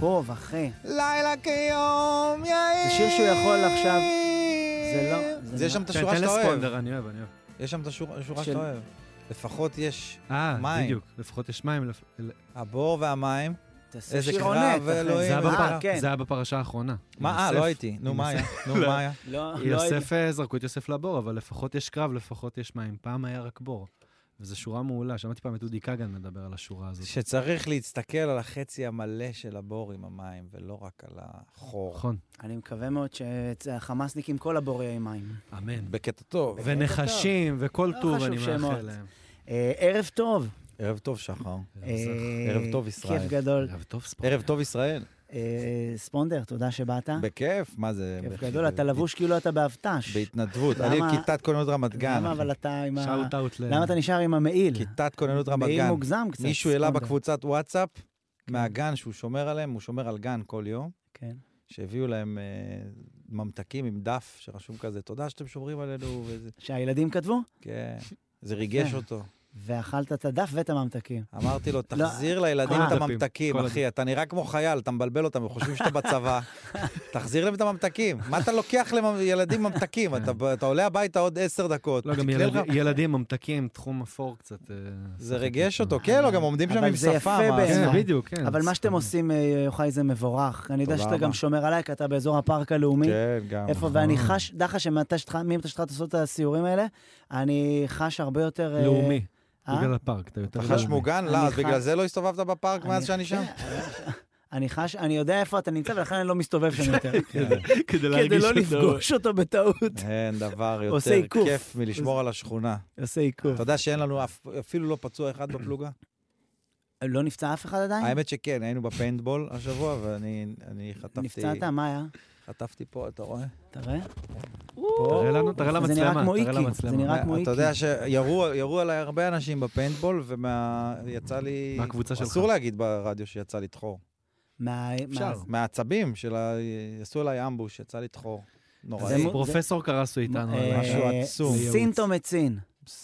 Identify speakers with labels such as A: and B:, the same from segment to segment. A: טוב, אחי.
B: לילה כיום יאיר.
A: זה שיר שהוא יכול עכשיו- זה לא- זה
B: זה יש
A: לא-
B: שם את
C: תן
B: השורה
C: כן, תן
B: שאתה אוהב.
C: לספונדר, אני אוהב, אני אוהב.
B: יש שם את השורה השורה
A: של-
B: שאתה אוהב. לפחות יש
C: אה,
B: מים.
C: בדיוק, לפחות יש מים. לפ- אל-
B: הבור והמים.
A: תעשה
B: איזה
A: שיר
B: קרב,
A: עונג, אחי.
B: אלוהים.
C: זה היה
B: אה,
C: בפר-
A: כן.
C: זה היה בפרשה האחרונה.
B: מה, אה,
C: יוסף-
B: לא הייתי. נו, מה היה? נו, מה היה?
A: לא, לא הייתי...
C: יוסף, אה, זרקו את יוסף לבור, אבל לפחות יש קרב, לפחות יש מים. פעם היה רק בור. וזו שורה מעולה, שמעתי פעם את אודי כגן מדבר על השורה הזאת.
B: שצריך להסתכל על החצי המלא של הבור עם המים, ולא רק על החור.
C: נכון,
A: לא- אני מקווה מאוד שהחמאסניקים כל הבור יהיה עם מים.
C: אמן.
B: בקטע טוב.
C: ונחשים, וכל
A: לא
C: טוב
A: חשוב
C: אני מאחל
A: שמות.
C: להם.
A: אה, ערב טוב.
B: ערב טוב, שחר.
A: אה,
B: ערב טוב, ישראל.
A: כיף גדול.
C: ערב טוב ספורט.
B: ערב טוב, ישראל.
A: אה, ספונדר, תודה שבאת.
B: בכיף, מה זה?
A: כיף
B: בכ-
A: גדול, אתה לבוש כאילו אתה באבט"ש.
B: בהתנדבות. אני
A: למה-
B: כיתת כוננות רמת גן.
A: למה
B: אחי.
A: אבל אתה עם ה...
C: שאוט אאוט ל...
A: למה אתה נשאר עם המעיל?
B: כיתת כוננות רמת
A: מעיל
B: גן.
A: מוגזם קצת.
B: מישהו העלה
A: ספונדר.
B: בקבוצת וואטסאפ מהגן שהוא שומר עליהם, הוא שומר על גן כל יום,
A: כן.
B: שהביאו להם אה, ממתקים עם דף שרשום כזה, תודה שאתם שומרים עלינו, וזה,
A: שהילדים כתבו? כן.
B: זה ריגש
A: יפה.
B: אותו.
A: ואכלת את הדף ואת הממתקים. לא, אה,
B: אמרתי לו, תחזיר לילדים
C: כל
B: את
C: הדפים,
B: הממתקים,
C: כל
B: אחי, אתה נראה כמו חייל, אתה מבלבל אותם, הם חושבים שאתה בצבא. תחזיר להם את הממתקים. מה אתה לוקח לילדים ממתקים? אתה ב- אתה עולה הביתה עוד עשר דקות.
C: לא, גם
B: תקנה לך-
C: ילד- ילדים ממתקים, תחום אפור קצת. אה,
B: זה
C: שחק
B: ריגש
C: איתו.
B: אותו, כן, לא, גם עומדים שם
A: אבל
B: עם
A: זה יפה
B: שפה. מה-
A: בעיניי.
C: כן,
A: בעצם.
C: בדיוק, כן.
A: אבל מה שאתם
C: סתם.
A: עושים, אה, יוחאי, זה מבורך. אני יודע
B: תודה
A: שאתה
B: רבה.
A: גם שומר עליי, כי אתה באזור הפארק הלאומי.
B: כן, גם.
A: איפה, ואני חש, דחה שמתי שלך לעשות את הסיורים האלה, אני חש הרבה יותר... אה,
C: לאומי,
A: אה?
C: בגלל הפארק, אתה יותר
B: אתה
C: לאומי.
B: חש מוגן?
A: אני
B: לא, אז
A: חש-
B: בגלל זה לא הסתובבת בפארק
A: אני-
B: מאז שאני שם?
A: כן, אני חש, אני יודע איפה אתה נמצא, ולכן אני לא מסתובב שם יותר.
C: כדי
A: כדי
C: להרגיש
A: לא
C: שאתה-
A: לפגוש אותו בטעות.
B: אין דבר
A: עושה
B: יותר
A: עיקוף.
B: כיף מלשמור על השכונה.
A: עושה עיכוב.
B: אתה יודע שאין לנו אף- אפילו לא פצוע אחד בפלוגה?
A: לא נפצע אף אחד עדיין?
B: האמת שכן, היינו בפיינטבול השבוע, ואני אני חטפתי...
A: נפצעת? מה היה?
B: חטפתי פה, אתה רואה?
A: תראה.
C: תראה לנו, תראה
A: זה נראה
C: למצלמה,
A: כמו
C: תראה
A: איקי,
C: למצלמה.
A: זה נראה כמו
B: אתה
A: איקי.
B: יודע שירו ירו עליי הרבה אנשים בפיינטבול, ויצא לי...
C: מהקבוצה שלך.
B: אסור להגיד ברדיו שיצא לי טחור.
A: מה-
C: אפשר.
A: מה-
B: מהעצבים של ה... עשו עליי אמבוש, יצא לי טחור.
C: אז
B: נוראי.
A: זה-
C: פרופסור קרסו איתנו.
A: אה,
C: על
B: משהו עצום.
A: סינטום עצין.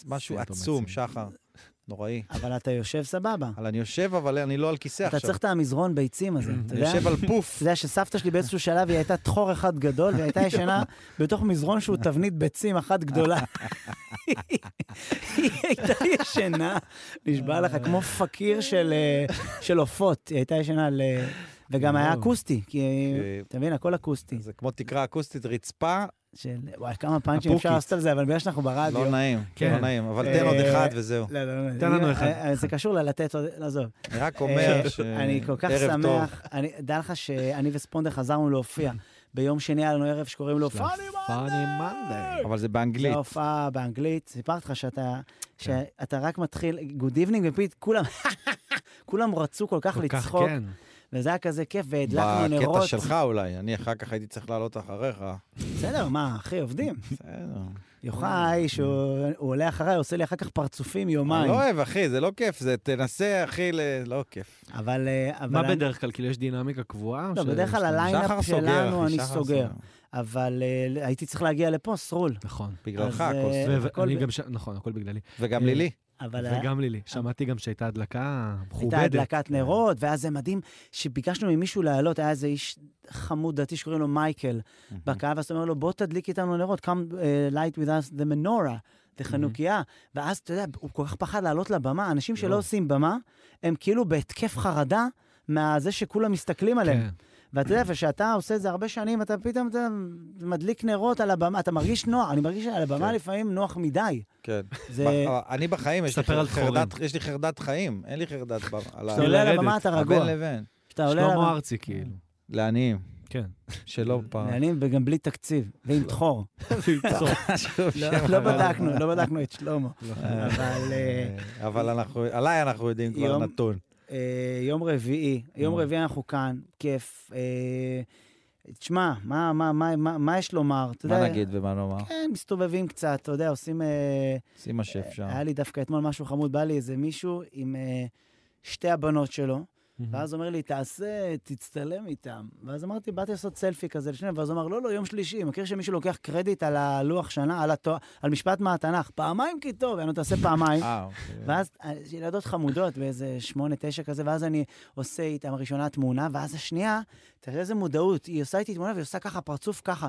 B: משהו
C: זה
B: עצום,
C: מציל.
B: שחר. נוראי.
A: אבל אתה יושב סבבה.
B: אבל אני יושב, אבל אני לא על כיסא
A: אתה
B: עכשיו.
A: צריך את המזרון ביצים הזה, אתה
B: אני
A: יודע?
B: יושב על פוף.
A: אתה יודע שסבתא שלי באיזשהו שלב היא הייתה טחור אחד גדול, והיא הייתה ישנה בתוך מזרון שהוא תבנית ביצים אחת גדולה. היא הייתה ישנה, נשבע לך, כמו פקיר של, אה, של עופות, היא הייתה ישנה על... אה, וגם היה
C: יואו.
A: אקוסטי, כי...
B: אה,
A: אתה מבין, הכל אקוסטי.
B: זה כמו תקרה אקוסטית, רצפה,
A: של... וואי, כמה פאנצ'ים אפשר
C: הפוקית.
A: לעשות על זה, אבל בגלל שאנחנו ברדיו...
B: לא נעים,
C: כן.
B: לא נעים, אבל
A: אה,
B: תן עוד אחד וזהו.
A: לא, לא, לא.
C: תן לנו
A: אה,
C: אחד.
A: אה, זה קשור ללתת עוד... לעזוב.
B: אני רק אומר
A: אה,
B: ש...
A: אני כל כך
B: ערב טוב.
A: שמח. אני- דע לך שאני וספונדר חזרנו להופיע. ביום שני היה לנו ערב שקוראים לו פאני
C: פאני מנדי.
B: אבל זה
A: זה
B: באנגלית. כן.
A: ההופעה באנגלית. סיפרתי לך שאתה, שאתה רק מתחיל, גוד איבנינג, ופתאום כולם, כולם רצו כל כך
C: כל כך
A: לצחוק,
C: כן.
A: וזה היה כזה כיף, והדלקנו נרות.
B: בקטע שלך אולי, אני אחר כך הייתי צריך לעלות אחריך.
A: בסדר, מה, אחי, עובדים.
B: בסדר.
A: יוחאי, שהוא הוא עולה אחריי, עושה לי אחר כך פרצופים
B: אני
A: יומיים.
B: לא אוהב, אחי, זה לא כיף, זה תנסה, אחי, ל- לא כיף.
A: אבל... אה, אבל
C: מה
A: אני-
C: בדרך כלל? כאילו יש דינמיקה קבועה?
A: לא,
C: ש-
A: בדרך כלל הליין- ליינאפ
B: שחר
A: שלנו,
B: סוגר, אחי,
A: אני
B: שחר
A: סוגר. אבל אה, הייתי צריך להגיע לפה, סרול.
C: נכון.
B: בגללך
A: אז,
B: הכל
A: אה,
B: סוגר.
C: ו-
A: הכל
C: ואני
A: ב-
C: גם ש... נכון, הכל בגללי.
B: וגם לילי.
A: אבל ה-
C: וגם לילי. שמעתי גם שהייתה הדלקה מכובדת. כן.
A: הייתה הדלקת נרות, ואז זה מדהים שביקשנו ממישהו לעלות, היה איזה איש חמוד דתי שקוראים לו מייקל בקהל, ואז אתה אומר לו, בוא תדליק איתנו נרות, come uh, light with us the menorah, the חנוכיה. ואז, אתה יודע, הוא כל כך פחד לעלות לבמה, אנשים שלא
C: יואו.
A: עושים במה, הם כאילו בהתקף חרדה מהזה שכולם מסתכלים עליהם.
C: כן.
A: ואתה יודע, וכשאתה עושה את זה הרבה שנים, אתה פתאום אתה מדליק נרות על הבמה, אתה מרגיש נוח, אני מרגיש שעל הבמה
B: כן.
A: לפעמים נוח מדי.
B: כן.
A: זה...
B: ב- אני בחיים, יש לי
C: ספר על
B: חרדת-
C: דחורים.
B: יש לי חרדת חיים, אין לי חרדת... ב- על ה- אה,
A: כשאתה עולה
C: כן.
A: על
C: לרדת,
A: הבמה אתה רגוע.
B: הבין לבין.
A: כשאתה עולה על
C: שלמה
A: הבמה...
C: ארצי, כאילו.
B: לעניים,
C: כן.
B: שלא פעם.
A: אני גם בלי תקציב, ועם טחור. לא- לא בדקנו, לא בדקנו את שלמה. אבל אה,
B: אה, אבל אנחנו, עליי אנחנו יודעים כבר
A: יום-
B: נתון.
A: אה, יום רביעי, יום
B: נו.
A: רביעי אנחנו כאן, כיף. אה, תשמע, מה- מה- מה- מה מה יש לומר? אתה
B: מה
A: יודע,
B: נגיד ומה נאמר?
A: כן, מסתובבים קצת, אתה יודע, עושים... אה,
B: שים מה שאפשר.
A: היה לי דווקא אתמול משהו חמוד, בא לי איזה מישהו עם אה, שתי הבנות שלו,
B: Mm-hmm.
A: ואז הוא אומר לי, תעשה, תצטלם איתם. ואז אמרתי, באתי לעשות סלפי כזה לשניהם, ואז הוא אמר, לא, לא, יום שלישי. מכיר שמישהו לוקח קרדיט על הלוח שנה, על, התו... על משפט מהתנ"ך, פעמיים כי טוב, יענו, תעשה פעמיים.
B: אה, אוקיי.
A: ואז אה, ילדות חמודות באיזה שמונה, תשע כזה, ואז אני עושה איתם הראשונה תמונה, ואז השנייה, תראה איזה מודעות, היא עושה איתי תמונה והיא עושה ככה, פרצוף ככה.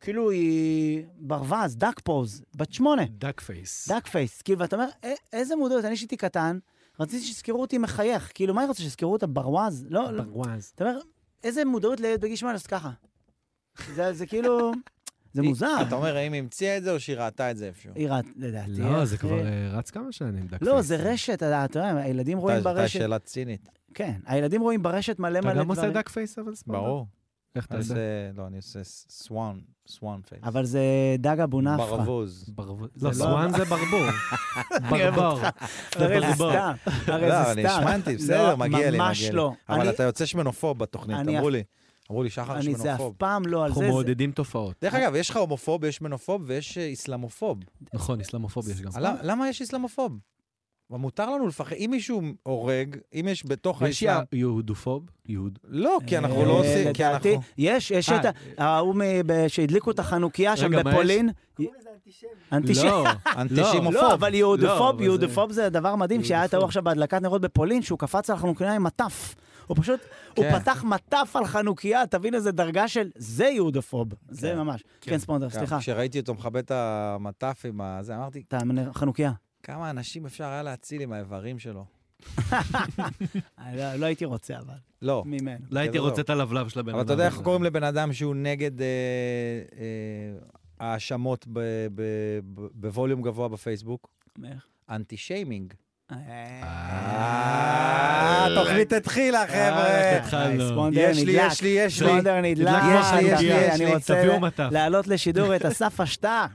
A: כאילו היא ברווז, דאק פוז, בת שמונה.
C: דאק פייס.
A: דאק פייס, כאילו, ואתה אומר, "אה, איזה מודעות, אני שהייתי קטן, רציתי שיזכרו אותי מחייך, כאילו, מה היא רוצה, שיזכרו אותה ברווז? לא, לא.
C: ברווז.
A: אתה אומר, איזה מודעות לילד בגיל שמונה, אז ככה. זה זה כאילו, זה מוזר.
B: אתה אומר, האם היא המציאה את זה או שהיא ראתה את זה איפשהו?
A: היא ראת, לדעתי.
C: לא, זה
A: אחי.
C: כבר אה, רץ כמה שנים, דאק פייס.
A: לא, זה רשת, אתה אתה יודע, הילדים רואים
B: הייתה
A: ברשת,
B: שאלה צינית.
A: כן, הילדים רואים ברשת מלא
C: אתה
A: מלא
C: גם עושה
A: דברים,
C: דאק פייס, אבל ספונדר?
B: ברור.
C: איך אתה
B: אני
C: עושה?
B: עושה, לא, אני עושה סוואן, סוואן פייס.
A: אבל זה דג אבו נפחא.
B: ברבוז.
C: ברבוז. לא,
A: לא-
C: סואן זה ברבור.
A: אוהב
C: ברבר. זה
A: הרי זה
C: ברבר.
A: סתם, הרי
B: לא,
A: זה
B: אני
A: סתם.
B: השמנתי,
A: לא,
B: בסדר, מגיע לי,
A: ממש
B: מגיע לי.
A: לא.
B: אבל
A: אני-
B: אתה יוצא שמנופוב בתוכנית,
A: אני
B: אמרו
A: אף-
B: לי. אמרו לי, שחר
A: אני זה אף
B: שמנופוב.
A: פעם לא על
C: אנחנו
A: זה, זה-
C: מעודדים תופעות.
B: דרך אגב, יש לך הומופוב, יש מנופוב ויש אה, איסלאמופוב.
C: נכון, אסלאמופוביה יש גם.
B: למה- למה יש איסלאמופוב? אבל מותר לנו לפחד, אם מישהו הורג, אם יש בתוך
C: יש
B: האסלאם...
C: יהודופוב? יהוד.
B: לא, כי אנחנו לא
A: אה,
B: עושים, כי אנחנו...
A: לדעתי, יש, יש
C: אה,
A: את ה- ההוא מ- ב- שהדליקו את החנוכיה שם
C: רגע, מה יש?
A: בפולין. אנטישמי.
C: לא,
B: אנטישימופוב.
A: לא, אבל
C: לא, אבל
A: יהודופוב,
C: זה-
A: יהודופוב זה דבר מדהים, שהיה את ההוא
C: יהודופוב.
A: עכשיו בהדלקת נרות בפולין, שהוא קפץ על חנוכיה עם מטף. הוא פשוט, הוא
B: כן.
A: פתח מטף על חנוכיה, תבין איזה דרגה של, זה יהודופוב. זה
B: כן.
A: ממש.
C: כן.
A: כן, ספונדר,
B: גם
A: סליחה.
B: כשראיתי אותו מכבה את המטף עם הזה, אמרתי,
A: אתה מנ- חנוכיה.
B: כמה אנשים אפשר היה להציל עם האיברים שלו.
A: אני לא- לא הייתי רוצה, אבל,
B: לא.
A: ממנו.
C: לא הייתי רוצה את הלבלב של הבן אדם.
B: אבל אתה יודע
C: הזה.
B: איך קוראים לבן אדם שהוא נגד אה, אה, האשמות ב- ב- ב- בווליום גבוה בפייסבוק? אנטי שיימינג.
A: אה,
B: התוכנית התחילה,
C: אה,
B: חבר'ה.
C: התחלנו.
A: ספונדר
B: יש לי,
A: נדלק.
B: יש
C: אה,
B: לי, יש לי.
A: ספונדר נדלק.
B: יש לי, יש לי,
A: אחי,
B: יש לי.
A: אני רוצה
C: תביאו מטף.
A: להעלות לשידור את אסף אשתה.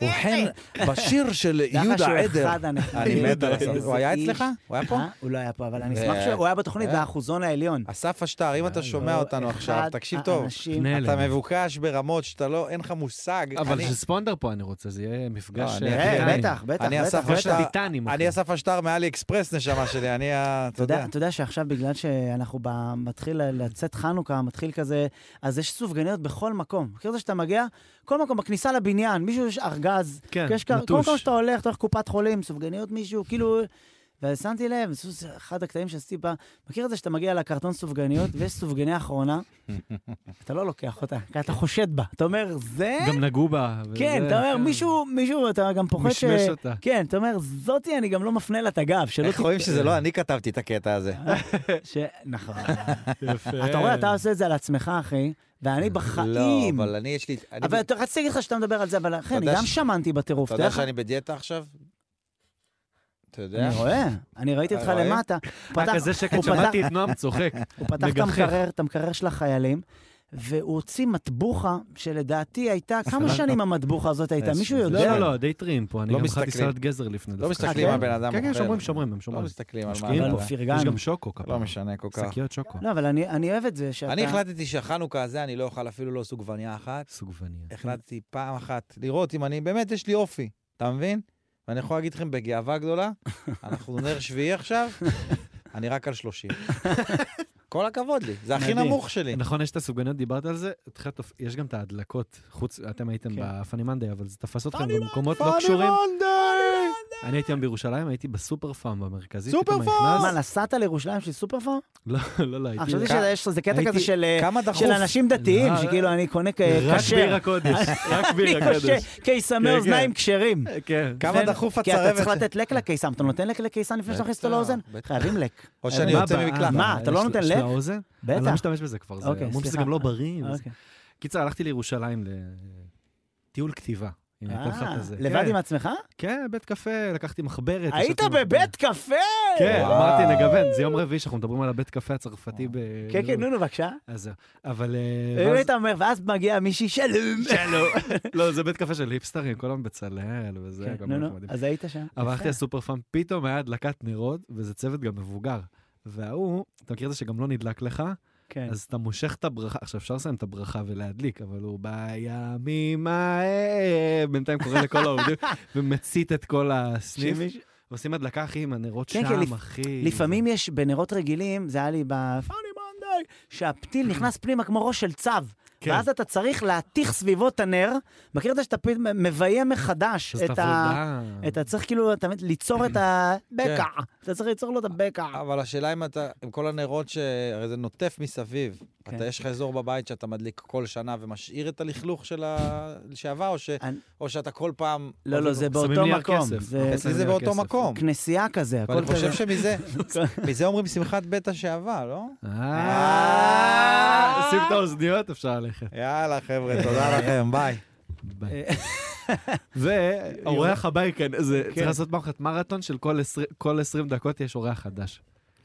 B: הוא חן בשיר של יהודה עדר. אני מת על הסף. הוא היה אצלך? הוא היה פה?
A: אה, הוא לא היה פה, אבל אני
B: ו-
A: אשמח שהוא היה בתוכנית
B: היה?
A: באחוזון העליון.
B: אסף אשטר, אם אתה שומע
A: לא,
B: אותנו
A: אחד
B: עכשיו, תקשיב טוב.
A: האנשים-
C: פנה
B: אתה
C: אלינו.
B: מבוקש ברמות שאתה לא, אין לך מושג.
C: אבל
B: אני-
C: שספונדר פה אני רוצה, זה יהיה מפגש...
B: לא, אני-
C: אה,
A: אה,
C: טיטנים.
A: בטח, בטח,
B: אני
A: בטח.
B: אסף
A: בטח.
B: אשטר.
C: טיטנים, אחי.
B: אני אסף אשטר מאלי אקספרס, נשמה שלי, אני ה... אתה יודע.
A: אתה יודע שעכשיו, בגלל שאנחנו ב- מתחיל ל- לצאת חנוכה, מתחיל כזה, אז יש סופגניות בכל מקום. מכיר את זה שאתה מגיע? כל מקום, בכניסה לבניין, מישהו יש ארגז,
C: כן,
A: יש כר- כל
C: נטוש.
A: מקום שאתה הולך, אתה הולך לקופת חולים, סופגניות מישהו, כאילו... ושמתי לב, זה אחד הקטעים שעשיתי פעם, מכיר את זה שאתה מגיע לקרטון סופגניות, ויש סופגניה אחרונה, אתה לא לוקח אותה, כי אתה חושד בה. אתה אומר, זה...
C: גם נגעו בה. וזה-
A: כן, אתה אומר, מישהו, מישהו, אתה גם פוחד ש...
C: משמש אותה.
A: כן, אתה אומר, זאתי, אני גם לא מפנה לה את הגב, שלא...
B: איך
A: ת-
B: רואים שזה לא אני כתבתי את הקטע הזה?
A: ש... נכון.
C: יפה.
A: אתה רואה, אתה עושה את זה על עצמך, אחי, ואני בחיים...
B: לא, אבל אני יש לי... אני
A: אבל
B: ב-
A: אתה רציתי להגיד לך שאתה מדבר על זה, אבל אחי,
B: אתה
A: אני
B: יודע
A: גם
B: ש-
A: שמנתי בטירוף.
B: אתה יודע
A: תראה לך-
B: שאני בדיאטה עכשיו? אתה יודע?
A: אני רואה, אני ראיתי אותך
B: אתה רואה?
A: למטה.
C: רק
A: פתח-
C: כזה שקט,
A: הוא פתח-
C: שמעתי את נועם צוחק.
A: הוא פתח את
C: מגחך.
A: המקרר, את המקרר של החיילים, והוא הוציא מטבוחה, שלדעתי הייתה, כמה שנים המטבוחה הזאת הייתה? מישהו
B: לא,
A: יודע?
C: לא, לא, לא, די טריים פה, אני
B: לא
C: גם אכלתי
B: מסתכלים.
C: סלט גזר לפני.
B: לא
C: דווקא.
B: מסתכלים
A: אה,
B: על בן אדם
C: כן, כן,
B: אוכר.
C: שומרים, שומרים, הם
B: לא
C: שומרים.
B: מסתכלים על מה...
C: משקיעים
A: אבל
C: בו.
B: אתה-
A: פרגנו.
C: יש גם שוקו כפה.
B: לא משנה כל כך.
C: שקיות שוקו.
A: לא, אבל אני- אני אוהב את זה שאתה...
B: אני החלטתי שהחנוכה הזה אני לא אוכל אפילו לא סוגבניה אחת.
C: סוגבניה.
B: החלטתי פעם אחת לראות אם אני, באמת יש לי אופי, אתה מבין? ואני יכול להגיד לכם בגאווה גדולה, אנחנו נר שביעי עכשיו, אני רק על 30. כל הכבוד לי, זה הכי
A: מדהים.
B: נמוך שלי.
C: נכון, יש את הסוגניות, דיברת על זה, התחילת תופ- יש גם את ההדלקות, חוץ, אתם הייתם
A: כן.
C: בפאני מנדי, אבל זה תפס אתכם במקומות לא קשורים. אני הייתי היום בירושלים, הייתי בסופר פארם במרכזית.
B: סופר
C: פתאום
B: פארם!
C: נכנס-
A: מה, נסעת לירושלים של סופר פארם?
C: לא, לא, לא,
A: אה,
C: הייתי...
A: חשבתי
B: כמה-
A: שיש איזה קטע
C: הייתי-
A: כזה של אה,
B: כמה דחוף.
A: של אנשים דתיים,
C: לא,
A: שכאילו אני קונה כ-
C: רק ביר
A: כשר.
C: הקודש, רק ביר
A: אני
C: הקודש.
A: קושר קיסמי
C: כן,
A: אוזניים כשרים.
C: כן.
B: כמה
A: כן,
B: דחוף
A: כי אתה צריך
B: הצרבת.
A: לתת לק לקיסם, אתה נותן לק לקיסם לפני שאתה מכניס אותו
B: בטח,
A: לאוזן?
B: בטח.
A: חייבים לק.
B: או שאני
A: אה, מה
B: יוצא
A: הבעיה?
B: ממקלחת.
A: מה, אתה לא
C: יש-
A: נותן
C: יש
A: לק?
C: לה אוזן? אני לא
A: בטח.
C: משתמש בזה כבר, זה-
A: אוקיי,
C: אמרו שזה
A: סליחה.
C: גם לא בריא. וזה-
A: אוקיי.
C: קיצר, הלכתי לירושלים לטיול כתיבה. עם כל אחד
A: אה,
C: הזה.
A: לבד
C: כן,
A: עם עצמך?
C: כן, בית קפה, לקחתי מחברת.
A: היית
C: ישבתי
A: בבית קפה?
C: כן,
B: וואו.
C: אמרתי
A: אה,
C: נגוון, זה יום רביעי שאנחנו מדברים על הבית קפה הצרפתי ב...
A: כן, כן, נו, נו, בבקשה.
C: אז זהו. אבל... אה,
A: ואם
C: ואז-
A: היית אומר, ואז מגיע מישהי, שלום.
C: שלום. לא, זה בית קפה של היפסטרים, כל היום בצלאל וזה,
A: כן,
C: גם לא
A: נו, נו,
C: נחמדים.
A: אז היית שם.
C: אבל הלכתי
A: יפה.
C: לסופר פארם, פתאום היה הדלקת נרות, וזה צוות גם מבוגר. וההוא, אתה מכיר את זה שגם לא נדלק לך?
A: כן.
C: אז אתה מושך את הברכה, עכשיו אפשר לסיים את הברכה ולהדליק, אבל הוא בימים ההם, בינתיים קורא לכל העובדים, ומצית את כל הסניף.
A: שמיש-
C: ועושים הדלקה, אחי, עם הנרות
A: כן, כן, לפ-
C: שם, אחי.
A: לפעמים יש, בנרות רגילים, זה היה לי בפאני מונדי, שהפתיל נכנס פנימה כמו ראש של צב.
C: כן.
A: ואז אתה צריך להתיך סביבו את הנר. מכיר את זה שאתה פתאום מביים מחדש
C: אז
A: את ה...
C: עבודה. כן.
A: אתה צריך כאילו, אתה מבין, ליצור את הבקע. אתה צריך ליצור לו את הבקע.
B: אבל השאלה אם אתה, עם כל הנרות, ש... הרי זה נוטף מסביב.
A: כן.
B: אתה, יש לך אזור בבית שאתה מדליק כל שנה ומשאיר את הלכלוך של ה- שעבר, או, ש...
A: אני-
B: או שאתה כל פעם...
A: לא, לא, זה באותו
C: לי הר
A: מקום.
C: כסף. אוקיי,
A: זה
B: אצלי
C: שמים
B: אוקיי, זה
C: על
B: באותו
C: כסף.
B: מקום.
A: כנסייה כזה,
B: ואני
A: הכל כזה.
B: חושב שמזה מזה אומרים שמחת בית השעבר, לא?
C: אה, שים את האוזניות, אפשר ללכת.
B: יאללה, חבר'ה, תודה לכם, ביי.
C: ביי.
A: אה,
C: והאורח הבא ייכנס, זה-
A: כן.
C: צריך לעשות פעם אחת מרתון של כל עשרים- כל 20 דקות יש אורח חדש.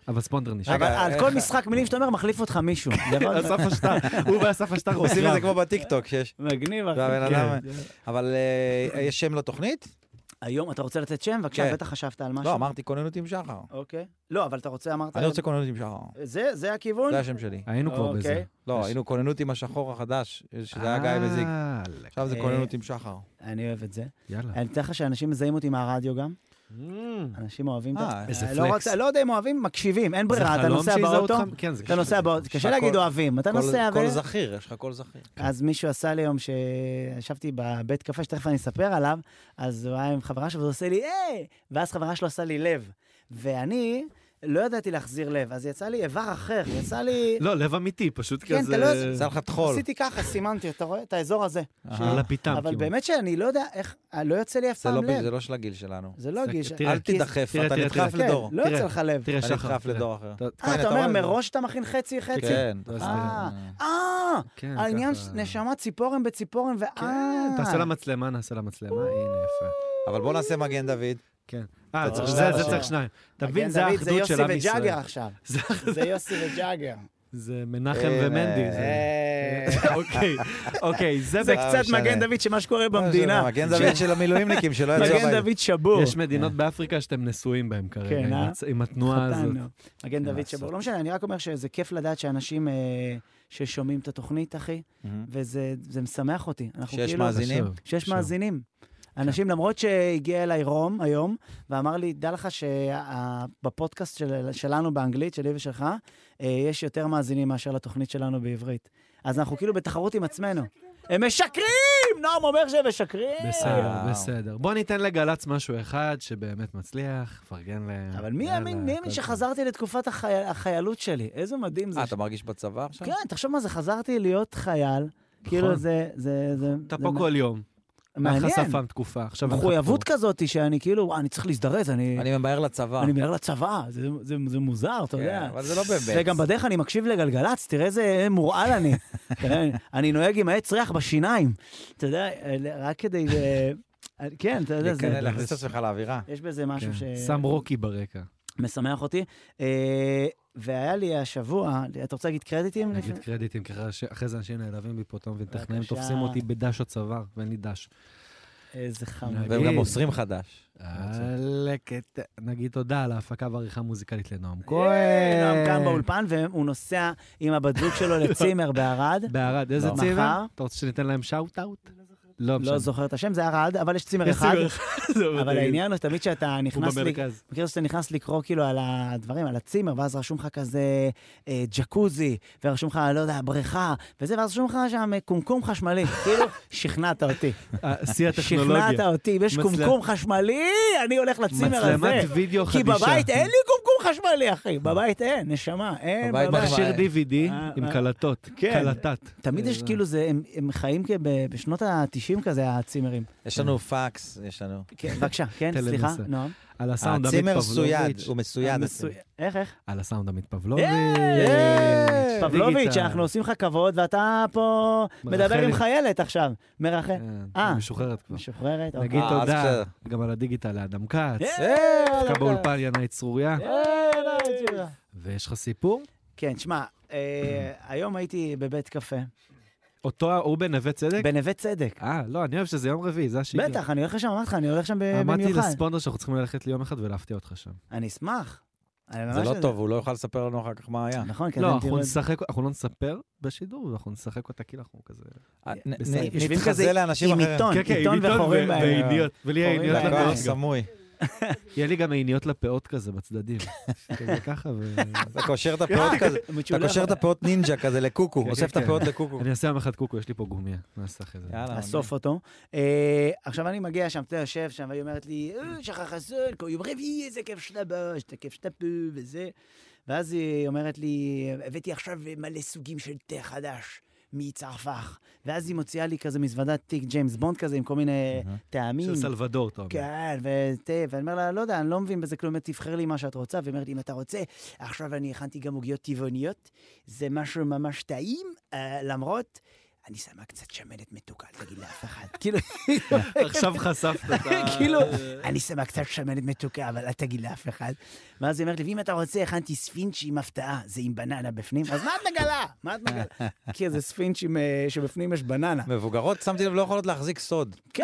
C: אבל ספונדר נשאר.
A: אבל על
B: איך-
C: אה,
A: כל משחק מילים שאתה אומר, מחליף אותך מישהו. דבר-
C: אסף נכון. השטר, הוא ואסף השטר
B: עושים את זה כמו בטיקטוק שיש.
A: מגניב, אחי.
B: והבן אדם...
C: כן.
B: אבל אה, יש שם לתוכנית?
A: היום אתה רוצה לתת שם? בבקשה,
B: כן.
A: בטח חשבת על משהו.
B: לא, אמרתי כוננות עם שחר.
A: אוקיי. לא, אבל אתה רוצה, אמרת...
B: אני רוצה כוננות עם שחר.
A: זה, זה הכיוון?
B: זה השם שלי.
C: היינו כבר
A: אוקיי.
C: בזה.
B: לא, היינו כוננות עם השחור החדש, שזה היה גיא מזיג.
C: אה, לק-
B: עכשיו זה
A: אה,
B: כוננות עם שחר.
A: אני אוהב את זה.
C: יאללה.
A: אני אתן לך שאנשים מזהים אותי מהרדיו גם. אנשים אוהבים את
B: Mm. אה,
A: ה-
C: איזה
A: לא
C: פלקס.
A: רוצה- לא יודע אם אוהבים, מקשיבים, אין ברירה, אתה
C: חלום
A: נוסע
C: שיזהו
A: באוטו.
C: אותך? כן, זה
A: אתה נוסע באוטו, קשה
B: הכל-
A: להגיד אוהבים, אתה
B: כל-
A: נוסע ו...
B: כל זכיר, יש לך קול זכיר.
A: אז מישהו עשה לי היום, שישבתי בבית קפה, שתכף אני אספר עליו, אז הוא היה עם חברה שלו, והוא עושה לי, היי! ואז חברה שלו עשה לי לב. ואני לא ידעתי להחזיר לב, אז יצא לי איבר אחר, יצא לי...
C: לא, לב אמיתי, פשוט
A: כן,
C: כזה...
A: אתה לא-
B: עשה לך טחול.
A: עשיתי ככה, סימנתי, אתה רואה? את האזור הזה.
B: אה,
C: על כאילו. הפיתם.
A: אבל
C: כמעט.
A: באמת שאני לא יודע איך, לא יוצא לי אף
B: זה לא
A: פעם
B: ב- זה
A: לב.
B: לא של הגיל שלנו.
A: זה לא
C: זה-
A: גישה.
C: תראה,
B: אל תידחף,
C: תראה,
B: אתה
C: תראה,
B: נדחף
A: כן,
B: לדור.
A: לא
C: תראה.
A: יוצא לך לב.
C: תראה,
B: אתה
C: שחר.
B: נדחף
C: תראה.
B: לדור אחר.
C: אתה-
A: אה,
B: הנה,
A: אתה אומר
B: רואה את זה.
A: מראש אתה מכין חצי חצי?
B: כן.
C: לא, זה-
A: אה, אה,
C: כן,
A: העניין
C: ככה.
A: נשמה ציפורן בציפורן ואה.
C: כן, תעשה למצלמה, נעשה למצלמה, הנה, יפה.
B: אבל בוא נעשה מגן דוד.
C: כן. אה,
A: טוב,
C: צריך-
A: זה
C: זה
A: השיר.
C: זה צריך שניים. אתה מבין,
A: מגן
C: זה
A: דוד,
C: האחדות של עם
A: יוסי וג'אגר
C: ישראל.
A: עכשיו.
C: זה-
A: זה יוסי וג'אגר.
C: זה מנחם
B: אה,
C: ומנדי. זה-
A: אה,
C: אוקיי, אוקיי, זה
A: זה
C: ב-
A: קצת
B: משנה.
A: מגן דוד שמה שקורה במדינה.
B: לא, מגן דוד של המילואימניקים שלא יצאו
A: מגן
B: הביתה.
A: דוד שבור.
C: יש מדינות באפריקה שאתם נשואים בהן כרגע,
A: כן,
C: עם
A: אה?
C: הצ- עם התנועה הזאת.
A: חתנו. מגן דוד שבור. לא משנה, אני רק אומר שזה כיף לדעת שאנשים אה, ששומעים את התוכנית, אחי,
B: מהמם.
A: וזה זה משמח אותי. אנחנו
B: שיש
A: כאילו-
B: מאזינים?
C: חשוב,
A: שיש
C: חשוב. כן.
A: מאזינים. אנשים, למרות שהגיע אליי רום היום, ואמר לי, דע לך שבפודקאסט של, שלנו באנגלית, שלי ושלך, אה, יש יותר מאזינים מאשר לתוכנית שלנו בעברית. אז אנחנו כאילו בתחרות עם עצמנו. הם משקרים! נועם אומר שהם משקרים!
C: בסדר,
B: אה, וואו.
C: בסדר. בוא ניתן לגל"צ משהו אחד שבאמת מצליח, פרגן להם.
A: אבל מי
C: יאללה,
A: יאמין, מי
C: הכל
A: יאמין שחזרתי לתקופת החי... החיילות שלי? איזה מדהים זה.
B: אה, אתה מרגיש בצבא עכשיו?
C: נכון.
A: כן, תחשוב מה זה, חזרתי להיות חייל. כאילו זה, זה, זה,
C: טוב. אתה
A: זה
C: פה
A: מ-
C: נכון. כל יום, היה לך
A: מעניין.
C: שפם תקופה, עכשיו אתה פה.
A: מחויבות כזאת שאני כאילו, "וואה, אני צריך להזדרז, אני...
B: אני ממהר לצבא.
A: אני מהר לצבא, זה, זה, זה מוזר, אתה
B: כן,
A: יודע.
B: אבל זה לא באמת.
A: וגם בדרך אני מקשיב לגלגלצ, תראה איזה מורעל אני. תראה, אני נוהג עם העץ ריח בשיניים. אתה יודע, אלה- רק כדי... אה, כן, אתה יודע, זה...
B: להיכנס- אה, להכניס את עצמך לאווירה.
A: יש בזה משהו
C: כן. שם רוקי ברקע.
A: שמשמח אותי. אה, והיה לי השבוע, אתה רוצה להגיד קרדיטים?
C: נגיד קרדיטים, ככה ש- אחרי זה אנשים נעלבים בי פה, אתה לא מבין, טכנאים
A: בבקשה.
C: תופסים אותי בדש הצוואר, ואין לי דש.
A: איזה חמור.
C: נגיד.
B: והם גם
C: תגיד.
B: מוסרים חדש.
C: לקט. נגיד תודה על ההפקה והעריכה המוזיקלית לנועם כהן.
A: אה, נועם כאן באולפן, והוא נוסע עם הבת זוג שלו לצימר בערד.
C: בערד, איזה
A: לא. מחר?
C: צימר? אתה רוצה שניתן להם שאוט אאוט? לא,
A: לא
C: משנה.
A: זוכר את השם, זה ערד, אבל יש צימר
C: יש
A: אחד.
C: צימר אחד, זה
A: אבל
C: מדהים.
A: העניין הוא תמיד שאתה
C: הוא
A: נכנס... לי-
C: במרכז.
A: מכיר שאתה נכנס לקרוא כאילו על הדברים, על הצימר, ואז רשום לך כזה אה, ג'קוזי, ורשום לך, לא יודע, בריכה, וזה, ואז רשום לך שם אה, קומקום חשמלי. כאילו, שכנעת אותי.
C: אה, שיא
A: שכנעת
C: הטכנולוגיה.
A: אותי, אם יש
C: מצלם-
A: קומקום חשמלי, אני הולך לצימר הזה.
C: מצלמת וידאו
A: כי
C: חדישה. אה.
A: בבית אין לי קומקום חשמלי, אחי. בבית אין, נשמה, אין
B: בבית אה.
A: בבית.
B: מחשב.
C: מכשיר DVD
A: אה, אה.
C: עם קלטות.
A: כן.
C: קלטת.
A: תמיד יש כאילו זה, הם- הם חיים כב- בשנות ה-90 כזה, הצימרים.
B: יש לנו פקס, יש לנו.
A: כן, בבקשה, כן, סליחה,
C: טלנוסה.
A: נועם.
C: על הסאונד עמית
B: הצימר סויד,
C: פבלוביץ'.
B: הוא מסויד.
A: המסו-
B: הצימר.
A: איך, איך?
C: על הסאונד עמית פבלוביץ'.
A: אה, פבלוביץ',
C: דיגיטל.
A: אנחנו עושים לך כבוד, ואתה פה
C: מרחלת.
A: מדבר עם חיילת עכשיו. מרחל.
C: כן,
A: אה.
C: משוחררת כבר.
A: משוחררת. אוקיי.
C: נגיד
B: אה, אז
C: תודה
B: בסדר.
C: גם על הדיגיטל לאדם כץ.
A: אה,
C: דווקא
A: אה,
C: באולפן ינאי צרוריה.
A: אה, אה,
C: ויש לך סיפור?
A: כן, שמע, אה, היום הייתי בבית קפה,
C: אותו, הוא בנווה צדק?
A: בנווה צדק.
C: אה, לא, אני אוהב שזה יום רביעי, זה השגרה.
A: בטח, אני הולך לשם, אמרתי לך, אני הולך שם ב-
C: אמרתי
A: במיוחד.
C: לספונדר שאנחנו צריכים ללכת ליום אחד ולהפתיע אותך שם.
A: אני אשמח. אני
B: זה
A: ממש-
B: לא טוב, הוא לא יוכל לספר לנו אחר כך מה היה.
A: נכון, כי אז
C: לא,
A: הם תראו
C: אנחנו
A: את זה.
C: נשחק, אנחנו לא נספר בשידור, אנחנו נשחק אותה כאילו אנחנו כזה... כן,
B: אה, נ-
C: בסדר.
B: נ-
A: יושבים כזה
B: נתחזה לאנשים
A: עם
B: אחרים.
A: עיתון, עיתון וחורים. ב-
B: וידיעות.
C: ולי
A: חורים
C: הידיעות
A: בעיניים.
C: לדעת
A: לקוח
B: לקוח
C: גם.
B: אה, סמוי.
C: יהיה לי גם עיניות לפאות כזה בצדדים. כזה ככה, ו...
B: אתה קושר את הפאות כזה, אתה קושר את הפאות נינג'ה כזה לקוקו,
C: כן,
B: אוסף את
C: כן.
B: הפאות לקוקו.
C: אני אעשה יום אחד קוקו, יש לי פה גומיה. נעשה אחרי זה.
B: יאללה,
A: לאסוף אותו. אה, עכשיו אני מגיע שם, אתה יודע, יושב שם, והיא אומרת לי, "אה, שחר חסון, כל יום רביעי, איזה כיף שאתה בא, איזה כיף שאתה פה, וזה. ואז היא אומרת לי, הבאתי עכשיו מלא סוגים של תה חדש. מצרפח. ואז היא מוציאה לי כזה מזוודת תיק ג'יימס בונד כזה, עם כל מיני
B: מהמם.
A: טעמים.
C: של סלבדור, אתה אומר.
A: כן, ותה, ואני אומר לה, לא יודע, אני לא מבין בזה כלום, תבחר לי מה שאת רוצה, והיא אומרת לי, אם אתה רוצה, עכשיו אני הכנתי גם עוגיות טבעוניות, זה משהו ממש טעים, אה, למרות, אני שמה קצת שמנת מתוקה, אל תגיד לאף אחד. כאילו,
C: עכשיו חשפת את ה... אה.
A: כאילו, אני שמה קצת שמנת מתוקה, אבל אל תגיד לאף אחד. ואז היא אומרת לי, ואם אתה רוצה, הכנתי ספינץ' עם הפתעה, זה עם בננה בפנים, אז מה את מגלה? מה את מגלה? כי זה ספינץ' עם, אה, שבפנים יש בננה.
B: מבוגרות, שמתי לב, לא יכולות להחזיק סוד.
A: כן,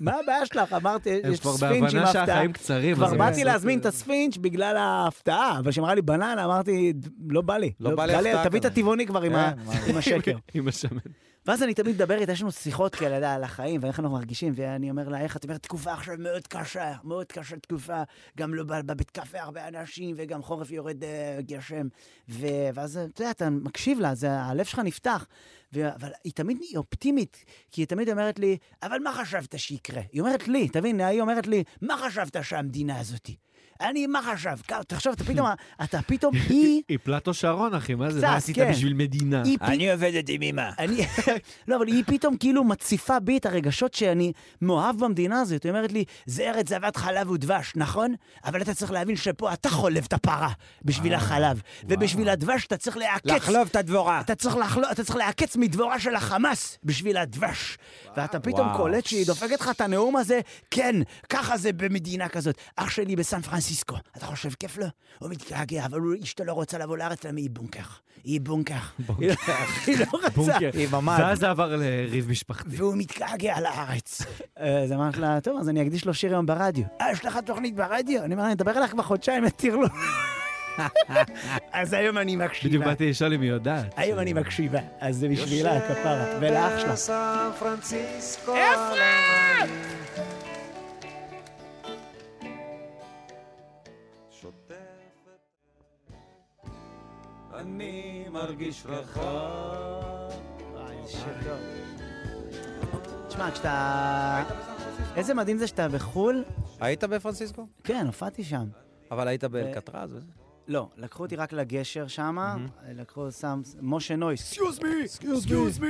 A: מה הבעיה שלך? אמרתי,
C: הם
A: יש
C: כבר
A: ספינץ' עם
C: בהבנה
A: הפתעה.
C: שהחיים קצרים. אז
A: כבר
C: הם
A: באתי
C: עושים-
A: להזמין את הספינץ' בגלל ההפתעה, אבל כשאמרה לי בננה, אמרתי, לא בא לי.
B: לא בא לי הפתעה
A: תביא את
B: כזאת."
A: הטבעוני כבר עם ה-
B: כן, מה-
A: עם השקר.
C: עם השמן.
A: ואז אני תמיד מדבר איתה, יש לנו שיחות כאלה אתה יודע, על החיים ואיך אנחנו מרגישים, ואני אומר לה, איך את אומרת, תקופה עכשיו מאוד קשה, מאוד קשה תקופה, גם לא בא בבית קפה הרבה אנשים, וגם חורף יורד אה, גשם. ו- ואז, אתה יודע, אתה מקשיב לה, זה, הלב שלך נפתח. ו- אבל היא תמיד היא אופטימית, כי היא תמיד אומרת לי, אבל מה חשבת שיקרה? היא אומרת לי, תבין, היא אומרת לי, מה חשבת שהמדינה הזאתי? אני, מה חשב? כ- תחשוב, אתה פתאום, אתה פתאום, היא...
C: היא פלטו שרון, אחי, מה זה?
A: קצת,
C: מה עשית
A: כן.
C: בשביל מדינה?
A: היא פתאום...
B: עובדת עם אמא.
A: אני, לא, אבל היא פתאום כאילו מציפה בי את הרגשות שאני מאוהב במדינה הזאת. היא אומרת לי, זה ארץ זבת חלב ודבש, נכון? אבל אתה צריך להבין שפה אתה חולב את הפרה בשביל החלב, ובשביל הדבש אתה צריך לעקץ.
B: אה, לחלוב את הדבורה.
A: אתה צריך, לחלו, אתה צריך לעקץ מדבורה של החמאס בשביל הדבש. ואתה פתאום
B: וואו.
A: קולט שהיא דופקת לך את הנאום הזה, כן, ככה זה במדינה כזאת. אח שלי בסן פרנסיסקו, אתה חושב כיף לו? הוא מתגעגע, אבל הוא- אשתו לא רוצה לבוא לארץ, למה היא בונקר? היא בונקר. היא לא- היא לא רוצה.
C: בונקר.
B: עם המד.
C: ואז זה כן. עבר לריב משפחתי.
A: והוא מתגעגע לארץ. אה, אז אמרתי לה, טוב, אז אני אקדיש לו שיר היום ברדיו. אה, יש לך תוכנית ברדיו? אני אומר, אני אדבר עליך כבר חודשיים, לטרלול. אז היום אני
C: בדיוק
A: מקשיבה.
C: באתי לשאול אם היא יודעת.
A: היום אני מקשיבה, אז זה בשבילה, הכפרה, ולאח שלה.
D: סן פרנסיסקו. אפרת! אני מרגיש רחב.
A: תשמע, כשאתה... איזה מדהים זה שאתה בחו"ל?
B: היית בפרנסיסקו?
A: כן, הופעתי שם.
B: אבל היית באלקטרז וזה?
A: לא, לקחו אותי רק לגשר שמה, לקחו, שם, משה נויס.
D: סקיוז מי! סקיוז מי!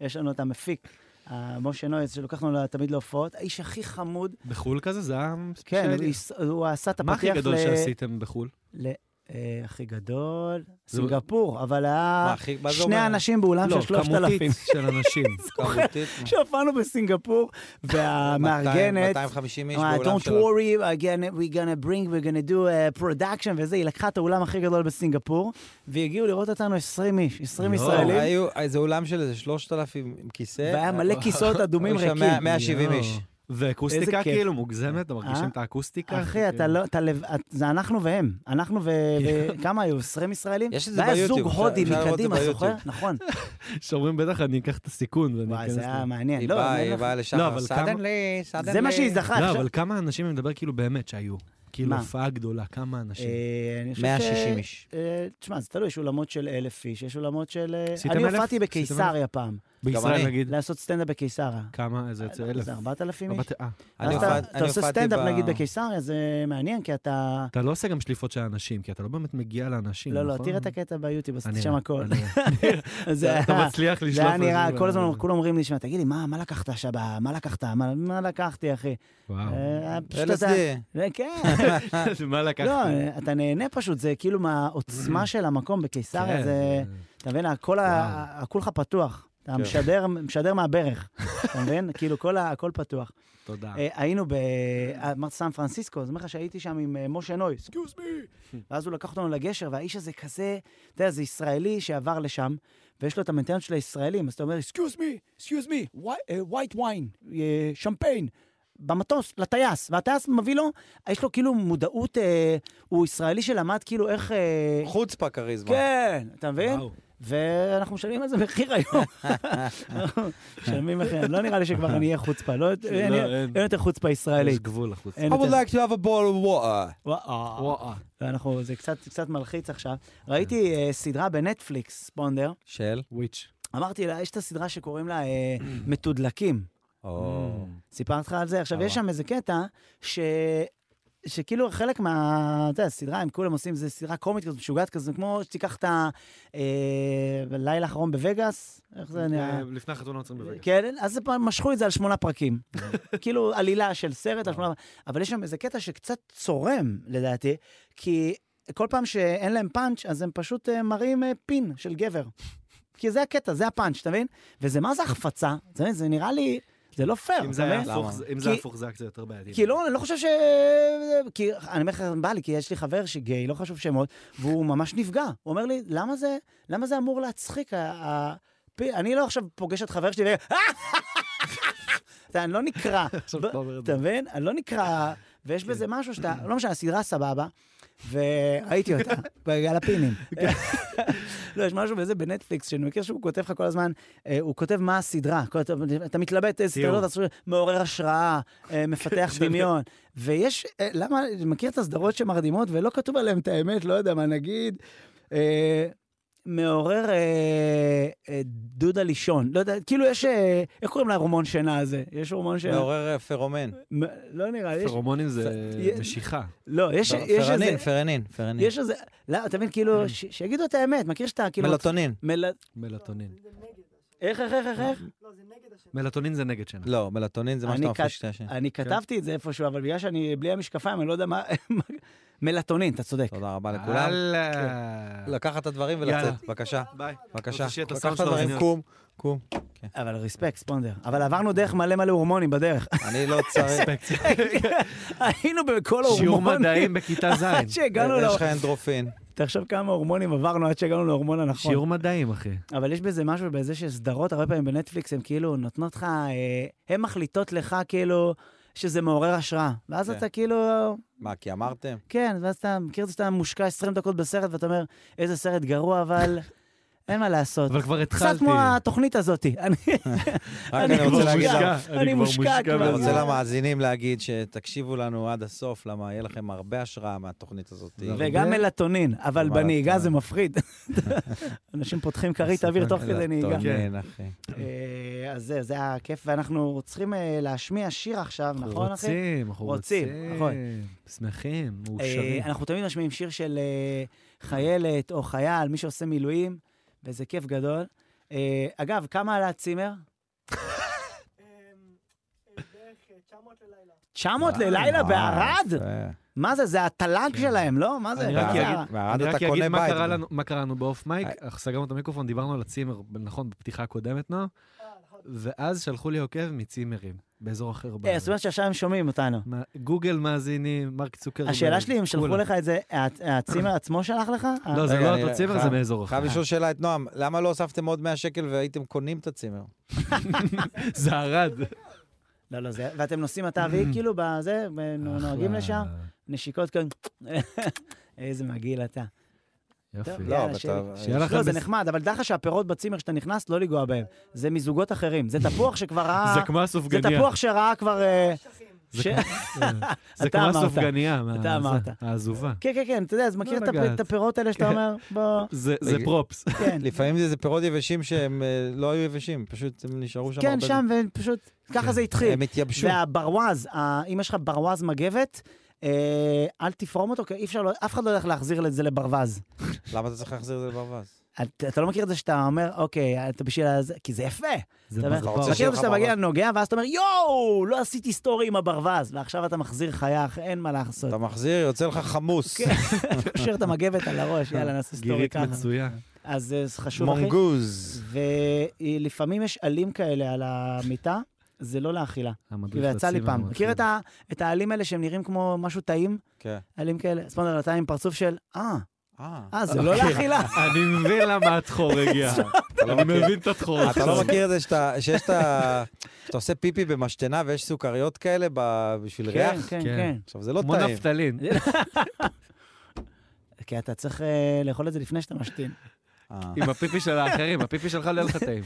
A: יש לנו את המפיק, אה, משה נויס, שלוקחנו לו תמיד להופעות, האיש הכי חמוד.
C: בחו"ל כזה? זה היה...
A: כן,
C: שהיה
A: הוא
C: לי.
A: יס- הוא עשה את
C: מה
A: הפתיח
C: הכי גדול
A: ל-
C: שעשיתם בחו"ל?
A: ל- אה, הכי גדול?
C: זה-
A: סינגפור, אבל
B: מה,
A: היה
B: הכי... מה זה
A: שני
B: אומר?
A: אנשים באולם של
C: לא,
A: 3,000.
C: כמותית של אנשים.
B: כמותית?
A: שהופענו בסינגפור,
B: 200,
A: והמארגנת,
B: 250 איש
A: אמרה,
B: באולם
A: Don't
B: של...
A: worry, again, we're gonna bring, we're gonna do a production וזה, היא לקחה את האולם הכי גדול בסינגפור, והגיעו לראות אותנו 20 איש, 20
C: לא,
A: ישראלים,
B: היו- אה, זה אולם של איזה 3,000 עם כיסא. אה,
A: והיה מלא כיסאות אדומים
B: היו שם
A: ריקים.
B: 100 170
C: יואו.
B: איש.
A: איזה
C: ואקוסטיקה
A: כיף.
C: כאילו מוגזמת, אתם מרגישים
A: אה?
C: את האקוסטיקה?
A: אחי, אתה לא, אתה לב... את- זה אנחנו והם. אנחנו ו... ו- כמה היו? 20 ישראלים?
B: יש את זה
A: והיה
B: ביוטיוב,
A: זוג
B: אפשר-
A: הודי
B: אפשר לראות את זה
A: מקדימה, זוכר?
B: ביוטיוב.
A: נכון.
C: שאומרים בטח אני אקח את הסיכון ואני
A: וואי,
C: אכנס...
A: זה היה
C: ל-"
A: מעניין.
B: היא
A: לא,
B: באה,
A: אני
B: היא
A: אומר
B: באה
A: לך,
B: לשחר.
C: לא, אבל כמה-
B: סדנלי, סדנלי.
A: זה מה שהיא זכה.
C: לא,
A: עכשיו-
C: אבל כמה אנשים, אני מדבר כאילו באמת שהיו. כאילו
A: מה?
C: הופעה גדולה, כמה אנשים.
A: אה, אני חושב ש-
B: 160 איש.
A: אה, תשמע, זה תלוי, יש אולמות של אלף איש, יש אולמות של... אה,
C: עשיתם
A: אני
C: אלף?
A: הופעתי
C: עשיתם
A: בקיסריה פעם,
B: אני.
C: בישראל נגיד,
A: לעשות סטנדאפ בקיסריה. אה,
C: כמה? זה יוצא אלף.
A: זה 4,000 איש.
C: ארבעת- אה,
B: אני
A: אז אתה-
B: הופעתי-
A: אתה
B: אני
A: עושה
B: הופעתי
A: סטנדאפ
B: ב-
A: נגיד בקיסריה, זה מעניין, כי אתה...
C: אתה לא עושה גם שליפות של אנשים, כי אתה לא באמת מגיע לאנשים,
A: לא, לא,
C: נכון?
A: תראה את הקטע ביוטיוב, עשיתי
C: אני-
A: שם הכל.
C: אני-
A: זה
C: אתה
A: היה-
C: מצליח לשלוף...
A: זה היה
C: את זה
A: נראה,
C: ו-
A: כל הזמן כולם אומרים לי, שמע, תגיד לי, מה מה לקחת שבה? מה לקחת? מה- מה לקחתי, אחי?
C: וואו.
A: אה, פשוט אתה...
B: LSD.
A: זה- כן.
C: מה לקחת?
A: לא, אתה נהנה פשוט, זה כאילו מהעוצמה של המקום בקיסריה,
C: כן,
A: זה... אתה מבין? הכל ה- הכל לך פתוח. אתה
C: כן.
A: משדר- משדר מהברך, אתה מבין? כאילו, כל ה- הכל פתוח.
C: תודה.
A: אה, היינו ב... אה, אמרת סן פרנסיסקו, אז אומר לך שהייתי שם עם אה, משה נויס, סקיוז מי. ואז הוא לקח אותנו לגשר, והאיש הזה כזה, אתה יודע, זה ישראלי שעבר לשם, ויש לו את המנטנט של הישראלים, אז אתה אומר, סקיוז מי, סקיוז מי, ווייט ויין, שמפיין. אה, במטוס, לטייס, והטייס מביא לו, יש לו כאילו מודעות, אה, הוא ישראלי שלמד כאילו איך... אה,
B: חוצפה כריזמה.
A: כן, אתה מבין?
C: וואו.
A: ואנחנו משלמים על זה מחיר היום. משלמים מחיר, לא נראה לי שכבר אני אהיה חוצפה, לא
C: לא,
A: אין לי-
C: אין.
A: אין יותר חוצפה
C: יש
A: ישראלית.
C: גבול לחוץ.
A: אין
B: I would
A: יותר-
B: like to have a ball of water.
A: וואו.
C: וואו.
A: ואנחנו, זה קצת, קצת מלחיץ עכשיו. ראיתי אה, סדרה בנטפליקס, ספונדר.
B: כן. של?
C: וויץ'.
A: אמרתי לה, יש את הסדרה שקוראים לה אה, מתודלקים.
B: או...
A: סיפרתי לך על זה? עכשיו,
B: אה.
A: יש שם איזה קטע ש... שכאילו חלק מה... אתה יודע, סדרה, הם כולם עושים, זה סדרה קומית כזאת, משוגעת כזאת, כמו שתיקח את הלילה האחרון בווגאס, איך זה נראה?
C: אה, לפני החתונה עוצרים בבגד.
A: כן, אז זה פעם- משכו את זה על שמונה פרקים. כאילו עלילה של סרט על שמונה אבל יש שם איזה קטע שקצת צורם, לדעתי, כי כל פעם שאין להם פאנץ', אז הם פשוט אה, מראים אה, פין של גבר. כי זה הקטע, זה הפאנץ', אתה מבין? וזה מה זה החפצה? אתה מבין? זה נראה לי... זה לא פייר,
C: אם
A: אתה
C: זה היה
A: מבין?
C: הפוך,
B: למה?
C: זה- אם זה
A: כי-
C: הפוך זה היה קצת יותר בעייתי.
A: כי לא, אני לא חושב ש... כי אני אומר לך, בא לי, כי יש לי חבר שגיי, לא חשוב שמות, והוא ממש נפגע. הוא אומר לי, למה זה, למה זה אמור להצחיק? ה- ה- פ- אני לא עכשיו פוגש את חבר שלי ו... אתה, אני לא נקרע.
C: עכשיו
A: ב-
C: אתה אומר את כן.
A: אתה מבין? אני לא נקרע, ויש בזה משהו שאתה, לא משנה, הסדרה סבבה, וראיתי אותה, על הפינים.
C: כן.
A: לא, יש משהו בזה בנטפליקס, שאני מכיר שהוא כותב לך כל הזמן, אה, הוא כותב מה הסדרה, כל- אתה- אתה מתלבט איזה
C: תיאור.
A: סדרות, אתה צריך- מעורר השראה, אה, מפתח דמיון. ויש, אה, למה, מכיר את הסדרות שמרדימות ולא כתוב עליהן את האמת, לא יודע מה נגיד. אה, מעורר אה, אה, דודה לישון, לא יודע, כאילו יש, אה, איך קוראים להורמון שינה הזה? יש הורמון שינה?
B: מעורר אה, פרומן.
A: מ- לא נראה לי, יש-
C: פרומונים זה
A: י-
C: משיכה.
A: לא, יש יש איזה,
B: פרנין, פרנין, פרנין.
A: יש איזה, לא, אתה מבין, כאילו, ש- שיגידו את האמת, מכיר שאתה, כאילו,
B: מלטונין.
A: מל...
C: מלטונין.
A: איך, איך, איך, איך, איך?
C: מלטונין זה נגד שינה.
B: לא, מלטונין זה מה
A: אני
B: שאתה
A: כת-
B: מפריש שאתה ישן.
A: אני כתבתי את זה איפשהו, אבל בגלל שאני בלי המשקפיים, אני לא יודע מה... מה- מלטונין, אתה צודק.
B: תודה רבה לכולם.
C: יאללה.
B: כן. לקחת את הדברים
C: יאללה.
B: ולצאת, בבקשה.
C: ביי.
B: בבקשה.
C: רוצה שיהיה את
B: לקחת
C: הסאונד
B: את
C: של
B: הדברים,
C: האוזניות.
B: קום, קום. כן.
A: אבל ריספקט, ספונדר. אבל עברנו דרך מלא מלא הורמונים בדרך.
B: אני לא צריך...
A: היינו בכל ההורמונים.
C: שיעור מדעים בכיתה
A: עד
C: ז'.
A: שהגענו ל...
B: אה, יש לך אנדרופין.
A: תחשוב כמה הורמונים עברנו עד שהגענו להורמון הנכון.
C: שיעור מדעים, אחי.
A: אבל יש בזה משהו, בזה שסדרות הרבה פעמים בנטפליקס, הן כאילו נותנות לך, אה, הן מחליטות לך כאילו שזה מעורר השראה. ואז
B: כן.
A: אתה כאילו,
B: מה, כי אמרתם?
A: כן, ואז אתה מכיר את זה שאתה מושקע 20 דקות בסרט, ואתה אומר, איזה סרט גרוע, אבל אין מה לעשות.
C: אבל כבר התחלתי.
A: קצת כמו התוכנית הזאת. אני
B: רק אני רוצה
A: כבר
B: להגיד
A: מושקע.
B: לך-
A: אני מושקע כבר.
B: אני
A: אבל-
B: רוצה למאזינים להגיד שתקשיבו לנו עד הסוף, למה יהיה לכם הרבה השראה מהתוכנית הזאת.
A: וגם מלטונין, אבל
B: מלטונין.
A: בנהיגה זה מפריד. אנשים פותחים כרית אוויר תוך כדי נהיגה.
B: מלטונין, אחי.
C: כן.
A: אה, אז זה, זה היה כיף, ואנחנו צריכים אה, להשמיע שיר עכשיו, נכון, אחי?
C: רוצים, אנחנו
A: רוצים,
C: רוצים.
A: נכון.
C: שמחים,
A: אה,
C: מאושרים.
A: אנחנו תמיד משמיעים שיר של אה, חיילת או חייל, מי שעושה מילואים, וזה כיף גדול. אה, אגב, כמה עלה הצימר? 900 ללילה
B: וואו,
A: בערד?
B: יפה.
A: מה זה, זה התל"ג
C: כן.
A: שלהם, לא? מה זה?
C: אני
A: מה
C: רק
A: זה?
C: אגיד-
B: בערד
C: אני
B: אתה
C: רק אגיד
B: קונה
C: מה
B: בית.
C: קרה לנו- מה קראנו באוף מייק, אנחנו סגרנו את המיקרופון, דיברנו על הצימר, נכון, בפתיחה הקודמת, נועה, ואז שלחו לי עוקב מצימרים, באזור אחר
A: אה,
C: בארץ.
A: זאת אומרת שעכשיו הם שומעים אותנו.
C: מה- גוגל מאזינים, מרק צוקרברג.
A: השאלה שלי, אם שלחו
C: כולם.
A: לך את זה, הה- הצימר עצמו שלח לך?
C: לא, זה
B: רגע,
C: לא
B: אני-
C: אותו צימר, זה
B: חייב-
C: מאזור אחר.
B: חייב לשאול שאלה את נועם, למה לא הוספתם עוד 100 שקל והייתם קונים את הצימר?
C: זה ערד.
A: לא, לא, זה... ואתם נוסעים אתה והיא כאילו בזה, נוהגים
C: אחלה.
A: לשם, נשיקות כאן. איזה מגעיל אתה.
C: יופי.
A: לא, יאללה,
B: אבל אתה-
A: שלי.
C: שיהיה לכם
A: לא, זה
C: בס-
A: נחמד, אבל דע לך שהפירות בצימר שאתה נכנס, לא לנגוע בהם. זה מזוגות אחרים. זה תפוח שכבר ראה...
C: זה כמו
A: זה
C: הסופגניה.
A: תפוח שראה כבר... אה,
C: זה
A: ש-
C: כמו- אה, זה
A: אתה
C: כמו
A: אמרת.
C: הסופגניה. מה-
A: אתה אמרת.
C: אה, זה- העזובה.
A: כן, כן, כן, אתה יודע, אז
B: לא
A: מכיר את הפ-
C: לגעת.
A: את הפירות האלה
B: כן.
A: שאתה אומר, בוא,
C: זה זה
B: רגע.
C: פרופס.
A: כן.
B: לפעמים זה איזה פירות יבשים שהם אה, לא היו יבשים, פשוט הם נשארו שם.
A: כן,
B: הרבה
A: שם, ופשוט ככה זה
B: זמן.
A: התחיל.
B: כן. הם התייבשו.
A: והברווז, ה- אם יש לך ברווז מגבת, אה, אל תפרום אותו, כי אי אפשר, לא- אף אחד לא הולך להחזיר את זה לברווז.
B: למה אתה צריך להחזיר את זה לברווז?
A: אתה אתה לא מכיר את זה שאתה אומר, אוקיי, אתה בשביל ה... זה- כי זה יפה.
C: זה
A: אתה אומר,
B: אתה
C: מזל.
B: רוצה
A: אתה מכיר
B: שיהיה
A: את זה
B: לך
A: שאתה מגיע,
B: ברווז?
A: נוגע, ואז אתה אומר, יואו, לא עשיתי סטורי עם הברווז, ועכשיו אתה מחזיר חיה, אח, אין מה לעשות.
B: אתה מחזיר, יוצא לך חמוס.
A: כן. תשאיר את המגבת על הראש, יאללה, נעשה סטורי
C: גירית
A: ככה.
C: מצויה.
A: אז אה, זה חשוב, אחי.
B: מונגוז.
A: ולפעמים יש עלים כאלה על המיטה, זה לא לאכילה.
C: המדריך
A: ויצא לי
C: לצימר,
A: פעם.
C: הוא
A: מכיר את
C: הכי-
A: ה- את העלים האלה שהם נראים כמו משהו טעים?
B: כן.
A: עלים כאלה? ספונדר, אתה עם פרצוף של, אה,
B: אה,
A: אה, זה לא לאכילה.
C: אוקיי. אני מבין למה הדחור הגיע.
B: אתה לא
C: אני
B: מכיר.
C: מבין את הדחור.
B: אתה לא מכיר את זה שאתה- שיש את ה... שאתה עושה פיפי במשתנה ויש סוכריות כאלה ב- בשביל
A: כן,
B: ריח?
A: כן,
C: כן.
A: כן.
B: עכשיו, זה לא
C: כמו
B: טעים.
C: נפתלין.
A: כי אתה צריך אה, לאכול את זה לפני שאתה משתין.
B: אה.
C: עם הפיפי של האחרים, הפיפי שלך לא יהיה לך טעים.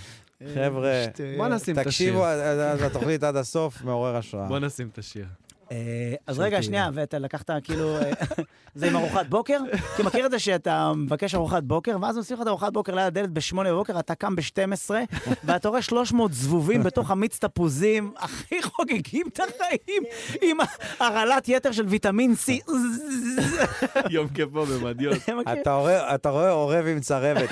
B: חבר'ה,
C: בוא נשים את השיר.
B: תקשיבו, אה, אז- אז התוכנית עד הסוף מעורר השראה.
C: בוא נשים את השיר.
A: אה, אז
B: של
A: רגע,
B: תהילה.
A: שנייה, ואתה לקחת כאילו, אה, זה עם ארוחת בוקר? כי מכיר את זה שאתה מבקש ארוחת בוקר, ואז עושים לך את ארוחת בוקר ליד הדלת ב-8 בבוקר, אתה קם ב-12, ואתה רואה 300 זבובים בתוך המיץ תפוזים, הכי חוגגים את החיים, עם הרעלת יתר של ויטמין C.
C: יום כיפו במדיות.
A: אתה מכיר?
B: אתה רואה- אתה רואה עורב עם צרבת.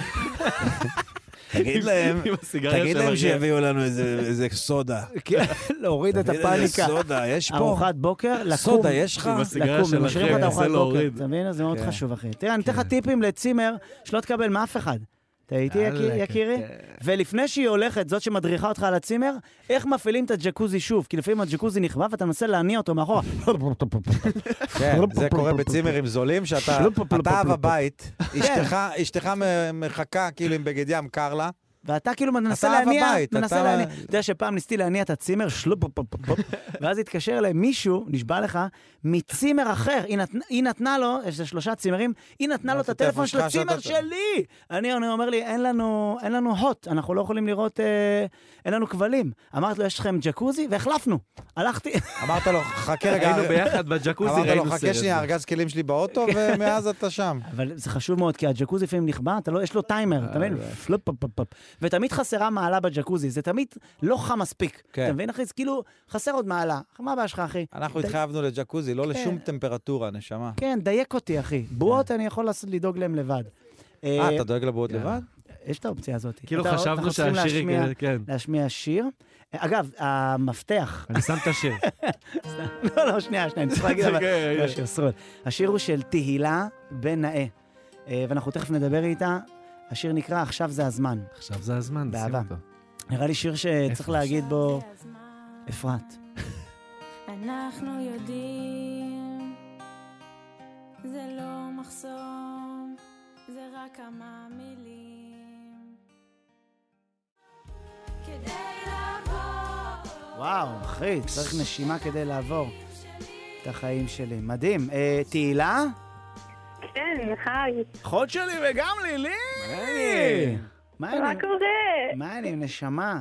B: תגיד להם,
C: עם הסיגריה
B: תגיד
C: של
B: להם
C: אריאל.
B: שיביאו לנו איזה איזה סודה.
A: כן, להוריד את
B: תגיד איזה
A: הפאניקה.
B: סודה, יש פה?
A: ארוחת בוקר, לקום.
B: סודה, יש לך?
C: עם הסיגריה
A: לקום,
C: של
A: הם משאירים לך את
C: אחי,
A: הארוחת
C: מנסה
A: בוקר,
C: להוריד.
A: אתה מבין? זה מאוד
B: כן.
A: חשוב, אחי. תראה, אני אתן לך טיפים לצימר שלא תקבל מאף אחד. אתה איתי, יקיר-
C: יאללה,
A: יקירי?
C: כן.
A: ולפני שהיא הולכת, זאת שמדריכה אותך על הצימר, איך מפעילים את הג'קוזי שוב? כי לפעמים הג'קוזי נכבה ואתה מנסה להניע אותו מאחורה.
B: כן, זה קורה בצימרים זולים, שאתה אתה אב הבית,
A: כן.
B: אשתך- אשתך מ- מחכה כאילו עם בגד ים, קר לה,
A: ואתה כאילו מנסה
B: אתה אב
A: להניע,
B: הבית,
A: מנסה
B: אתה-
A: להניע. אתה יודע שפעם ניסיתי להניע את הצימר, שלופ, פופ, פופ, פופ, ואז התקשר אליי מישהו, נשבע לך, מצימר אחר. היא נת- היא נתנה לו, יש איזה שלושה צימרים, היא נתנה לו את הטלפון של
B: שלך
A: הצימר
B: שאתה-
A: שלי. אני אני אומר לי, אין לנו, אין לנו הוט, אנחנו לא יכולים לראות, אה, אין לנו כבלים. אמרתי לו, יש לכם ג'קוזי? והחלפנו. הלכתי,
B: אמרת לו, חכה רגע, אה,
C: היינו ביחד בג'קוזי,
B: אמרת לו,
C: ראינו
B: חכה שנייה,
C: סרט.
B: ארגז כלים שלי באוטו, ומאז אתה שם.
A: כן. אבל זה חשוב מאוד, כי הג'קוזי לפעמים נכבה, אתה לא, יש לו טיימר, אתה
B: אה,
A: מבין? פלופ, פופ, פופ, פופ. ותמיד חסרה מעלה בג'קוזי, זה תמיד לא חם מספיק.
B: כן.
A: אתה מבין, אחי? זה כאילו, חסר עוד מעלה. מה הבעיה שלך, אחי?
B: אנחנו
A: די-
B: התחייבנו לג'קוזי, לא לשום טמפרטורה, נשמה.
A: כן, דייק אותי, אחי. בועות אני יכול לעשות- לדאוג להם לבד.
B: כן. אה,
A: אה,
B: אתה דואג לבועות
C: יאללה.
B: לבד?
A: יש את האופציה הזאת.
C: כאילו
A: אתה- אנחנו
C: חשבנו
A: צריכים
C: שהשיר
A: להשמיע-
C: היא... כן.
A: להשמיע שיר. אה, אגב, המפתח...
C: אני שם את השיר.
A: לא, לא, שנייה, שנייה, אני צריך להגיד, אבל...
C: כן,
A: לא,
C: יש.
A: שיר שרוד. השיר הוא של תהילה בן נאה, אה, ואנחנו תכף נדבר איתה. השיר נקרא "עכשיו זה הזמן".
C: עכשיו זה הזמן, נשים
A: באהבה.
C: אותו.
A: נראה לי שיר שצריך
C: איפה?
A: להגיד בו
E: זה הזמן,
A: אפרת.
E: אנחנו יודעים, זה לא מחסום, זה רק כמה מילים. כדי לעבור,
A: וואו, אחי, צריך נשימה כדי לעבור את החיים שלי. מדהים. אה, תהילה?
F: כן, היי,
A: אחות שלי וגם לילי! מה
F: מה
A: העניינים?
F: קורה?
A: מה העניינים, נשמה?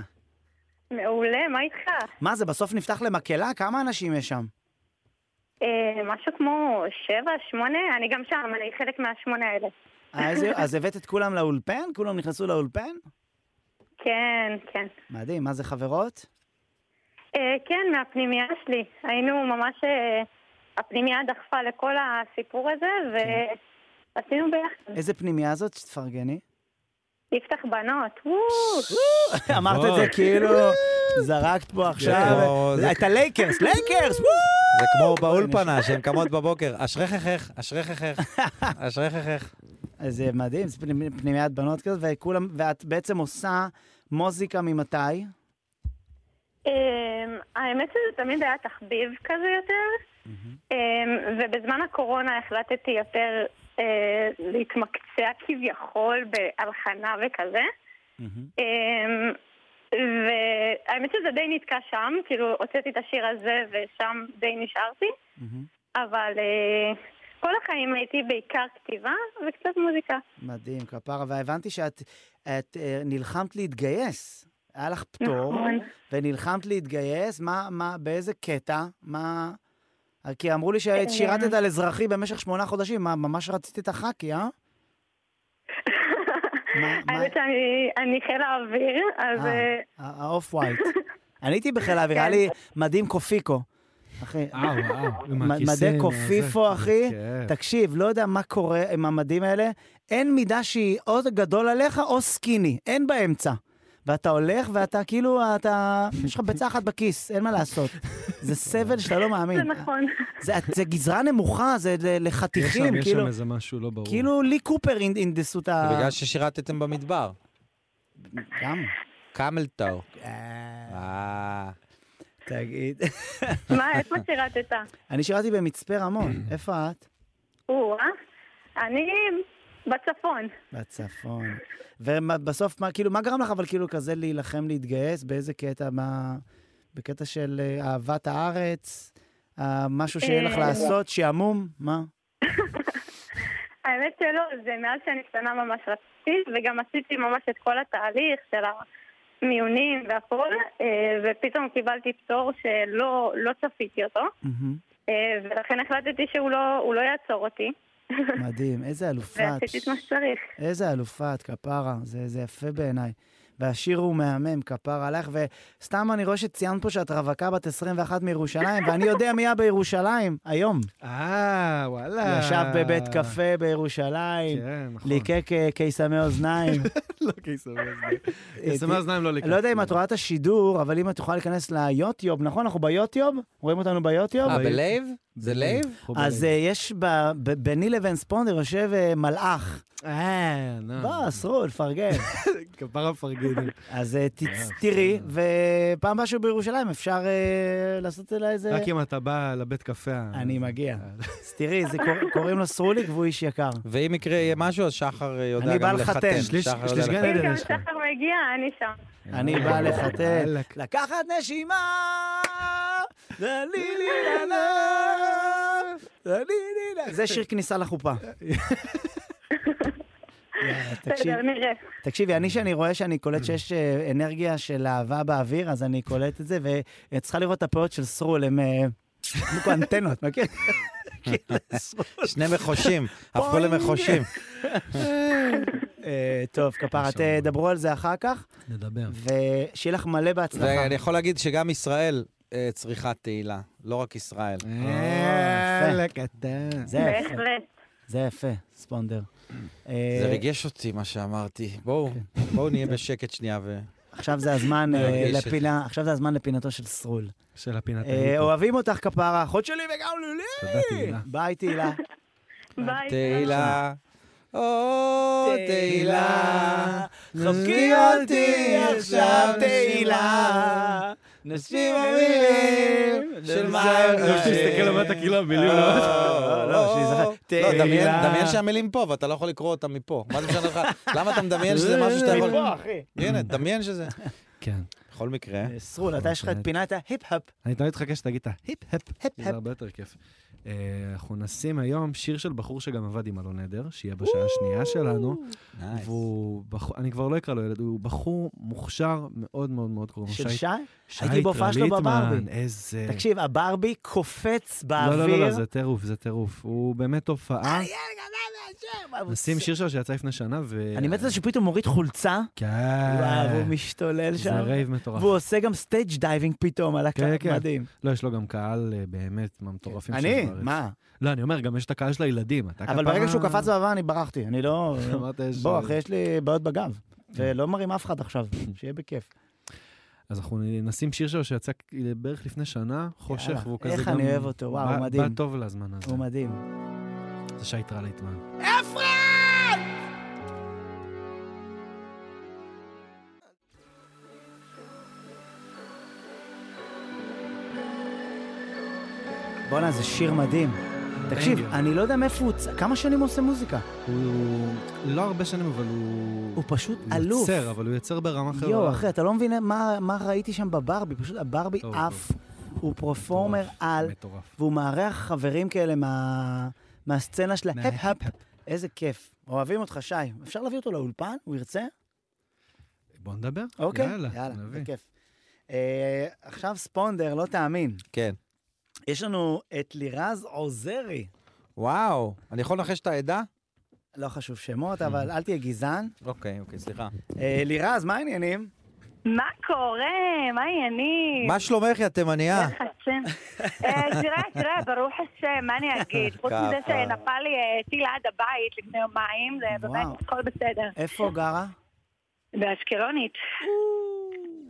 F: מעולה, מה איתך?
A: מה זה, בסוף נפתח למקהלה? כמה אנשים יש שם?
F: אה, משהו כמו שבע, שמונה? אני גם שם, אני חלק מהשמונה האלה.
A: אה, איזה- אז הבאת את כולם לאולפן? כולם נכנסו לאולפן?
F: כן, כן.
A: מדהים, מה זה חברות?
F: אה, כן, מהפנימייה שלי. היינו ממש... אה, הפנימייה דחפה לכל הסיפור הזה,
A: כן.
F: ועשינו ביחד.
A: איזה פנימייה זאת? שתפרגני.
F: יפתח בנות, וואו!
A: אמרת את זה כאילו, זרקת פה עכשיו.
B: כמו- זה-
A: את הלייקרס, לייקרס! וואו!
B: זה כמו באולפנה, שהן קמות בבוקר, אשריך איך, אשריך איך, אשריך איך.
A: אז זה מדהים, זה פנימ- פנימיית בנות כזאת, וכולם, ואת בעצם עושה מוזיקה ממתי?
F: אמ, האמת שזה תמיד היה תחביב כזה יותר, אמ, ובזמן הקורונה החלטתי יותר אה, להתמקצע כביכול בהלחנה וכזה. אמ, והאמת שזה די נתקע שם, כאילו הוצאתי את השיר הזה ושם די נשארתי, אבל אה, כל החיים הייתי בעיקר כתיבה וקצת מוזיקה.
A: מדהים, כפרה. והבנתי שאת את, אה, נלחמת להתגייס. היה לך פטור,
F: נכון.
A: ונלחמת להתגייס. מה, מה, באיזה קטע? מה... כי אמרו לי ששירתת על אזרחי במשך שמונה חודשים, מה, ממש רצית את החאקי, אה? מה- מה-
F: האמת שאני אני חיל האוויר, אז...
A: אה,
F: אה,
A: הא- האוף ווייט. אני הייתי בחיל האוויר,
F: כן.
A: היה לי מדים קופיקו. אחי,
C: אה, וואו. עם
A: מ-
C: הכיסא,
A: מדי
C: עם
A: קופיפו,
C: הזה.
A: אחי.
C: כן.
A: תקשיב, לא יודע מה קורה עם המדים האלה, אין מידה שהיא או גדול עליך או סקיני, אין באמצע. ואתה הולך ואתה כאילו, אתה, יש לך ביצה אחת בכיס, אין מה לעשות. זה סבל שאתה לא מאמין.
F: זה נכון.
A: זה, זה גזרה נמוכה, זה ל-
C: יש שם,
A: לחתיכים,
C: יש
A: כאילו,
C: שם איזה משהו לא ברור.
A: כאילו לי קופר הנד- הנדסו את
B: זה
A: ה...
B: בגלל ששירתתם במדבר.
A: גם.
B: קמלטאו.
A: אה,
B: אה,
A: תגיד.
F: מה, איפה שירתת?
A: אני שירתי במצפה רמון, איפה את?
F: או-אה. אני בצפון.
A: בצפון. ובסוף, מה, כאילו, מה גרם לך אבל כאילו כזה להילחם, להתגייס? באיזה קטע? מה... בקטע של אה, אהבת הארץ? אה, משהו שיהיה לך
F: אה,
A: לעשות? שעמום? מה?
F: האמת שלא, זה מאז שאני קטנה ממש רציתי, וגם עשיתי ממש את כל התהליך של המיונים והכל, אה, ופתאום קיבלתי פטור שלא לא צפיתי אותו,
A: מהמם.
F: אה, ולכן החלטתי שהוא לא, הוא לא יעצור אותי,
A: מדהים, איזה אלופה את.
F: ועשיתי את מה שצריך.
A: איזה אלופה את, כפרה. זה, זה יפה בעיניי. והשיר הוא מהמם, כפרה עלייך. וסתם אני רואה שציינת פה שאת רווקה בת 21 מירושלים, ואני יודע מי היה בירושלים היום.
C: אה, וואלה.
A: ישב בבית קפה בירושלים,
C: כן, נכון.
A: ליקק אה, קיסמי אוזניים.
C: לא קיסמי אוזניים. קיסמי אוזניים לא ליקק.
A: אני אה, לא יודע אם את רואה את השידור, אבל אם את יכולה להיכנס ליוטיוב, נכון? אנחנו ביוטיוב? רואים אותנו ביוטיוב?
B: אה, בלייב? זה לייב?
A: אז אה, יש, ב- ב- ביני לבין ספונדר יושב אה, מלאך.
C: אה, נו.
A: בוא, סרול, פרגן.
C: כפרה מפרגנים.
A: אז אה, תצ-
C: כן,
A: תראי, ופעם הבאה שהוא בירושלים אפשר אה, לעשות אליי איזה...
C: רק אם אתה בא לבית קפה. ה-
A: אני מגיע. אז תראי, זה קור- קוראים לו סרוליק והוא איש יקר.
B: ואם יקרה יהיה משהו, אז שחר אה, יודע
A: אני בא
B: גם לחתן.
A: לחתן.
C: שליש-
B: שחר יודע
C: שליש גן
B: לחתן.
F: אם גם
C: יש לך.
F: שחר מגיע, אני שם.
A: אני בא לחתן.
C: יאללה.
A: לקחת נשימה! לה לי לי לה לה, לה לי לי לה. זה שיר כניסה לחופה. יאללה, תקשיב-
F: בסדר, נראה.
A: תקשיבי, אני שאני רואה שאני קולט שיש אה, אנרגיה של אהבה באוויר, אז אני קולט את זה, וצריכה לראות את הפאות של סרול, הם אה, כמו כמו אנטנות, מכיר?
B: שני מחושים, הפכו
A: אוי.
B: למחושים.
A: אה, טוב, כפרה, תדברו על זה אחר כך,
C: נדבר.
A: ושיהיה לך מלא בהצלחה.
B: ואני יכול להגיד שגם ישראל אה, צריכה תהילה, לא רק ישראל.
A: אה, יאללה,
C: קטן.
A: זה יפה,
F: בהחלט.
A: זה יפה, ספונדר. אה, כן.
B: זה ריגש אותי מה שאמרתי. בואו, בואו נהיה בשקט שנייה ו...
A: עכשיו זה הזמן אה,
B: מרגש.
A: לפינה, עכשיו זה הזמן לפינתו של סרול.
C: של הפינת
A: אה,
C: ההיפו.
A: אוהבים אותך, כפרה, אחות שלי וגם
C: תודה,
A: לולי!
C: תהילה.
A: ביי, תהילה.
F: ביי.
B: תהילה, או תהילה,
A: חבקי אותי עכשיו, תהילה. נשים המילים של
B: לא,
A: מה הם
C: אני חושב שתסתכל
A: חושבים.
C: למטה כאילו המילים
B: או,
C: לא...
A: לא, לא, שיזכר.
B: לא, דמיין,
A: תהילה.
B: דמיין שהמילים פה, ואתה לא יכול לקרוא אותם מפה. מה זה משנה לך? למה אתה מדמיין שזה משהו שאתה יכול...
A: מפה, אה, אחי. אה,
B: הנה, דמיין שזה.
C: כן.
B: בכל מקרה,
A: סרול, אתה יש לך את פינת ההיפ-הפ.
C: אני תמיד מחכה שתגיד את ההיפ-הפ, זה הרבה יותר כיף. אה, אנחנו נשים היום שיר של בחור שגם עבד עם אלון עדר, שיהיה בשעה השנייה שלנו.
B: נייס.
C: והוא בחור, אני כבר לא אקרא לו ילד, הוא בחור מוכשר מאוד מאוד מאוד קרוב.
A: של
C: שי-
A: שי?
C: שי
A: הייתי בהופעה שלו
C: קרליטמן,
A: בברבי.
C: איזה...
A: תקשיב, הברבי קופץ
C: לא, לא, לא,
A: באוויר.
C: לא, זה טירוף, זה טירוף. הוא באמת
A: אה,
C: תופעה. נשים שיר שלו שיצא לפני שנה, ו...
A: אני מת על זה שהוא פתאום מוריד חולצה, וואו,
C: כן.
A: והוא משתולל שם.
C: זה רייב מטורף.
A: והוא עושה גם סטייג' דייבינג פתאום על
C: כן,
A: הקו,
C: כן.
A: מדהים.
C: לא, יש לו גם קהל אה, באמת מהמטורפים
A: אני?
C: שיש בארץ.
A: מה?
C: לא, אני אומר, גם יש את הקהל של הילדים. אתה
A: אבל
C: כפרה-
A: ברגע שהוא קפץ בעבר אני ברחתי, אני לא...
C: אמרת, יש- כן.
A: בוא, אחי, יש לי בעיות בגב. ולא מרים אף אחד עכשיו, שיהיה בכיף.
C: אז אנחנו נשים שיר שלו שיצא בערך לפני שנה, חושך,
A: יאללה,
C: והוא כזה גם...
A: איך אני אוהב אותו, וואו,
C: בא-
A: הוא מדהים.
C: בא טוב לזמן הזה.
A: הוא מדהים.
C: זה שי טרליטמן.
A: בואנה, זה שיר מדהים. תקשיב,
C: בנגר.
A: אני לא יודע מאיפה הוא... צ- כמה שנים הוא עושה מוזיקה?
C: הוא לא הרבה שנים, אבל הוא...
A: הוא פשוט
C: הוא
A: אלוף.
C: יוצר, אבל הוא יוצר ברמה חברה.
A: יואו, אחי, אתה לא מבין מה, מה ראיתי שם בברבי, פשוט הברבי
C: טוב,
A: עף, הוא פרפורמר על,
C: מטורף.
A: והוא מארח חברים כאלה מה, מהסצנה של ההפ-הפ. איזה כיף. אוהבים אותך, שי. אפשר להביא אותו לאולפן? הוא ירצה?
C: בוא נדבר?
A: אוקיי.
C: יאללה,
A: יאללה,
C: נביא.
A: בכיף. אה, עכשיו ספונדר, לא תאמין.
B: כן.
A: יש לנו את לירז עוזרי.
B: וואו, אני יכול לנחש את העדה? כן.
A: לא חשוב שמות, אבל אל תהיה גזען.
B: אוקיי, אוקיי, סליחה.
A: אה, לירז, מה העניינים?
F: מה קורה? מה העניינים?
B: מה שלומך, יא תימניה?
F: ברוך השם. אה, תראה, תראה, ברוך השם, מה אני אגיד? חוץ מזה
B: כפרה.
F: שנפל לי אה, טיל עד הבית לפני יומיים, זה באמת
A: וואו.
F: הכל בסדר.
A: איפה גרה?
F: כן. באשקלונית.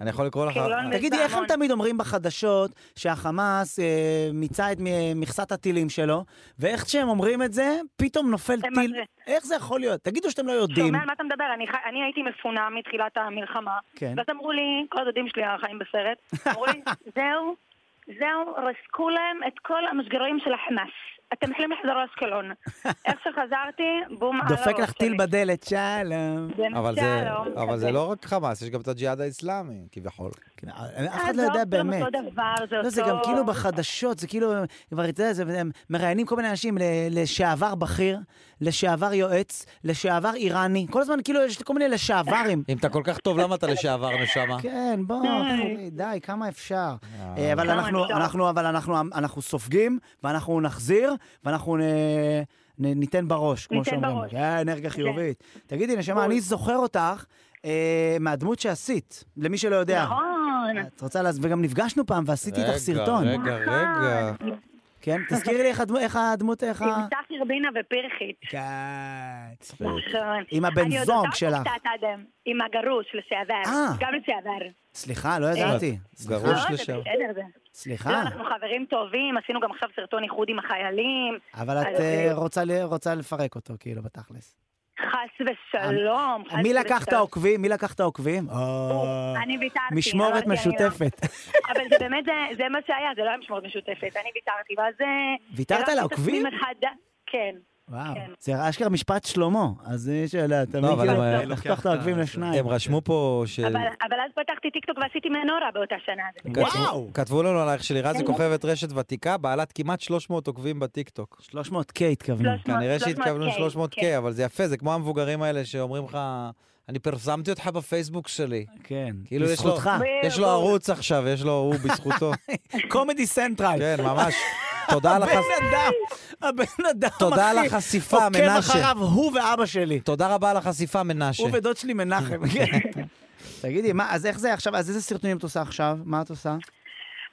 B: אני יכול לקרוא לך...
F: קרלון
A: תגידי, איך הם
F: המון.
A: תמיד אומרים בחדשות שהחמאס אה, מיצה את מ- מכסת הטילים שלו, ואיך שהם אומרים את זה, פתאום נופל
F: זה מה
A: טיל?
F: זה?
A: איך זה יכול להיות? תגידו שאתם לא יודעים.
F: שומע על מה אתה מדבר? אני חי- אני הייתי מפונה מתחילת המלחמה.
A: כן.
F: ואז אמרו לי, כל הדודים שלי חיים בסרט, אמרו לי, זהו, זהו, רסקו להם את כל המשגרים של החמאס. אתם יכולים לחזור לאשקלון. איך שחזרתי, בום על הראש
A: דופק לך טיל
F: שלי.
A: בדלת, שלום.
B: אבל זה,
F: כן, שלום,
B: אבל
F: כזה.
B: זה לא רק חמאס, יש גם את הג'יהאד האיסלאמי, כביכול.
A: כן, אף אחד לא יודע
F: עזוב,
A: באמת.
F: אה, זה אותו דבר, זה
A: לא,
F: אותו...
A: זה גם כאילו בחדשות, זה כאילו, כבר, אתה יודע, זה- הם מראיינים כל מיני אנשים ל- לשעבר בכיר, לשעבר יועץ, לשעבר איראני, כל הזמן כאילו יש כל מיני לשעברים.
B: אם אתה כל כך טוב, למה אתה לשעבר נשמה?
A: כן, בוא,
F: די.
A: אחי, די, כמה אפשר.
B: אה.
A: אה, אבל
F: כמה
A: אנחנו,
F: אפשר?
A: אנחנו, אבל אנחנו, אנחנו סופגים, ואנחנו נחזיר, ואנחנו נ, נ, ניתן בראש, כמו
F: ניתן
A: שאומרים.
F: בראש. כן.
A: אה, אנרגיה חיובית. תגידי, נשמה,
F: בול.
A: אני זוכר אותך אה, מהדמות שעשית, למי שלא יודע. אה,
F: נכון.
A: את רוצה, לה... וגם נפגשנו פעם ועשיתי איתך
B: רגע,
A: סרטון.
B: רגע,
F: נכון.
B: רגע.
A: כן, תזכירי לי איך הדמו- איך הדמות, איך
F: עם
A: ה...
F: צחי רבינה ופרחית.
A: כן.
F: נכון.
A: עם הבן
F: אני עוד
A: זוג
F: עושה
A: שלך.
F: קצת עד היום. עם הגרוש לשעבר.
A: אה.
F: גם לשעבר.
A: סליחה, לא
B: אה,
A: ידעתי. סליחה,
B: גרוש.
F: לא, זה
B: לשעבר.
F: בסדר, זה- לא,
A: סליחה.
F: אנחנו חברים טובים, עשינו גם עכשיו סרטון איחוד עם החיילים.
A: אבל את
F: אז-
A: אה, רוצה ל- רוצה לפרק אותו, כאילו, בתכלס.
F: חס ושלום. חס
A: מי לקח את
F: ושלום.
A: העוקבים? מי לקח את העוקבים? אה,
F: אני ויתרתי.
A: משמורת
F: אמרתי, אני לא.
A: משותפת.
F: אבל זה באמת, זה- זה מה שהיה, זה לא היה משמורת משותפת. אני ויתרתי, ואז... אה,
A: ויתרת על
F: הרמתי את
A: העוקבים?
F: עצמי מחד- כן.
A: וואו.
F: כן.
A: זה אשכרה משפט שלמה, אז יש שאלה, אתה
B: לא, אבל
A: מבין?
B: הם-
A: כאילו, לחתוך את העוקבים לשניים.
B: הם רשמו פה ש...
A: אה.
F: אבל אבל אז פתחתי טיקטוק ועשיתי מנורה באותה שנה. זה
B: הם
F: בסדר.
B: כתבו-
A: וואו.
B: כתבו לנו עלייך שלירה
F: כן.
B: זה כוכבת רשת ותיקה, בעלת כמעט 300 עוקבים בטיקטוק.
A: 300K התכוונו.
F: 300,
B: כנראה שהתכוונו
F: 300K,
B: 300K,
F: כן.
B: אבל זה יפה, זה כמו המבוגרים האלה שאומרים לך, אני פרסמתי אותך בפייסבוק שלי.
A: כן.
B: כאילו, יש לו-
A: בזכותך.
B: יש לו ערוץ עכשיו, יש לו, הוא בזכותו.
A: קומדי סנטרל.
B: כן, ממש. תודה על החס-
A: הבן אדם, הבן אדם,
B: תודה על
A: אחי,
B: החשיפה,
A: עוקב
B: מנשה.
A: אחריו הוא ואבא שלי.
B: תודה רבה על החשיפה, מנשה.
A: הוא ודוד שלי מנחם. כן. תגידי, מה, אז איך זה עכשיו, אז איזה סרטונים את עושה עכשיו? מה את עושה?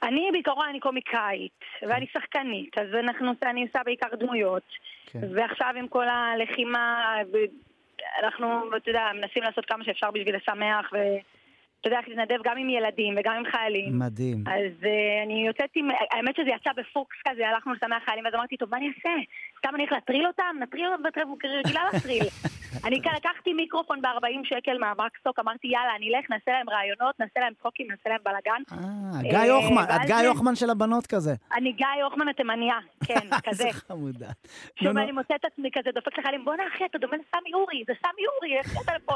F: אני בעיקרון אני קומיקאית, ואני שחקנית, אז אנחנו, אני עושה בעיקר דמויות.
A: כן.
F: ועכשיו עם כל הלחימה, ו- אנחנו, אתה יודע, מנסים לעשות כמה שאפשר בשביל לשמח, ואתה יודע, להתנדב גם עם ילדים וגם עם חיילים.
A: מדהים.
F: אז אה, אני יוצאת עם, האמת שזה יצא בפוקס כזה, הלכנו לשמח חיילים, ואז אמרתי, טוב, מה אני אעשה? סתם אני הולך להטריל אותם? נטריל אותם, כאילו, ואני רגילה להטריל. לא אני כאן לקחתי מיקרופון ב-40 שקל מהמקסטוק, אמרתי, יאללה, אני אלך, נעשה להם רעיונות, נעשה להם צחוקים, נעשה להם בלאגן.
A: אה, גיא
F: אה,
A: הוחמן, את
F: ואז
A: גיא
F: זה-
A: הוחמן של הבנות כזה.
F: אני גיא הוחמן התימניה, כן, כזה.
A: איזה חמודה. נו,
F: שוב,
A: נו.
F: אני מוצאת את עצמי כזה, דופק לחיילים, בואנה אחי, אתה דומה לסמי אורי, זה סמי אורי, איך אתה לפה?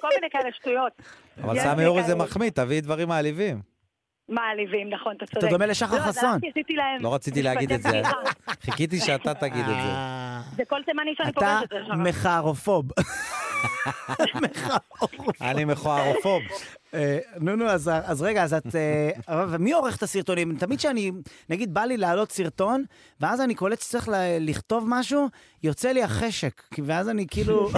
F: כל מיני כאלה שטויות.
B: אבל
F: יש
B: סמי
F: לי
B: אורי זה
F: כאלה
B: מחמיא, תביאי דברים מעליבים.
F: מעליבים, נכון, אתה צודק.
A: אתה דומה לשחר
F: לא, אז
A: חסון.
F: הלכתי, עשיתי להם
B: לא רציתי
F: משפטי
B: להגיד את זה.
F: פתיחה.
B: חיכיתי שאתה תגיד את זה.
A: אה,
F: זה כל תימני שאני
A: אתה
F: פוגשת, זה שרה.
A: מכערופוב. מכערופוב.
B: אני מכוערופוב.
A: אה, נו, נו, אז- אז רגע, אז את... אה, אבל מי עורך את הסרטונים? תמיד שאני, נגיד, בא לי להעלות סרטון, ואז אני קולט שצריך ל- לכתוב משהו, יוצא לי החשק. כי- ואז אני כאילו...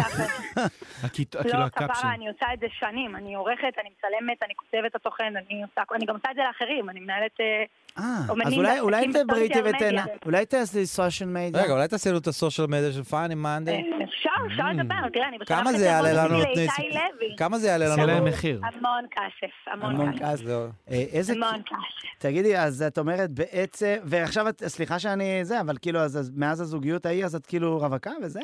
C: הכית- כאילו
F: לא, כפרה,
C: הקפשן.
F: אני עושה את זה שנים, אני עורכת, אני מצלמת, אני כותבת את התוכן, אני עושה, אני גם עושה את זה לאחרים, אני מנהלת... אה,
A: אה, אז
F: אומנים
A: אולי- אולי
F: ועסקים
A: תדברי איתי
F: בסושיאל מדיה.
A: ותהנה, אולי תעשי סושיאל מדיה.
B: רגע, אולי תעשי לנו את הסושיאל מדיה של פאני מאנדר?
F: אה, אפשר, אפשר
A: Mm.
F: לדבר, תראה, אני בשלב
B: כמה זה
F: כזה
B: יעלה
F: מאוד
B: לנו?
F: רציתי
B: את-
F: לאיתי לוי.
B: כמה זה יעלה
C: עושה להם
B: לנו?
C: מחיר.
F: המון כסף, המון
A: המון
F: כסף.
A: כסף.
B: זהו.
A: אה, איזה...
F: המון כסף.
A: תגידי, אז את אומרת בעצם, ועכשיו את, סליחה שאני זה, אבל כאילו, אז אז מאז הזוגיות ההיא, אז את כאילו רווקה וזה?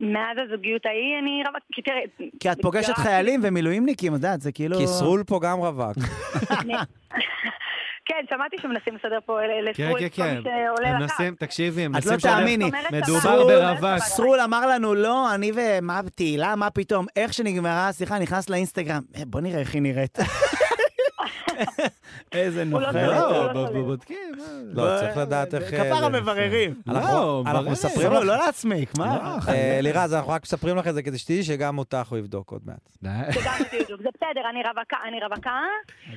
F: מאז הזוגיות ההיא אני רווקה, כי תראה...
A: כי את פוגשת
F: התגרשתי-
A: חיילים ומילואימניקים, את יודעת, זה כאילו...
B: כי סרול פה גם רווק.
F: כן, שמעתי שמנסים לסדר פה ל-
C: כן,
F: לסרול
C: כן,
F: את כל
C: כן.
F: מי שעולה
C: הם
F: לקו.
C: מנסים, תקשיבי, הם
A: את
C: מנסים
A: לא
C: לשדר-
A: תאמיני.
C: מדובר
A: סרול-
C: ברווק.
A: סרול אמר לנו, לא, אני ומה, תהילה, מה פתאום? איך שנגמרה השיחה, נכנס לאינסטגרם, "אה, בוא נראה איך היא נראית. איזה
F: הוא לא
A: נוכל.
F: צודק.
C: לא,
F: לא
C: ב-
F: שולט.
C: ב- בודקים. אה.
B: לא, צריך לדעת איך... אה,
A: כפרה
B: זה-
A: מבררים.
B: אנחנו-
C: לא,
B: אנחנו
C: ברור.
B: מספרים
A: סרול,
B: לך...
A: לא להצמיק, מה?
B: אה, לירז, אנחנו רק מספרים לך את זה כדי שתדעי שגם אותך הוא יבדוק עוד מעט.
C: די.
F: שגם אותי יבדוק. זה בסדר, אני רווקה, אני רווקה,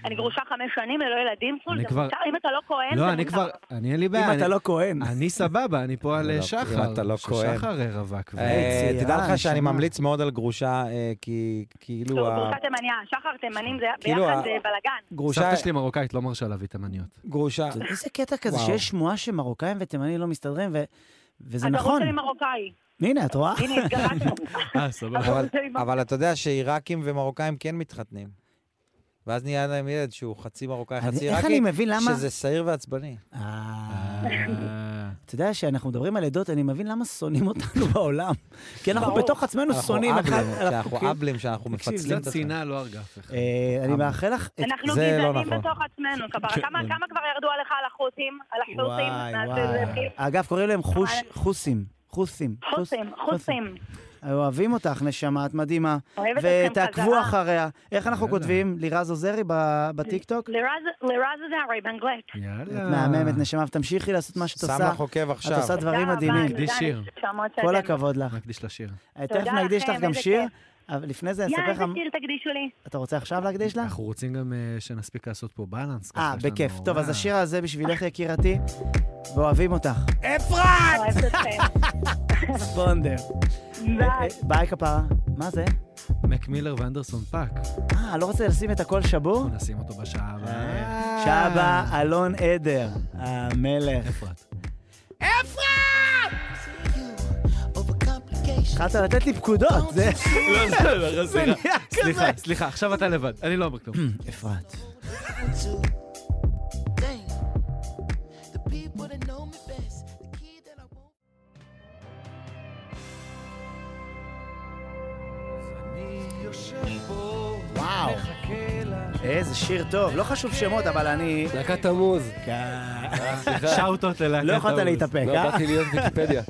F: אני גרושה חמש שנים ללא ילדים, סרול,
C: אוקיי. אני
F: זה
C: כבר-
F: מותר, אם אתה לא כהן,
C: לא,
F: זה
C: אני
F: מותר.
C: כבר, אני אין לי בעיה.
A: אם
C: אני-
A: אתה לא כהן.
C: אני סבבה, אני פה על
B: לא,
C: אה, שחר.
B: אם אתה לא כהן.
C: שחר אה, רווק. ו-
B: אה,
A: יציאה,
B: תדע לך שאני
A: נשמה.
B: ממליץ מאוד על גרושה, אה, כי כאילו...
F: לא,
B: ה-
F: גרושה תימניה, שחר תימנים זה
B: כאילו ה-
F: ביחד זה בלאגן.
B: גרושה...
C: סבתא שלי מרוקאית לא מרשה להביא תימניות.
B: גרושה...
A: לא, זה- איזה קטע כזה
B: וואו.
A: שיש שמועה שמרוקאים ותימנים לא מסתדרים, ו- וזה
F: הגרוש
A: נכון.
F: שלי מרוקאי.
A: הנה, את רואה?
F: הנה, התגרשנו.
C: אה, סבבה.
B: אבל-
F: הגרוש שלי מרוקאי.
B: אבל אתה יודע שעיראקים ומרוקאים כן מתחתנים. ואז נהיה להם ילד שהוא חצי מרוקאי,
A: אני-
B: חצי
A: איך אני
B: עיראקי,
A: מבין למה...
B: שזה שעיר ועצבני.
A: אה, אתה יודע, שאנחנו מדברים על עדות, אני מבין למה שונאים אותנו בעולם. כי לא. אנחנו
F: ברור.
A: בתוך עצמנו
B: אנחנו
A: שונאים אחד...
B: אבלים,
A: אנחנו
B: שאנחנו
A: כאילו-
B: אבלים, שאנחנו
A: תקשיב,
B: מפצלים את
C: קצת
B: עצמנו.
C: שנאה לא הרגה אף אחד.
A: אה, אני מאחל לך... את-
F: אנחנו
B: זה לא
F: גזענים
B: נכון.
F: בתוך עצמנו, כפרה. כמה
C: כן.
F: כמה כבר ירדו עליך על החות'ים? על החות'ים?
A: וואי,
F: מה שזה,
A: וואי. אגב, קוראים להם חוש- חוסים. חוסים. חוס-
F: חוסים, חוסים.
A: אוהבים אותך, נשמה, את מדהימה.
F: אוהבת אתכם
A: ותעקבו
F: חזרה.
A: אחריה. איך אנחנו
C: יאללה.
A: כותבים? לירז עוזרי ב- בטיקטוק?
F: לירז- לירז זהרי באנגלית.
A: את
C: יאללה.
A: מהממת, נשמה, ותמשיכי לעשות מה שאת
B: שם
A: עושה.
B: לך עוקב
A: את
B: עכשיו.
A: עושה דברים
F: תודה רבה,
A: מדהימים.
F: תודה,
C: תקדיש שיר.
F: נשמות
A: כל
F: שאתם-
A: הכבוד לך.
C: נקדיש לשיר.
A: תכף נקדיש
F: לכם,
A: לך גם
F: איזה
A: שיר,
F: כיף.
A: אבל לפני זה אני
F: יא,
A: אספר לך...
F: איזה שיר תקדישו לי.
A: אתה רוצה עכשיו להקדיש לה?
C: אנחנו רוצים גם אה, שנספיק לעשות פה בלנס.
A: אה,
C: ככה יש לנו-
A: בכיף. טוב, אז
C: וואו.
A: השיר הזה בשבילך, יקירתי, ואוהבים אותך.
F: אוהבת אתכם.
A: ספונדר. אה,
F: ביי.
A: ביי, כפרה. מה זה?
C: מק מילר ואנדרסון פאק.
A: אה, לא רוצה לשים את הכל שבור?
C: אנחנו נשים אותו בשעה הבאה.
A: שעה הבאה, אלון עדר, המלך.
C: אפרת.
A: התחלת לתת לי פקודות, זה...
C: לא, זה
A: זה נהיה כזה.
C: סליחה, סליחה, עכשיו אתה לבד. אני לא אומר כלום.
A: אפרת. וואו, איזה שיר טוב. לא חשוב שמות, אבל אני...
G: להקת תמוז.
A: כן.
C: שאוטות ללהקת
A: לא יכולת
C: האוז.
A: להתאפק,
G: לא,
A: אה?
G: באתי להיות ויקיפדיה.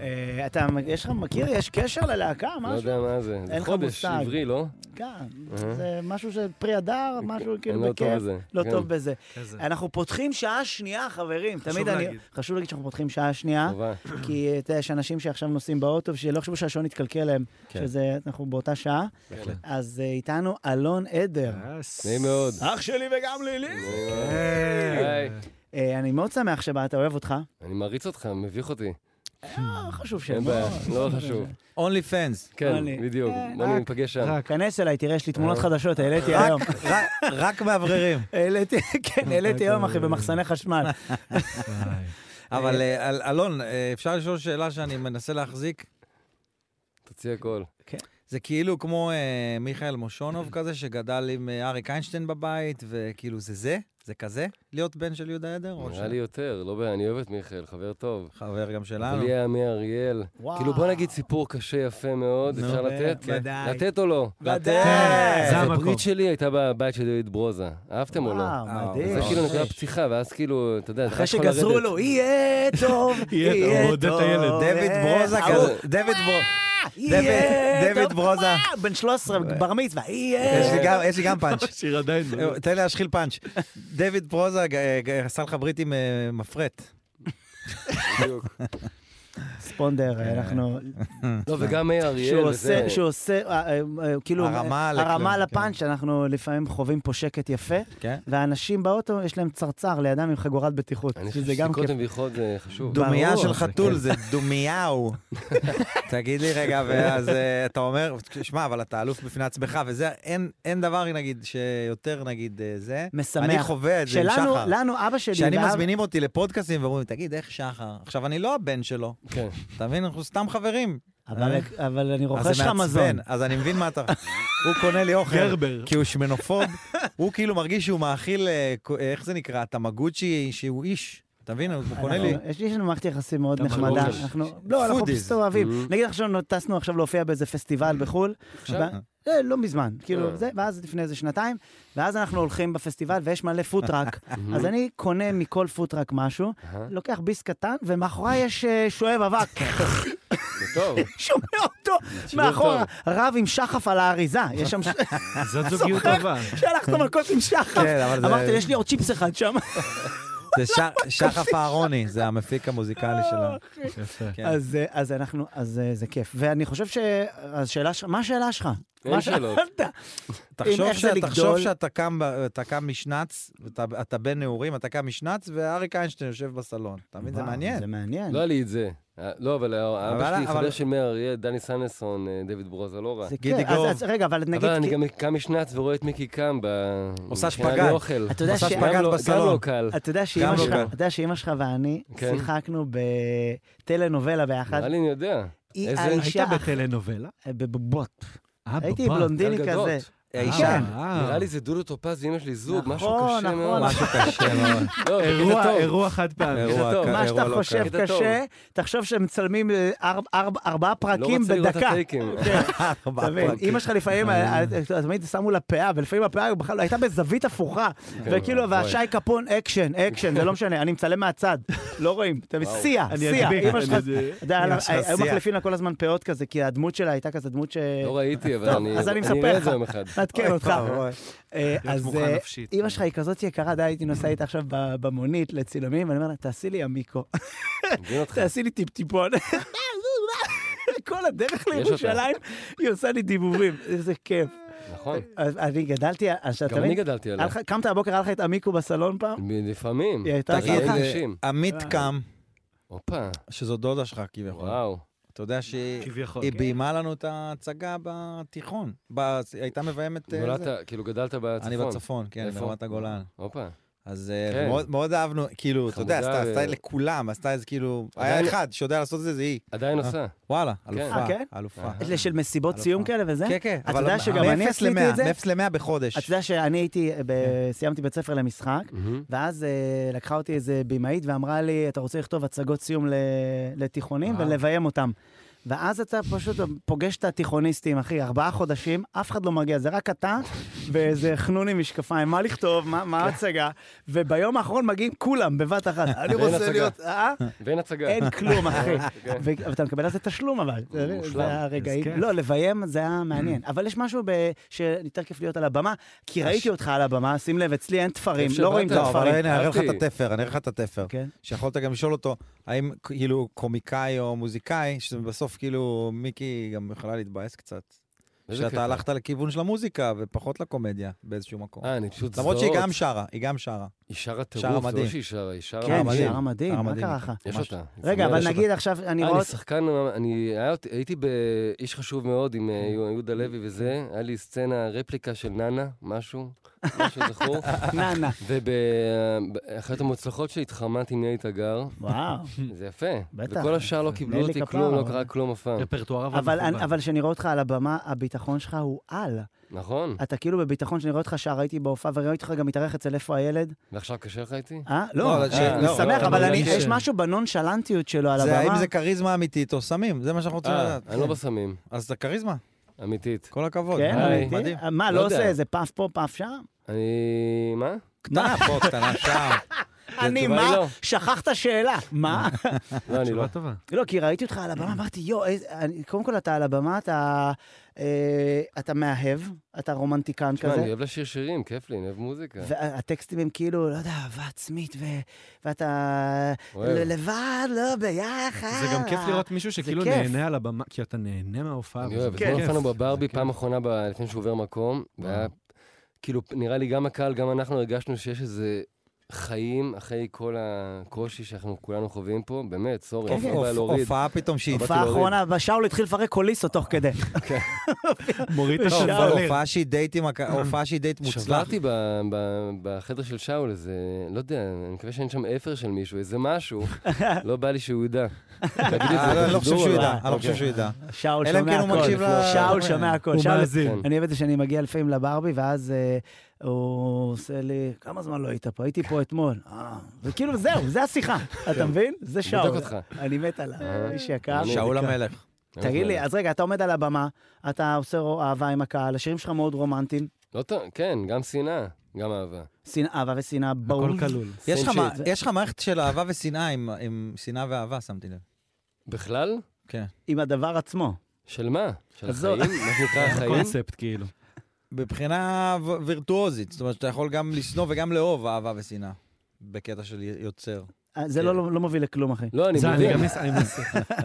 A: אה, אתה, יש לך, מכיר, יש קשר ללהקה,
G: לא
A: אה, משהו?
G: יודע מה זה. זה
A: אין לך
G: חודש
A: מושג.
G: עברי, לא? אה,
A: כן, זה משהו שפרי הדר, משהו כאילו
G: לא טוב
A: בכיף.
G: בזה,
A: לא
G: כן.
A: טוב בזה.
C: איזה.
A: אנחנו פותחים שעה אה, שנייה, חברים. תמיד אני...
C: להגיד.
A: חשוב להגיד שאנחנו פותחים שעה שנייה,
G: חובה.
A: כי אה, אתה יודע, יש אנשים שעכשיו נוסעים באוטו, שלא יחשבו שהשעון יתקלקל להם,
G: כן.
A: שזה, אנחנו באותה שעה. אז אה, איתנו אלון עדר.
C: יס.
G: נעים מאוד.
A: אח שלי וגם לילי.
G: נעים מאוד.
C: היי.
G: היי.
A: אה, אני מאוד שמח שבאת, אוהב אותך.
G: אני מעריץ אותך, מביך אותי.
A: לא חשוב שלא.
G: אין בעיה, לא חשוב.
B: אונלי פנס.
A: אני-
G: כן, בדיוק.
A: כן,
G: בוא
A: רק-
G: ניפגש שם.
C: רק.
A: כנס אליי, תראה, יש לי תמונות חדשות, העליתי היום.
B: אה. רק מאווררים. אה, אוקיי.
A: העליתי, כן, העליתי היום, אחי, במחסני חשמל.
C: היי.
B: אבל אה, אל- אלון, אה, אפשר לשאול שאלה שאני מנסה להחזיק?
G: תוציא הכל.
B: זה כאילו כמו אה, מיכאל מושונוב כזה, שגדל עם אה, אריק איינשטיין בבית, וכאילו זה זה? זה כזה? להיות בן של יהודה עדר? או
G: נראה
B: ש-
G: לי יותר, לא בעיה, אני אוהב את מיכאל, חבר טוב.
B: חבר גם שלנו.
G: בלי עמי אריאל.
A: וואו.
G: כאילו, בוא נגיד סיפור קשה יפה מאוד,
B: נו,
G: אפשר לתת?
B: ודאי.
G: לתת או לא?
B: ודאי.
C: זה
G: אז
C: המקום.
G: הברית שלי הייתה בבית של דוד ברוזה. אהבתם או לא?
B: אה,
A: וואו, אה, מדהים.
G: זה כאילו נקרא
A: ממש.
G: פתיחה, ואז כאילו, אתה יודע, אתה
A: אחרי
G: רק יכול
A: שגזרו
G: לרדת.
A: לו, יהיה טוב,
C: יהיה טוב, עודד את הילד.
B: דויד ברוזה
A: אה,
B: כזה.
A: אה,
B: דויד ברוזה.
A: יהיה
B: דויד- דויד
A: טוב.
B: ברוזה.
A: אה, בן 13, בר מצווה,
B: יש לי
A: יהיה.
B: גם- יש לי גם פאנץ'.
C: שיר עדיין. לא.
B: אה, תן לי להשחיל פאנץ'. דויד פרוזה ג- ג- עשה לך ברית עם אה, מפרט.
G: בדיוק.
A: ספונדר,
B: אה.
A: אנחנו...
G: לא, וגם מאיר אריאל
A: שהוא
G: וזה.
A: עושה, שהוא עושה, אה, אה, אה, כאילו,
B: הרמה לכלום,
A: הרמה
B: כן.
A: לפאנץ', אנחנו לפעמים חווים פה שקט יפה,
B: כן.
A: והאנשים באוטו, יש להם צרצר לידם עם חגורת בטיחות,
G: אני חושב
A: שזה גם
G: שסיכות
A: כיף.
G: מביכות זה חשוב.
A: דו-
B: דומייה
A: ברור,
B: של
A: זה
B: חתול זה דומיהו. כן. תגיד לי רגע, ואז אה, אתה אומר, שמע, אבל אתה אלוף בפני עצמך, וזה, אין- אין דבר, נגיד, שיותר, נגיד, אה, זה.
A: משמח.
B: אני חווה את זה עם
A: שלנו-
B: שחר.
A: לנו, אבא שלי,
B: כשאני
A: ואב-
B: מזמינים אותי לפודקאסים ואומרים, תגיד, איך שחר? עכשיו, אני לא הבן שלו,
G: כן.
B: אתה מבין? אנחנו סתם חברים. אה?
A: אבל- אבל אני
B: אז
A: רוכש
B: זה
A: לך
B: מעצבן,
A: מזון.
B: אז אני מבין מה אתה... הוא קונה לי אוכל.
C: גרבר.
B: כי הוא שמנופוב. הוא כאילו מרגיש שהוא מאכיל, אה, ק- איך זה נקרא? תמגוצ'י שהוא איש. אתה מבין? הוא קונה לי.
A: אנחנו- יש יש לנו מערכת יחסים מאוד
C: אתה
A: נחמדה.
G: מרגיש.
A: אנחנו, לא, אנחנו
B: Foodies. Mm-hmm.
A: פשוט אוהבים.
G: Mhm.
A: נגיד עכשיו טסנו עכשיו להופיע באיזה פסטיבל בחו"ל.
G: עכשיו?
A: ב- אה, לא מזמן, כאילו
G: אה.
A: זה, ואז לפני איזה שנתיים, ואז אנחנו הולכים בפסטיבל ויש מלא פוטראק.
B: Mm-hmm.
A: אז אני קונה מכל פוטראק משהו,
G: אהה.
A: לוקח ביס קטן, ומאחורי יש אה, שואב אבק.
G: זה טוב.
A: שומע אותו
G: שילוב
A: מאחורה,
G: טוב.
A: רב עם שחף על האריזה. יש שם...
C: זאת זוגיות טובה.
A: שלחת מכות עם שחף.
B: כן, אבל זה-
A: אמרתי, יש לי עוד צ'יפס אחד שם.
B: זה ש- שחף אהרוני, זה המפיק המוזיקלי
A: אה,
B: שלנו.
A: אוקיי.
C: יפה.
B: כן.
A: אז, אה, אז אנחנו, אז אה, זה כיף. ואני חושב שהשאלה שלך, מה השאלה שלך?
G: אין
A: מה
G: שאלות.
A: שאלת?
B: תחשוב
A: איך זה
B: ש- תחשוב
A: לגדול.
B: שאתה קם ב- אתה קם משנץ, אתה- אתה בן נעורים, אתה קם משנץ, ואריק איינשטיין יושב בסלון. אתה מבין? זה
A: וואו,
B: מעניין.
A: זה מעניין.
G: לא היה לי את זה. אה, לא, אבל
B: אבל-
G: אבא שלי,
B: אבל-
G: חבר של מאיר אריאל, דני סנסון, אה, דוד ברוזה, לא רע.
A: זה
B: גידי
A: כיף. אז-
B: גוב.
A: אז רגע, אבל נגיד...
G: אבל אני
A: כי-
G: גם קם משנץ ורואה את מיקי קם ב...
B: עושה
G: מכינה
B: שפגאט.
G: לאוכל.
A: אתה יודע
B: עושה
A: ש-
G: כן. לא גם
B: שפגאט
G: לא- גם
B: בסלון.
G: לא קל.
A: אתה יודע
B: גם
A: שאימא
B: לא
A: שלך-
B: קל.
A: אתה יודע שאימא שלך ואני
G: כן.
A: שיחקנו בטלנובלה ביחד.
G: נראה לי אני יודע.
A: היא
G: איזה-
A: האישה...
C: היית בטלנובלה?
A: בבובות.
C: אה,
A: הייתי
C: בבא.
A: בלונדיני
G: גל גדות.
A: כזה. אה,
C: אה,
B: האישה.
G: נראה לי זה דודו טופז ואימא שלי זוג, משהו
A: נכון,
G: קשה
A: נכון.
G: מאוד.
B: משהו קשה מאוד.
G: לא, בקטע
C: אירוע,
G: טוב.
C: אירוע חד פעמי.
G: אירוע טוב.
B: קל,
A: מה שאתה
B: אירוע לא
A: חושב
G: קל.
A: קשה, תחשוב שהם מצלמים אה, ארבע- ארבע- ארבעה
G: לא
A: פרקים
G: רוצה לראות את
A: בדקה. כן.
G: הטייקים.
B: קל.
A: אתה מבין? אימא שלך לפעמים, אה, אה, תמיד שמו לה פאה, ולפעמים הפאה היא בכלל הייתה בזווית הפוכה. וכאילו,
G: אוי.
A: והשי קפון, אקשן, אקשן, זה לא משנה, אני מצלם מהצד, לא רואים. אתה מבין? שיאה,
C: אני
A: שיאה.
C: אדביק,
A: אימא
C: אני
A: שלך,
C: זה-
A: אתה יודע,
B: אימא שלך
A: היו
B: שיאה.
A: מחליפים לה כל הזמן פאות כזה, כי הדמות שלה הייתה כזה דמות ש...
G: לא ראיתי, אבל
A: טוב,
G: אני
A: אז אני
G: אני אראה
A: מספר
G: את זה
A: לך.
G: יום אחד.
A: נעדכן אותך. אה,
C: להיות
A: אז
C: מוכן
A: אה,
C: נפשית. אוקיי.
A: אימא שלך היא כזאת יקרה, די, הייתי נוסע איתה עכשיו ב- במונית לצילומים, ואני אומר לה, תעשי לי עמיקו,
G: מבין אותך.
A: תעשי לי טיפ-טיפון. כל הדרך
G: אותה.
A: לירושלים היא עושה לי דיבורים, איזה כיף.
G: נכון.
A: אז אני גדלתי, אז אתה
G: גם אני
A: מבין?
G: גדלתי
A: היה
G: עליו.
A: לך- קמת הבוקר, היה לך את עמיקו בסלון פעם?
G: לפעמים.
A: היא הייתה
G: תגיד,
A: ככה.
G: אה, נשים.
B: עמית קם,
G: הופה,
B: שזו דודה שלך כביכול.
G: וואו.
B: אתה יודע שהיא
C: כביכול.
A: כן.
B: היא ביימה לנו את ההצגה בתיכון. ב- הייתה מביימת... אה, זה.
G: נולדת, כאילו גדלת בצפון.
B: אני בצפון, כן,
G: איפה?
B: ברמת הגולן.
G: הופה.
B: אז אה,
G: כן.
B: מאוד- מאוד אהבנו, כאילו, אתה יודע,
G: חמודה
B: עשתה
G: ו-
B: עשתה לכולם, עשתה איזה כאילו...
G: עדיין- לא-
B: היה אחד שיודע לעשות את זה, זה היא.
G: עדיין
B: אה.
G: עושה.
B: וואלה,
A: אה, כן?
B: אלופה, אלופה.
G: אה.
A: אלה של מסיבות
B: אלופה.
A: סיום כאלה וזה?
B: כן, כן.
A: אתה יודע שגם אני עשיתי את זה?
B: מ-0 ל-100 בחודש. כן.
A: אתה יודע שאני הייתי, ב- סיימתי בית ספר למשחק,
G: מהמם.
A: ואז אה, לקחה אותי איזה בימאית ואמרה לי, אתה רוצה לכתוב הצגות סיום ל- לתיכונים
B: וואו.
A: ולביים אותם. ואז אתה פשוט פוגש את התיכוניסטים, אחי, ארבעה חודשים, אף אחד לא מגיע, זה רק אתה ואיזה חנון עם משקפיים, מה לכתוב, מה-
B: כן.
A: מה ההצגה, וביום האחרון מגיעים כולם בבת אחת. אני רוצה
G: הצגה.
A: להיות, אה?
G: ואין הצגה.
A: אין כלום, אחי.
G: כן.
A: ו- ואתה מקבל על זה תשלום, אבל. זה-
G: מושלם.
A: זה הרגעים.
C: אז כיף.
A: לא, לביים זה היה מעניין. אבל יש משהו ב- שיותר כיף להיות על הבמה, כי ראיתי אותך על הבמה, שים לב, אצלי אין תפרים,
G: כיף
A: לא
G: שבאת.
A: רואים את
B: לא, אבל
A: התפרים.
B: הנה, אני אראה לך את
G: אהבתי.
B: התפר, אני אראה לך את התפר.
A: כן.
B: שיכולת גם לשאול אותו, האם כאילו קומיקאי או מוזיקאי, שבסוף כאילו מיקי גם יכולה להתבאס קצת.
G: איזה
B: שאתה
G: קטע.
B: הלכת לכיוון של המוזיקה ופחות לקומדיה באיזשהו מקום.
G: אה, אני פשוט זוועות.
B: למרות שהיא גם שרה, היא גם שרה.
G: היא שרה
B: שרה
G: טירוף, זה
B: מדהים.
G: לא שהיא שרה, היא שרה
A: כן,
B: מדהים.
A: שער מדהים, מה
B: מדהים.
A: קרה לך?
G: יש
B: ממש.
G: אותה.
A: רגע,
G: יש
A: אבל
G: אותה.
A: נגיד עכשיו, אני
G: אה,
A: רואה...
G: אני שחקן, אני היה אותי- הייתי באיש חשוב מאוד עם אה,
A: כן.
G: יהודה לוי וזה, היה לי סצנה, רפליקה של נאנה, משהו, משהו זכור,
A: נא, נא.
G: ובאחת המוצלחות שלי התחרמנתי עם ילי תגר,
A: וואו.
G: זה יפה,
A: בטח.
G: וכל השאר לא קיבלו
A: ילי
G: אותי
A: כפרה,
G: כלום, לא
A: אבל-
G: קרה כלום אף פעם,
C: רפרטואר אבל
A: אבל אני-
C: מכובד.
A: אבל כשאני רואה אותך על הבמה, הביטחון שלך הוא על.
G: נכון?
A: אתה כאילו בביטחון שאני רואה אותך שער, הייתי בהופעה, וראיתי אותך גם מתארח אצל איפה הילד.
G: ועכשיו קשה לך איתי?
A: אה? לא,
B: לא,
A: אני
B: ש- לא,
A: שמח,
G: לא,
A: אבל
G: לא,
A: אני-
G: לא,
A: יש
G: כן.
A: משהו בנונשלנטיות שלו על
B: זה
A: הבמה.
B: האם זה כריזמה אמיתית או סמים, זה מה שאנחנו רוצים
G: אה,
B: לדעת.
G: אני לא בסמים,
B: כן. אז זה כריזמה,
G: אמיתית.
B: כל הכבוד.
A: כן,
G: היי.
A: אמיתי?
B: מדהים.
A: מה,
G: לא
A: לא עושה
G: יודע.
A: איזה פאף פה, פאף שם?
G: אני... מה?
B: קטנה פה, קטנה שם.
G: התשובה
A: אני,
G: היא
A: מה?
G: לא.
A: שכחת שאלה. מה?
G: לא, אני לא.
C: תשובה טובה.
A: לא, כי ראיתי אותך על הבמה, אמרתי, יואו, איזה- אני- קודם כל אתה על הבמה, אתה אה, אתה מאהב, אתה רומנטיקן
G: תשמע, אני
A: כזה.
G: אוהב כן. לשיר שירים, כיף לי, אני אוהב מוזיקה.
A: והטקסטים הם כאילו, לא יודע, אהבה עצמית, ו- ואתה
G: אוהב.
A: ל- לבד, לא ביחד.
C: זה גם כיף לראות מישהו שכאילו
A: כיף.
C: נהנה על הבמה, כי אתה נהנה מההופעה.
G: אני
C: וזה
G: אוהב.
C: כיף.
G: אתמול נפלנו
C: זה
G: בברבי
C: כיף.
G: פעם אחרונה ב- לפני שהוא עובר מקום, והיה... כאילו, נראה לי גם הקהל, גם אנחנו הרגשנו שיש איזה חיים אחרי כל הקושי שאנחנו כולנו חווים פה, באמת, סורי,
A: כן,
G: אף אחד
A: כן.
G: לא בא להוריד.
B: הופעה פתאום שהיא...
A: הופעה האחרונה, ושאול התחיל לפרק קוליסות תוך כדי.
G: כן.
C: מוריד את
A: לא,
B: טוב,
A: שאול.
B: אבל
C: השאול.
B: הופעה שהיא דייט עם... הק- הופעה שהיא דייט מוצלח.
G: שברתי ב- ב- בחדר של שאול איזה, לא יודע, אני מקווה שאין שם אפר של מישהו, איזה משהו, לא בא לי שהוא ידע. תגיד לי את זה
B: אה, לא, אני לא חושב
G: בשידור,
B: שהוא ידע,
G: אבל-
B: אני לא חושב
G: אוקיי.
B: שהוא ידע.
A: שאול
B: אלא אם
A: שומע
B: כן הוא מקשיב
A: הכל.
B: ל-
A: שאול שומע הכל.
C: הוא
A: שאול-
C: מאזין.
A: אני אוהב את זה שאני מגיע לפעמים לברבי, ואז אה, הוא עושה לי, כמה זמן לא היית פה? הייתי פה אתמול. אה, וכאילו, זהו, זה השיחה, אתה מבין? זה שאול.
G: בודק כן. אותך.
A: אני מת עליו,
G: אה.
A: איש יקר.
G: אני- אה.
B: שאול המלך.
A: תגיד לי, אז רגע, אתה עומד על הבמה, אתה עושה רו- אהבה עם הקהל, השירים שלך מאוד רומנטיים,
G: לא טוב, כן, גם שנאה, גם אהבה.
A: שנאה- אהבה ושנאה, ברור.
C: הכל כלול.
B: יש לך
G: Same
B: מה-
G: shit.
B: יש לך מערכת של אהבה ושנאה עם- עם שנאה ואהבה, שמתי לב. כן.
G: בכלל?
A: עם הדבר עצמו.
G: של מה? של
A: אז זו-
G: החיים? מה שנקרא החיים?
C: קונספט כאילו.
B: מבחינה ו- וירטואוזית, זאת אומרת שאתה יכול גם לשנוא וגם לאהוב אהבה ושנאה. בקטע של יוצר.
A: אה, זה
G: כן.
A: לא לא מוביל לכלום, אחי.
G: לא, אני
C: זה אני
G: מבין.
C: גם מס- אני מס-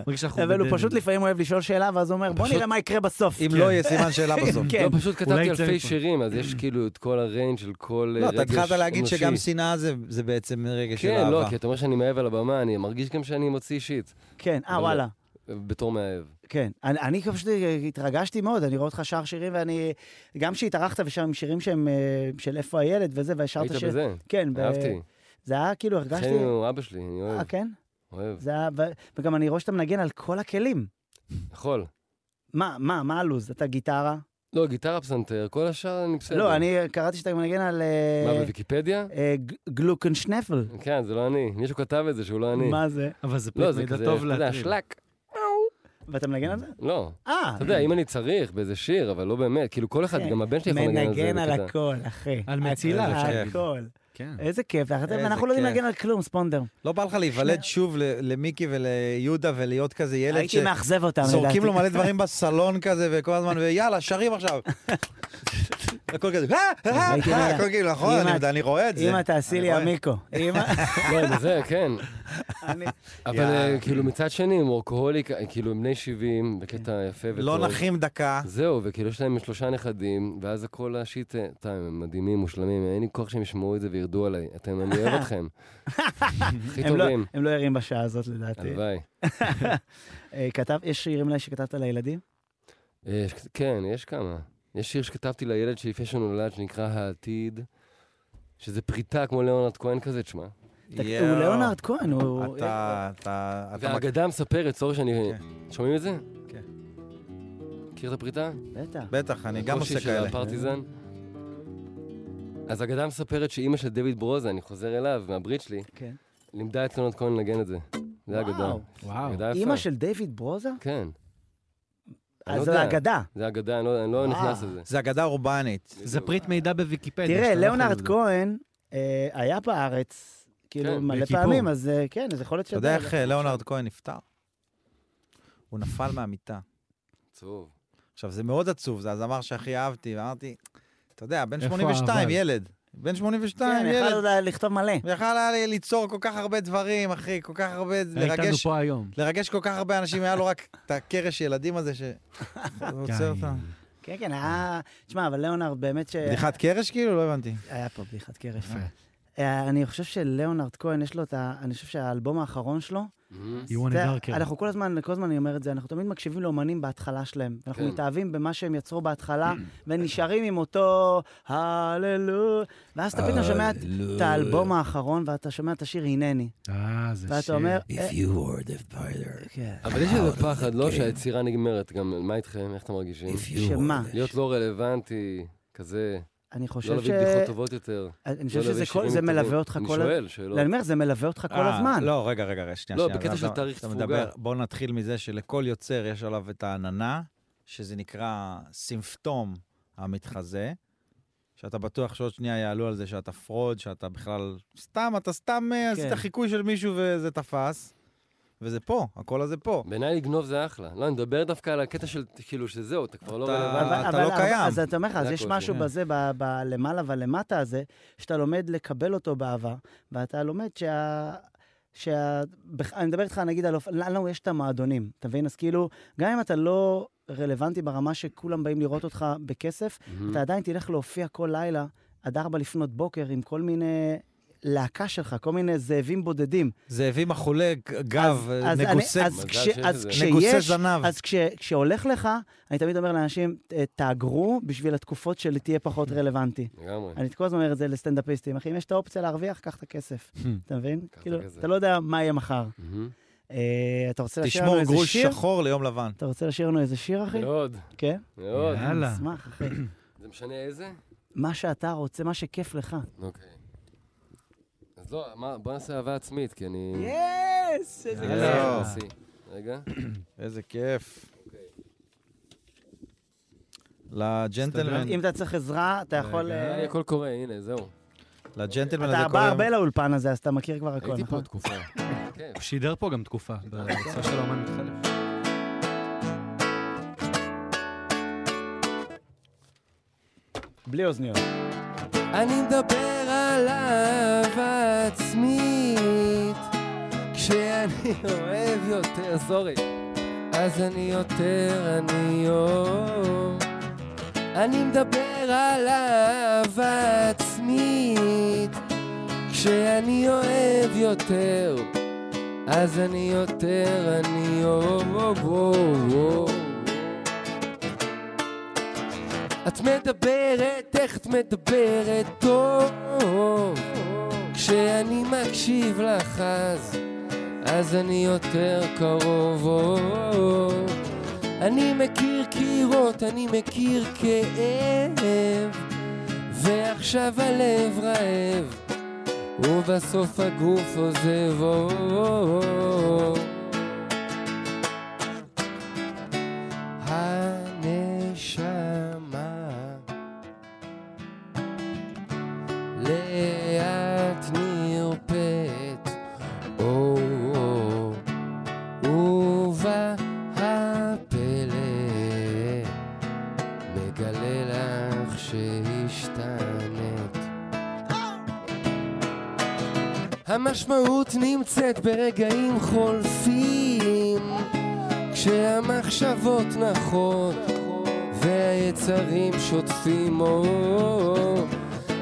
C: מרגיש שאנחנו
A: אבל הוא
C: בדנים.
A: פשוט לפעמים אוהב לשאול שאלה, ואז הוא אומר, בוא
G: פשוט-
A: נראה מה יקרה בסוף.
B: אם לא יהיה סימן שאלה בסוף.
A: כן.
G: לא, פשוט כתבתי
C: יצא
G: אלפי
C: מפה.
G: שירים, אז יש כאילו את כל הריינג' של כל אה,
B: לא,
G: רגש
B: אתה
G: אנושי.
B: התחלת להגיד שגם שנאה זה- זה בעצם רגש של אהבה.
G: כן, לא, כי אתה אומר שאני מאהב על הבמה, אני מרגיש גם שאני מוציא אישית,
A: כן, אה,
G: אבל-
A: וואלה.
G: בתור מאהב.
A: כן, אני, אני פשוט התרגשתי מאוד, אני רואה אותך שר שירים, ואני, גם כשהתארחת ושם עם שירים שהם אה, של איפה הילד וזה, והשארת
G: היית
A: שיר...
G: בזה,
A: כן, ב-
G: אהבתי.
A: זה היה כאילו, הרגשתי...
G: חן הוא אבא שלי, אני
A: אה,
G: אוהב,
A: כן?
G: אוהב.
A: זה היה... ו- וגם אני רואה שאתה מנגן על כל הכלים.
G: יכול.
A: מה, מה, מה הלו"ז? אתה גיטרה?
G: לא, גיטרה פסנתר, כל השאר אני בסדר.
A: לא, אני קראתי שאתה מנגן על אה,
G: מה, בוויקיפדיה?
A: אה, ג- גלוקנשנפל.
G: כן, זה לא אני. מישהו כתב את זה שהוא לא אני.
A: מה זה?
C: אבל זה
G: לא,
C: פרט
G: זה
C: מידע
G: כזה,
C: טוב
G: אתה יודע,
C: להטריל.
G: שלק.
A: ואתה מנגן על זה?
G: לא.
A: אה,
G: אתה יודע, אם אני צריך באיזה שיר, אבל לא באמת, כאילו כל אחד,
A: כן.
G: גם הבן שלי יכול לנגן על זה.
A: מנגן על
G: בקטע.
A: הכל, אחי.
C: על מצילה,
A: הכל,
B: אפשר להגיד.
A: הכל.
C: כן.
A: איזה כיף, ואחרי זה
B: איזה
A: אנחנו לא יודעים
B: כיף.
A: להגן על כלום, ספונדר.
B: לא בא לך להיוולד שוב ל- למיקי וליהודה ולהיות כזה ילד
A: הייתי מאכזב אותם, לדעתי.
B: שזורקים לו מלא דברים בסלון כזה, וכל הזמן, ויאללה, שרים עכשיו. הכל כזה, אה, אה,
A: הייתי
B: אה,
A: אומר,
B: הכל כאילו, נכון,
A: אמא,
B: אני יודע, אני רואה את זה.
A: אמא, תעשי
B: אני
A: לי
B: רואה.
A: המיקו. אמא,
G: לא, זה, כן.
A: אני...
G: אבל
B: יאללה.
G: אה, כאילו מצד שני, הם וורקוהוליק, אה, כאילו הם בני 70, בקטע יפה וטוב.
B: לא נחים דקה.
G: זהו, וכאילו יש להם שלושה נכדים, ואז הכל השיט, אה, טעם, הם מדהימים, מושלמים, אין לי כוח שהם ישמעו את זה וירדו עליי. אתם, אני אוהב אתכם. הכי
A: הם לא-
G: טובים.
A: הם לא ערים בשעה הזאת, לדעתי.
G: הלוואי.
A: אה, כתב, יש שירים אולי שכתבת לילדים?
G: יש, כן, יש כמה. יש שיר שכתבתי לילד שלי לפני שהוא נולד, שנקרא העתיד, שזה פריטה כמו ליאונרד כהן כזה, תשמע.
A: אתה-
B: יואו.
A: הוא ליאונרד כהן, הוא...
B: אתה, אתה, אתה, מכיר-
G: והאגדה מספרת, סורי שאני... שומעים את זה?
B: כן.
G: מכיר את הפריטה?
A: בטח.
B: בטח, אני גם
G: הקושי
B: עושה
G: של
B: כאלה.
G: הפרטיזן. אז אגדה מספרת שאימא של דויד ברוזה, אני חוזר אליו, מהברית שלי,
A: כן.
G: לימדה את ליאונרד כהן לנגן את זה. זה אגדה.
A: וואו.
C: וואו.
G: אגדה יפה.
A: אימא של דיוויד ברוזה?
G: כן. אני לא
A: אז זו
G: יודע.
A: אגדה.
G: זה אגדה, אני לא- אני לא
A: וואו.
G: נכנס לזה.
B: אה,
G: לא.
B: זה אגדה אורבנית.
C: זה פריט מידע בוויקיפדיה.
A: תראה,
C: שאתה לא יכול
A: ליאונרד
C: לדעת.
A: כהן אה, היה בארץ, כאילו,
G: כן,
A: מלא
C: בכיפור.
A: פעמים, אז אה, כן, אז יכול להיות
B: אתה יודע איך אה, ליאונרד כהן נפטר? הוא נפל מהמיטה.
G: עצוב.
B: עכשיו, זה מאוד עצוב, זה הזמר שהכי אהבתי, ואמרתי, אתה יודע, בן
C: איפה
B: 82,
C: האבל?
B: ילד. בן 82,
A: כן, יכול
B: ילד.
A: עוד לה- לכתוב מלא.
B: ויכל היה לי ליצור כל כך הרבה דברים, אחי, כל כך הרבה,
C: איתנו
B: לרגש,
C: פה היום.
B: לרגש כל כך הרבה אנשים, היה לו רק את הקרש ילדים הזה ש... הוא עוצר אותה.
A: כן, כן, היה... תשמע, אבל ליאונרד באמת ש...
B: בדיחת קרש כאילו? לא הבנתי.
A: היה פה בדיחת קרש.
C: יפה.
A: אה, אני חושב שליאונרד כהן, יש לו את ה... אני חושב שהאלבום האחרון שלו,
G: Mm-hmm.
C: You want
A: אתה-
C: a darker.
A: אנחנו כל הזמן, כל הזמן אני אומר את זה, אנחנו תמיד מקשיבים לאומנים בהתחלה שלהם. אנחנו
G: כן.
A: מתאהבים במה שהם יצרו בהתחלה, ונשארים עם אותו הללו, ואז אתה פתאום שומע את- את האלבום האחרון, ואתה שומע את השיר הנני,
C: אה, זה
A: ואתה
C: שיר.
A: אומר... אה,
H: If you were the fighter,
A: כן.
G: אבל יש איזה פחד, לא שהיצירה נגמרת גם, מה איתכם, איך אתם מרגישים?
H: if you
A: שמה?
H: were the
G: להיות לא רלוונטי, כזה,
A: אני
G: לא
A: חושב ש...
G: להביא בדיחות טובות יותר.
A: אני
G: לא
A: חושב שזה
G: להביא
A: כל-
G: שירים
A: זה מלווה
G: טובים.
A: אותך כל...
G: אני
A: הזמן.
G: שואל, שאלות.
A: אני אומר, זה מלווה אותך כל
B: אה,
A: הזמן.
B: לא, רגע, רגע, רגע, שנייה.
G: לא,
B: שנייה,
G: בקטע
B: אתה-
G: של
B: אתה-
G: תאריך
B: אתה
G: תפוגה.
B: מדבר- בוא נתחיל מזה שלכל יוצר יש עליו את העננה, שזה נקרא סימפטום המתחזה, שאתה בטוח שעוד שנייה יעלו על זה שאתה פרוד, שאתה בכלל... סתם, אתה סתם אה,
A: כן.
B: עשית חיקוי של מישהו וזה תפס, וזה פה, הקול הזה פה.
G: בעיניי לגנוב זה אחלה. לא, אני מדבר דווקא על הקטע של, כאילו, שזהו, אתה כבר לא
B: אתה-
G: רלוונטי.
A: אבל-
B: אתה
A: אבל-
B: לא
A: אבל-
B: קיים.
A: אז אתה אומר לך, אז
G: זה
A: יש
G: הקושי,
A: משהו
B: כן.
A: בזה, ב- בלמעלה ולמטה הזה, שאתה לומד לקבל אותו באהבה, ואתה לומד שה... שה... בח- אני מדבר איתך, נגיד, על... אופ- לנו יש את המועדונים, אתה מבין? אז כאילו, גם אם אתה לא רלוונטי ברמה שכולם באים לראות אותך בכסף,
G: מהמם.
A: אתה עדיין תלך להופיע כל לילה עד ארבע לפנות בוקר עם כל מיני... להקה שלך, כל מיני זאבים בודדים.
B: זאבים אכולי גב,
A: אז- אז אני-
B: נגוסי
A: אז
G: מזל
A: כש-
G: שיש
A: אז
G: את זה.
B: נגוסי
A: כשיש,
B: זנב.
A: אז כש, כשהולך לך, אני תמיד אומר לאנשים, "ת- תאגרו בשביל התקופות שתהיה פחות רלוונטי.
G: לגמרי.
A: אני כל הזמן אומר את זה לסטנדאפיסטים, אחי, אם יש את האופציה להרוויח, קח את הכסף. אתה מבין?
G: קח את
A: כאילו,
G: הכסף.
A: אתה לא יודע מה יהיה מחר.
G: מהמם.
A: אה, אתה רוצה לשיר לנו
B: תשמור
A: איזה
B: גרוש
A: שיר?
B: שחור ליום לבן.
A: אתה רוצה לשיר לנו איזה שיר, אחי?
G: מאוד,
A: כן?
G: מאוד.
C: יאללה.
A: אשמח, אחי.
G: זה משנה איזה?
A: מה שאתה רוצה, מה שכיף לך.
G: אוקיי. אז לא, מה, בוא נעשה אהבה עצמית, כי אני...
A: יס!
G: אני
B: יאללה.
G: לא מנסי. רגע.
B: איזה כיף.
A: אוקיי.
B: לג'נטלמן,
A: אם אתה צריך עזרה, אתה יכול... אה,
G: אה, הכל קורה, הנה, זהו.
B: לג'נטלמן הזה
A: אתה
B: קוראים...
A: בא הרבה לאולפן הזה, אז אתה מכיר כבר הכל,
G: הייתי פה
A: נכון?
G: תקופה. כיף.
C: הוא שידר פה גם תקופה, בהרצאה של האומן מתחלף.
A: בלי אוזניות.
G: אני מדבר על אהבה עצמית כשאני אוהב יותר, סורי אז אני יותר אני אוהב אני מדבר על אהבה עצמית כשאני אוהב יותר אז אני יותר אני לא. אוהב את מדברת, איך את מדברת טוב. כשאני מקשיב לך אז, אז אני יותר קרוב.
H: אני מכיר קירות, אני מכיר כאב, ועכשיו הלב רעב, ובסוף הגוף עוזב. או, או, או, או. הנשמה לאט נרפאת, או, או, או, ובהפלא מגלה לך שהשתנית. המשמעות נמצאת ברגעים חולפים, כשהמחשבות נחות והיצרים שוטפים אור.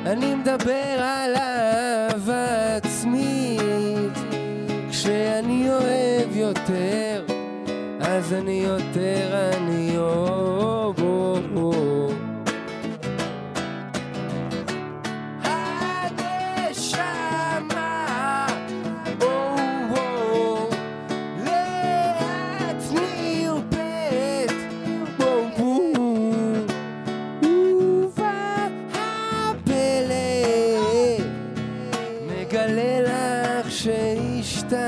H: אני מדבר על אהבה עצמית, כשאני אוהב יותר, אז אני יותר אני אוהב. הנשמה, או-או, לאט נרפאת, בואו ובהפלא מגלה לך שהשתנית.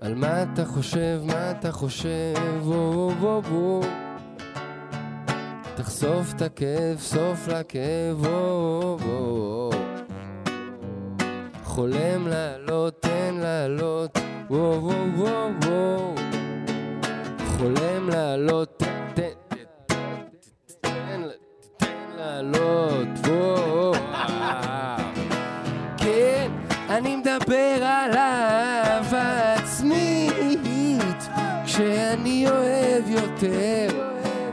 H: על מה אתה חושב, מה אתה חושב, וואו וואו וואו תחשוף את הכאב, סוף לכאב, וואו וואו חולם לעלות, תן לעלות, וואו וואו וואו וואו חולם לעלות, תן, תן, תן, תן לעלות, וואו. כן, אני מדבר על אהבה עצמית, כשאני אוהב יותר,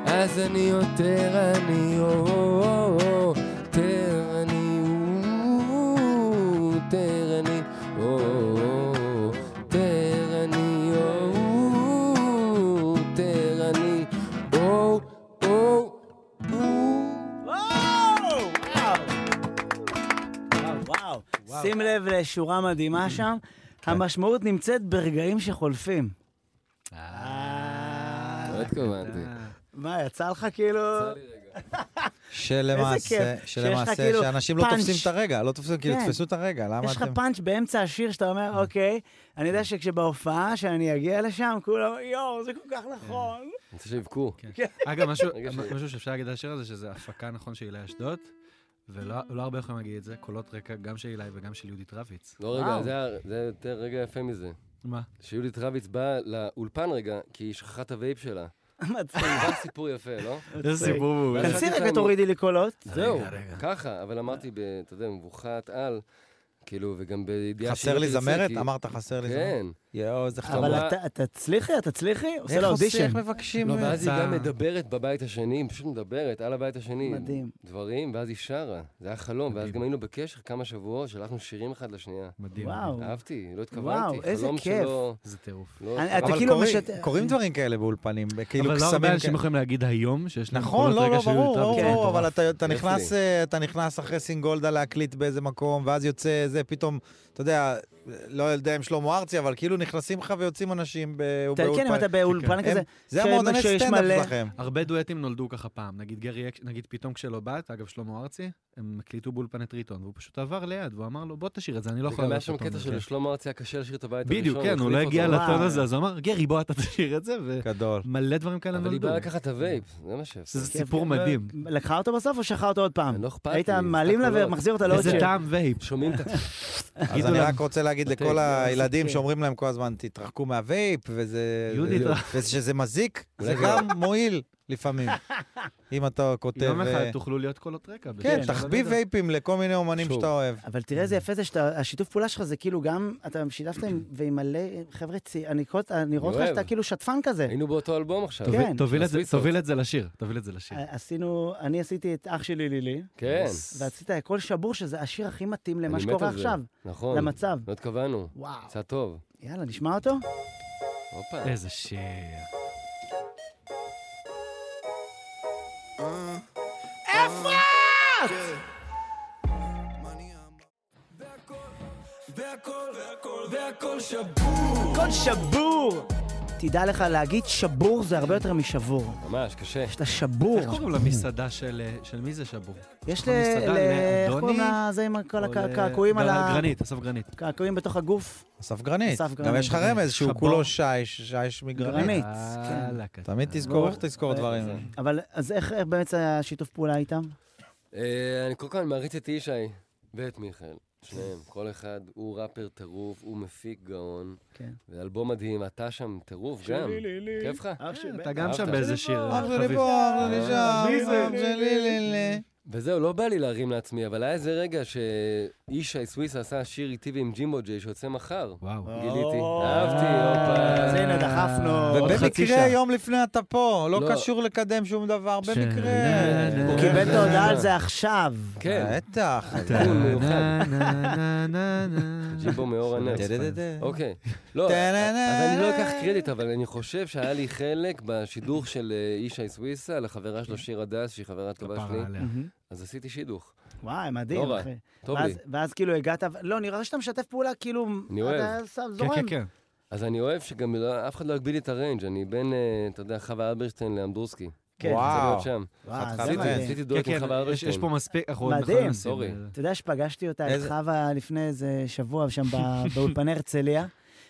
H: אז אני יותר אני יותר אני יותר אני יותר אני יותר אני או או או
A: וואו, שים לב לשורה מדהימה שם.
B: כן.
A: המשמעות נמצאת ברגעים שחולפים.
B: אה,
A: אה,
H: לא התכוונתי.
A: מה, יצא לך כאילו...
B: שלמעשה,
A: כיף שיש
B: שלמעשה,
A: לך כאילו
B: שאנשים לא
A: פאנץ'.
B: תופסים את הרגע, לא תופסים, כאילו,
A: כן.
B: תפסו את הרגע, למה
A: יש לך
B: אתם... אה.
A: פאנץ' באמצע השיר שאתה אומר, אוקיי, אני יודע שכשבהופעה, שאני אגיע לשם, כולם,
C: לא-
A: יואו, זה כל כך נכון.
H: אני רוצה שיבכו.
C: כן. אגב, משהו-
H: רגע ש-
C: משהו שאפשר להגיד על השיר הזה, שזה הפקה נכון של הילה אשדוד, ולא לא הרבה יכולים להגיד את זה, קולות רקע גם של הילה וגם של יהודית רביץ.
H: לא, רגע, זה היה- זה היה יותר רגע יפה מזה.
C: מה?
H: שיהודית רביץ באה לאולפן רגע, כי היא שכחה את הווייפ שלה.
A: מצחיק.
H: זה סיפור יפה, לא?
C: איזה סיפור מעולה.
A: תנסי רגע, תורידי לי קולות.
H: זהו, ככה, אבל אמרתי, ב- אתה יודע, מבוכת על, כאילו, וגם בידיעה
B: חסר
H: שלא
B: לי
H: תרצה,
B: זמרת?
H: כי-
B: אמרת חסר לי זמרת?
H: כן.
B: יואו, איזה חמור.
A: אבל
H: אמרה-
A: אתה- אתה תצליחי, אתה תצליחי, עושה
B: איך
A: לה
B: עושה,
A: אודישן.
B: איך מבקשים?
H: לא, ואז היא
C: יצא-
H: גם מדברת בבית השני, היא פשוט מדברת על הבית השני.
A: מדהים.
H: דברים, ואז היא שרה. זה היה חלום, ואז
C: מדהים.
H: גם היינו בקשר כמה שבועות, שלחנו שירים אחד לשנייה.
C: מדהים.
A: וואו.
H: אהבתי, לא התכוונתי.
A: וואו, איזה
H: חלום
A: כיף.
H: שלא-
C: איזה טירוף.
H: לא-
A: אני- אתה
B: אבל
A: כאילו
B: קורים-
A: משת-
B: קורים דברים כאלה באולפנים, כאילו
C: אבל לא הרבה
B: קסמים
C: אנשים
B: כאלה.
C: יכולים להגיד היום שיש להם
B: נכון,
C: קולות
B: לא,
C: רקע
B: לא,
C: של
B: ברור,
C: יהודית
B: ברור,
C: רביץ.
A: כן.
B: ברור, אבל אתה- אתה
H: כיף
B: נכנס,
H: לי.
B: אה, אתה נכנס אחרי סינגולדה להקליט באיזה מקום, ואז יוצא זה פתאום, אתה יודע, לא יודע אם שלמה ארצי, אבל כאילו נכנסים לך ויוצאים אנשים ב-
A: אתה- כן, אם
B: באולפן.
A: אתה באולפן
B: הם-
A: כזה,
B: זה
A: ש-
B: המועדוני
A: שיש
B: סטנדאפ
A: מלא-
B: שלכם.
C: הרבה דואטים נולדו ככה פעם, נגיד גרי אקש, נגיד פתאום כשלא באת, אגב שלמה ארצי, הם הקליטו באולפן את ריטון, והוא פשוט עבר ליד, והוא אמר לו בוא תשאיר את זה, אני לא יכול
H: וגם היה
C: לעלות
H: שם
C: לטון
H: קטע
C: הזה."
H: שלשלמה ארצי היה קשה לשיר את הבית הראשון.
C: בדיוק, כן,
H: הוא
C: הוא לא
H: החליף
C: הגיע
H: אותו. אה.
C: לטון
A: וואו.
C: הזה, אז הוא אמר, גרי בוא אתה תשאיר את זה,
B: גדול.
C: ומלא דברים כאלה
H: אבל היא
C: נולדו.
H: באה לקחת את הווייפ, זה מה כן, שיפה.
C: זה סיפור מדהים.
A: לא, לקחה אותו בסוף או שכחה אותו עוד פעם?
H: לא אכפת לי.
A: היית
H: זה
A: מעלים לה
H: הקולות.
A: ומחזיר אותה לעוד
C: איזה
A: שיר.
C: טעם וייפ.
H: שומעים את ה...
B: אז
C: יגידו
B: אני
C: להם-
B: רק רוצה להגיד
C: אוקיי,
H: בתי,
B: לכל
H: לא,
B: הילדים
A: כן.
B: שאומרים להם כל הזמן, תתרחקו מהווייפ, וזה...
C: יהודית, אה.
B: זה- ושזה מזיק, זה
H: אולי זה-
B: גם מועיל לפעמים, אם אתה כותב...
C: יום אחד
B: אה,
C: תוכלו להיות קולות רקע.
B: כן,
C: בטח,
B: תחביא
C: לא יודע.
B: וייפים לכל מיני אומנים
H: שוב.
B: שאתה אוהב.
A: אבל תראה איזה יפה זה שהשיתוף פעולה שלך זה כאילו גם, אתה שיתפת עם- ועם מלא חבר'ה צעירים, אני כל- אני רואה אותך
H: אוהב.
A: שאתה כאילו שטפן כזה.
H: היינו באותו אלבום עכשיו.
A: טוב,
C: תוביל-
A: כן.
C: תוביל את זה-
H: הסוויסות.
C: תוביל את זה לשיר, תוביל את זה לשיר.
A: עשינו, אני עשיתי את אח שלי לילי,
H: כן.
A: ועשית הכל שבור שזה השיר הכי מתאים למה
H: אני מת
A: שקורה
H: על זה.
A: עכשיו,
H: נכון.
A: למצב.
H: לא התכוונו.
A: וואו.
H: יצא טוב.
A: יאללה, נשמע אותו?
H: הופה.
C: איזה שיר.
A: הכל שבור! תדע לך להגיד שבור זה הרבה יותר משבור.
G: ממש, קשה.
A: שאתה שבור.
C: איך קוראים למסעדה של אה, של מי זה שבור?
A: יש ל...
C: המסעדה
A: ל- איך
C: לאדוני?
A: קוראים לזה עם כל
C: או ל- לא,
A: הקעקועים על ה...
C: גרנית, אסף גרנית.
A: קעקועים בתוך הגוף?
B: אסף גרנית.
A: אסף
B: גם
A: גרנית.
B: יש לך רמז שהוא
C: שבור.
B: כולו שיש, שיש מגרנית.
A: גרנית.
C: יאללה, קטן.
B: תמיד תזכור איך תזכור
A: זה-
B: דברים.
A: אבל אז איך איך באמת זה השיתוף פעולה איתם?
G: אה, אני כל כך מעריץ את ישי ואת מיכאל, שניהם. כל אחד, הוא ראפר טירוף, הוא מפיק גאון.
A: כן.
G: זה אלבום מדהים, אתה שם טירוף גם. כיף לך?
C: אה,
G: כן,
C: אתה גם שם
G: אהבת.
C: באיזה שיר, אה,
B: אח שלי
C: חביב. אה,
B: פה, אח שלי שם,
A: אה,
C: מי זה?
B: אח שלי לילי.
G: וזהו, לא בא לי להרים לעצמי, אבל היה איזה רגע שישי סוויסה עשה שיר איתי ועם ג'ימבו ג'יי שיוצא מחר.
C: וואו.
G: גיליתי. אהבתי, הופה.
A: אז הנה, דחפנו.
C: עוד חצי
B: ובמקרה
C: שעה.
B: יום לפני אתה פה, לא
G: לא.
B: קשור לקדם שום דבר, במקרה.
C: שנה,
A: הוא
G: הוא
A: קיבל את ההודעה על
G: אה.
A: זה עכשיו.
G: כן,
B: בטח.
G: תיקון מיוחד.
C: נה, נה, נה, נה.
G: ג'ימבו מאור הנס.
B: טה-טה-טה-טה.
G: אוקיי. לא,
B: טה-נה-נה.
G: אז אני לא אקח קרדיט, אבל אני חושב שהיה לי חלק בשידוך של אה, ישי סוויסה לחברה שלו שיר הדס, שהיא חברה טובה שלי.
C: כפרה עליה.
A: מהמם.
G: אז עשיתי שידוך.
A: וואי, מדהים,
G: לא רע.
A: אחי.
G: טוב לי.
A: ואז- ואז כאילו הגעת, לא, נראה לי שאתה משתף פעולה, כאילו...
G: אני אוהב.
A: אתה שם,
C: כן,
A: זורם.
C: כן, כן.
G: אז אני אוהב שגם לא- אף אחד לא יגביל לי את הריינג', אני בין, אה, אתה יודע, חווה אלברשטיין לאמדורסקי.
A: כן.
G: אני רוצה
B: וואו.
G: להיות שם.
A: וואו, זה
B: חתיכת
G: עשיתי-
B: מדהים.
G: עשיתי
C: כן,
G: דואט עם
C: כן,
G: חווה
C: יש- יש
G: אלברשטיין.
C: פה מספיק, אנחנו
A: נכון. מדהים.
C: אנחנו מנסים,
G: סורי.
C: אה,
A: אתה יודע שפגשתי אותה, את
B: איזה-
A: חווה, לפני איזה שבוע שם ב- באולפני הרצליה,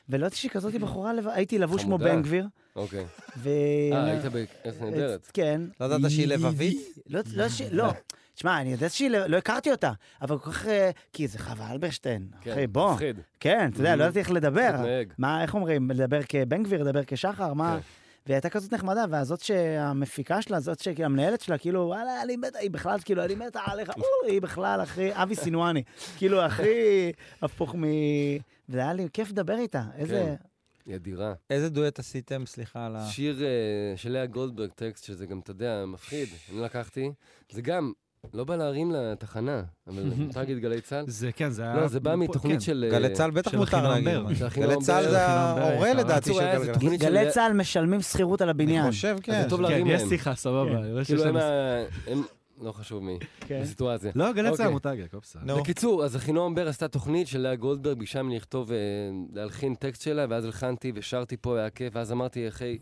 A: ולא ידעתי שהיא כזאת בחורה לבד, הייתי לבוש כמו
G: חמודה.
A: בן גביר.
G: אוקיי.
A: ו...
G: אה, היית בארץ נהדרת.
A: כן.
B: לא ידעת שהיא לבבית?
A: לא, לא, ש... לא. תשמע, אני יודע שהיא, לא לא הכרתי אותה, אבל כל כך, אה, כי זה חווה אלברשטיין,
G: כן,
A: אחי, בוא.
G: מפחיד.
A: כן, אתה יודע, לא ידעתי איך לדבר.
G: להתנהג.
A: מה, איך אומרים, לדבר כבן גביר, לדבר כשחר, מה?
G: כן.
A: והיא הייתה כזאת נחמדה, והזאת שהמפיקה שלה, זאת שהמנהלת שלה, כאילו, וואלה, אני מתה, היא בכלל, כאילו, אני מתה עליך, אוי, היא בכלל, אחי, אבי סינואני. כאילו, הכי הפוך מ... וזה היה לי כיף לדבר איתה,
G: כן.
A: איזה...
G: היא אדירה.
B: איזה דואט עשיתם? סליחה על ה...
G: שיר אה, של לאה גולדברג, טקסט, שזה גם, אתה יודע, מפחיד, אני לקחתי. זה גם, לא בא להרים לתחנה, אבל מותר להגיד גלי צה"ל.
C: זה כן, זה היה...
G: לא, זה בא מתוכנית
C: כן.
G: של... אה,
B: גלי צה"ל בטח
C: של
B: מותר
C: אחינועם
B: להגיד.
C: בר.
G: של אחינועם
B: גלי צה"ל
G: בר.
B: זה
C: אחינועם בר,
B: ההורה
C: קראתי.
B: לדעתי
G: בקיצור,
B: של
G: היה איזה
B: גלגלצ.
G: תוכנית של... אה,
A: גלי צה"ל משלמים שכירות על
B: אני
A: הבניין.
B: חושב, כן.
G: זה טוב
C: כן,
G: להרים
C: יש
G: להם.
C: שיחה, סבבה. יש
G: כאילו, הם
C: לנו-
G: ה- הם... לא חשוב מי.
A: כן.
G: בסיטואציה.
C: לא, גלי צהר
G: אוקיי.
C: מותג, הכל בסדר.
B: נו,
G: בקיצור, אז אחינועם בר עשתה תוכנית של לאה גולדברג, ביקשה ממני לכתוב, אה, להלחין טקסט שלה, ואז הלחנתי ושרתי פה, היה כיף, ואז אמרתי, אחי...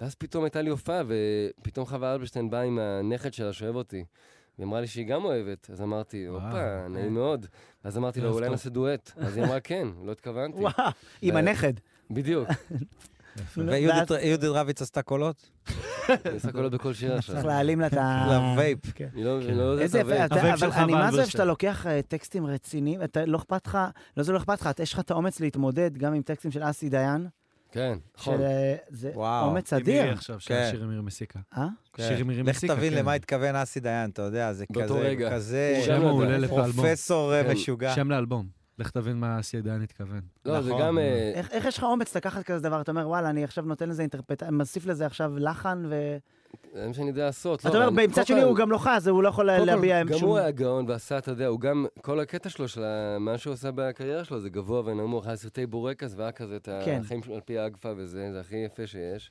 G: ואז פתאום הייתה לי הופעה, ופתאום חווה אלברשטיין באה עם הנכד שלה שאוהב אותי. היא אמרה לי שהיא גם אוהבת, אז אמרתי,
C: וואו.
G: הופה, נעים מאוד. אז אמרתי לה,
C: ערב
G: אולי
C: טוב."
G: נעשה דואט. אז היא אמרה, כן, לא התכוונתי.
A: וואו, עם
G: אה,
A: הנכד. לא,
G: בדיוק.
A: ואז
B: ויהודית יהודית רביץ עשתה קולות? כן.
G: אני עושה קולות בכל שירה
A: צריך
G: שלה.
A: להעלים לה את ה...
B: לווייפ.
A: כן.
G: אני לא- אני לא יודע
A: איזה
G: את
A: יפה,
G: הווייב.
A: אתה-
C: הווייב
A: אבל
C: שלך
A: אני מה זה
C: באלברשטיין.
A: אוהב שאתה לוקח אה, טקסטים רציניים, אתה לא אכפת לך, לא זה לא אכפת לך, אתה- יש לך את האומץ להתמודד גם עם טקסטים של אסי דיין,
G: כן, נכון.
A: שזה
B: וואו,
A: אה, אומץ
C: עם מירי
A: אדיר.
C: עכשיו, של
B: כן.
C: שיר אמיר מסיקה.
A: אה?
B: כן.
C: שירי מירי
B: לך
C: מסיקה,
B: תבין
C: כן.
B: למה התכוון אסי דיין, אתה יודע, זה
G: באותו
B: כזה-
G: רגע.
B: כזה
G: שם
C: שם מעולה
G: לדעת.
C: לפעלבום.
B: פרופסור אה,
G: כן.
B: משוגע.
C: שם לאלבום. לך תבין מה אסי עדיין התכוון.
G: לא, זה
B: נכון.
G: גם... אה,
A: איך איך יש לך אומץ לקחת כזה דבר? אתה אומר, וואלה, אני עכשיו נותן לזה אינטרפטציה, מוסיף לזה עכשיו לחן, ו...
G: זה מה שאני יודע לעשות.
A: אתה
G: לא,
A: אומר,
G: אבל כל
A: מצד שני
G: פעם-
A: הוא גם לא חי, אז הוא לא יכול
G: כל פעם-
A: להביע
G: גם
A: שום...
G: הוא היה גאון ועשה, אתה יודע, הוא גם, כל הקטע שלו, של ה- מה שהוא עשה בקריירה שלו, זה גבוה ונמוך, היה סרטי בורקס, והיה כזה את
A: כן.
G: החיים שלו על פי האגפה וזה, זה הכי יפה שיש.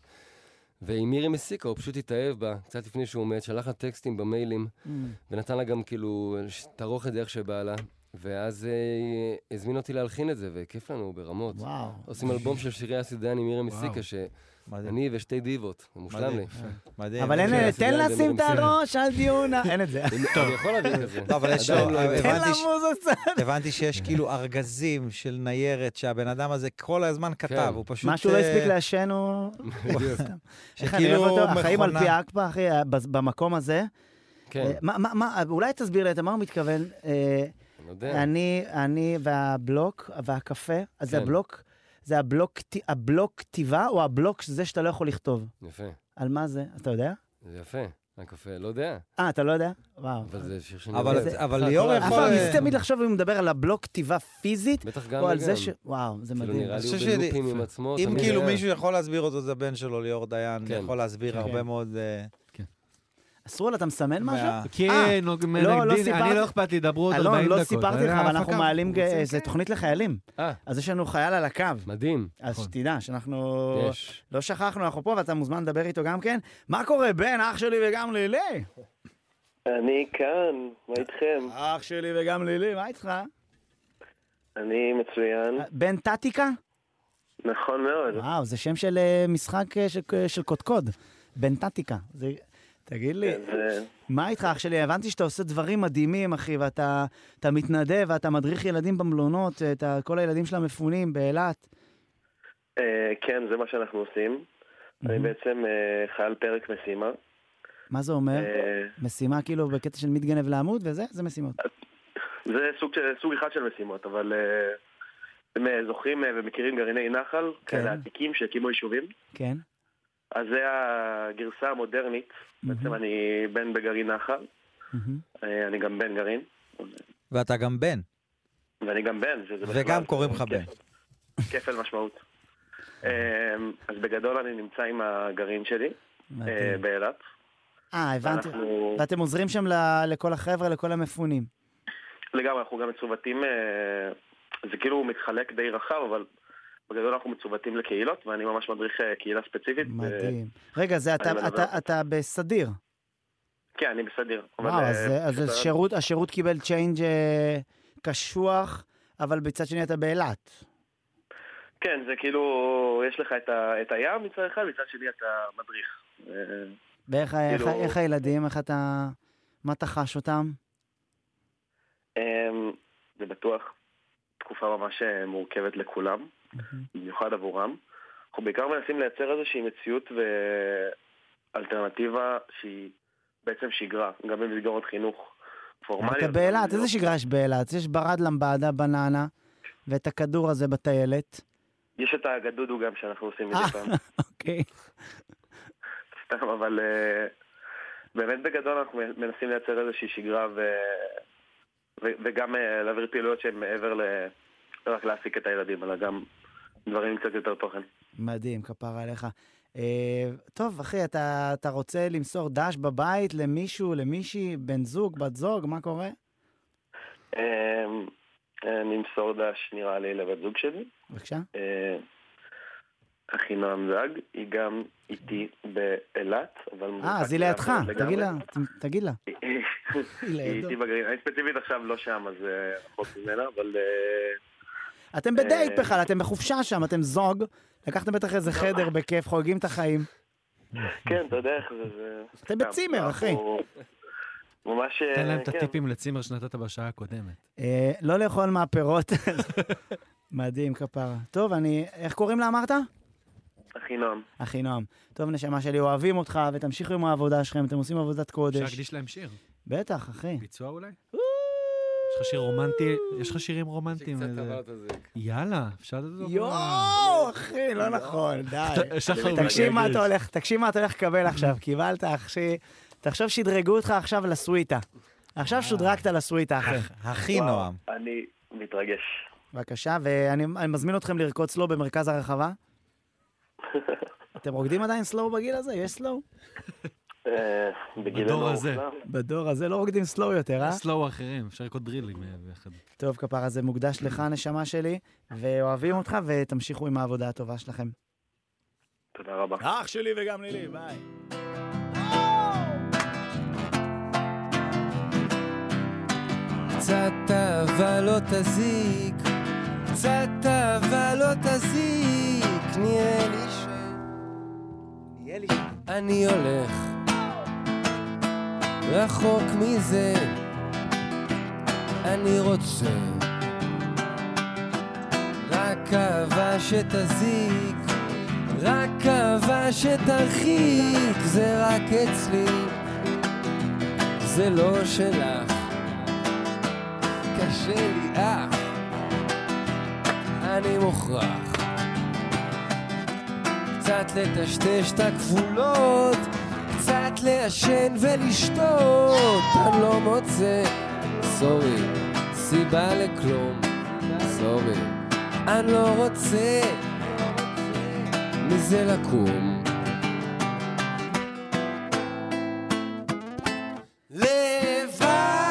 G: ועם מירי מסיקה, הוא פשוט התאהב בה, קצת לפני שהוא מת, שלח לה טקסטים במיילים,
A: Mm.
G: ונתן לה גם כאילו, ש- תערוך את זה איך שבא לה, ואז אה, היא הזמין אותי להלחין את זה, וכיף לנו ברמות.
A: וואו.
G: עושים אלבום של שירי אסי דיין עם מירי מסיקה,
C: וואו.
G: שאני
B: מדהים,
G: ושתי דיבות, זה מושלם לי.
B: מדהים. מדהים.
A: אבל אין,
G: כן,
A: אה,
G: אסי
A: תן
G: דיין זה
A: לשים את
G: מרמסים.
A: הראש אה. על דיונה, אין את זה.
G: אני יכול להביא כזה.
B: לא, אבל יש לו,
G: עדיין לא הבאתי.
A: תן
B: הבנתי ש-
A: למוזות קצת.
B: הבנתי שיש כאילו ארגזים של ניירת שהבן אדם הזה כל הזמן כתב,
G: כן.
B: הוא פשוט...
A: מה שהוא לא
B: אה,
A: הספיק לעשן הוא...
G: בדיוק.
A: איך אני אוהב
B: שכאילו
A: אותו, החיים על פי
B: מכונה.
A: האקפה, אחי, אה, בז- במקום הזה.
G: כן,
A: אה, מה- מה- מה- אולי תסביר לי, אתה מה הוא מתכוון? אה,
G: אני לא יודע.
A: אני, אני והבלוק והקפה, אז זה
G: כן.
A: הבלוק, זה הבלוק, כת- הבלוק כתיבה או הבלוק זה שאתה לא יכול לכתוב?
G: יפה.
A: על מה זה? אתה יודע?
G: זה יפה, הקפה, לא יודע,
A: אה, אתה לא יודע? וואו.
G: אבל זה שיר שאני...
B: אבל-
G: יודע.
B: אבל
G: אה,
B: ליאור
G: כל
A: אף
B: יכול-
G: ה-
A: פעם
B: אה,
A: ניסיתי תמיד לחשוב אם הוא מדבר על הבלוק כתיבה פיזית,
G: בטח גם
A: או על זה
G: וגם.
A: ש... וואו, זה
G: כאילו
A: מדהים.
G: נראה לי
B: אני
G: הוא
B: חושב שזה-
G: בלופים עם עצמו.
B: אם
G: תמיד
B: כאילו
G: היה.
B: מישהו יכול להסביר אותו, זה בן שלו, ליאור דיין,
G: כן.
B: יכול להסביר הרבה מאוד... אה,
A: אסרול, אתה מסמן משהו?
B: מה-
A: אה,
C: כן, נו,
A: לא
C: מנגדים,
A: סיפרתי-
C: אני לא אכפת לי, דברו עוד 40 דקות.
A: אלון, לא סיפרתי לך,
C: אה,
A: אבל אנחנו
C: הפקה.
A: מעלים, ג- זה תוכנית לחיילים.
G: אה,
A: אז יש לנו חייל על הקו.
G: מדהים,
A: אז
C: נכון.
A: שתדע שאנחנו...
G: יש.
A: לא שכחנו, אנחנו פה ואתה מוזמן לדבר איתו גם כן. מה קורה, בן, אח שלי וגם לילי?
I: אני כאן, מה איתכם?
A: אח שלי וגם לילי, מה איתך?
I: אני מצוין.
A: בן טטיקה?
I: נכון מאוד.
A: וואו, זה שם של אה, משחק אה, של, אה, של קודקוד, בנטטיקה. זה... תגיד לי,
I: זה-
A: מה איתך, אח שלי? הבנתי שאתה עושה דברים מדהימים, אחי, ואתה אתה מתנדב ואתה מדריך ילדים במלונות, אה, את ה- כל הילדים של המפונים באילת.
I: אה, כן, זה מה שאנחנו עושים.
A: Mm-hmm.
I: אני בעצם אה, חייל פרק משימה.
A: מה זה אומר?
I: אה,
A: משימה כאילו בקטע של מתגנב לעמוד וזה? זה משימות.
I: זה סוג, של- סוג אחד של משימות, אבל אה, אתם אה, זוכרים אה, ומכירים גרעיני נחל,
A: כן.
I: כאלה עתיקים שהקימו יישובים?
A: כן?
I: אז זה הגרסה המודרנית.
A: Mm-hmm.
I: בעצם אני בן בגרעין נחל,
A: מהמם.
I: אה, אני גם בן גרעין,
B: ואתה גם בן,
I: ואני גם בן, שזה בכלל...
B: וגם קוראים לך בן.
I: כפל משמעות. אה, אז בגדול אני נמצא עם הגרעין שלי, אה,
A: מדהים.
I: באילת.
A: אה, הבנתי.
I: ואנחנו-
A: ואתם עוזרים שם ל- לכל החבר'ה, לכל המפונים.
I: לגמרי, אנחנו גם מצוותים, אה, זה כאילו מתחלק די רחב, אבל בגדול אנחנו מצוותים לקהילות, ואני ממש מדריך אה, קהילה ספציפית. אה,
A: מדהים. רגע, זה אתה-
I: אני מלווה
A: אתה-
I: אותם.
A: אתה בסדיר.
I: כן, אני בסדיר. אבל,
A: וואו,
I: אה,
A: אז אה, אז
I: פשוט-
A: השירות- השירות קיבל צ'יינג' אה, קשוח, אבל בצד שני אתה באילת.
I: כן, זה כאילו, יש לך את, ה, את הים מצד אחד, מצד שני אתה מדריך. אה,
A: ואיך ה- איך ה-
I: כאילו-
A: איך הילדים, איך אתה... מה אתה חש אותם?
I: אמ, זה בטוח תקופה ממש אה, מורכבת לכולם, במיוחד עבורם. אנחנו בעיקר מנסים לייצר איזושהי מציאות ואלטרנטיבה שהיא בעצם שגרה, גם במסגרות חינוך פורמליות.
A: אתה באילת, איזה שגרה יש באילת? יש ברד למבעדה, בננה, ואת הכדור הזה בטיילת.
I: יש את האגדודו גם שאנחנו עושים
A: אה.
I: מדי פעם,
A: אוקיי.
I: סתם, אבל אה, באמת בגדול אנחנו מנסים לייצר איזושהי שגרה ו... ו- וגם אה, להעביר פעילויות שהן מעבר ל... לא רק להעסיק את הילדים, אלא גם דברים עם קצת יותר תוכן.
A: מדהים, כפרה עליך. אה, טוב, אחי, אתה, אתה רוצה למסור דש בבית למישהו, למישהי, בן זוג, בת זוג, מה קורה?
I: אמ, אני אמסור דש, נראה לי, לבת זוג שלי.
A: בבקשה.
I: אה, אחינועם זג, היא גם איתי באילת, אבל...
A: אה, אז היא לידך, תגיד לה, ת- תגיד לה.
I: היא
A: היא לידו.
I: איתי בגרעין, אני ספציפית עכשיו לא שם, אז אה, רחוק ממנה, אבל... אה,
A: אתם בדייט
I: אה,
A: בכלל, אתם בחופשה שם, אתם זוג, לקחתם בטח איזה חדר בכיף, חוגגים את החיים.
I: כן, אתה יודע איך זה, זה... לא,
A: אתם בצימר, אחי.
I: אנחנו ממש... אה,
C: תן להם את
I: כן.
C: הטיפים לצימר שנתת בשעה הקודמת.
A: אה, לא לאכול מהפירות. מדהים, כפרה. טוב, אני, איך קוראים לה אמרת?
I: אחינועם.
A: אחי נועם. טוב, נשמה שלי, אוהבים אותך, ותמשיכו עם העבודה שלכם, אתם עושים עבודת
C: אפשר
A: קודש.
C: להקדיש להם שיר?
A: בטח, אחי.
C: ביצוע אולי? יש לך שיר רומנטי? יש לך שירים רומנטיים?
G: שקצת
C: איזה-
G: עבר את הזיק.
C: יאללה, אפשר לתת אותו?
A: יואו, אחי, לא נכון, די.
C: שחר
A: תקשיב מה
C: מתרגש.
A: אתה הולך, תקשיב מה אתה הולך לקבל עכשיו, קיבלת אחי, תחשוב שדרגו אותך עכשיו לסוויטה. עכשיו שודרגת לסוויטה, אחי.
B: הכי נועם.
I: אני מתרגש.
A: בבקשה, ואני אני מזמין אתכם לרקוד סלואו במרכז הרחבה. אתם רוקדים עדיין סלואו בגיל הזה? יש סלואו?
I: אה, בגילנו
C: בדור הזה.
I: המוקדם.
A: בדור הזה לא רוקדים סלואו יותר, אה?
C: סלואו אחרים, אפשר לקרוא דרילים אה, ביחד.
A: טוב, כפרה, זה מוקדש לך, נשמה שלי, ואוהבים אותך, ותמשיכו עם העבודה הטובה שלכם.
I: תודה רבה.
A: אח שלי וגם לילי, ביי.
H: קצת אהבה לא תזיק, קצת אהבה לא תזיק, נראה לי ש... נראה לי ש... אני הולך רחוק מזה, אני רוצה רק אהבה שתזיק, רק אהבה שתרחיק, זה רק אצלי, זה לא שלך. קשה לי אך, אני מוכרח קצת לטשטש את הגבולות, קצת לעשן ולשתות, אני לא מוצא, סורי, סיבה לכלום, סורי, אני לא רוצה מזה לקום.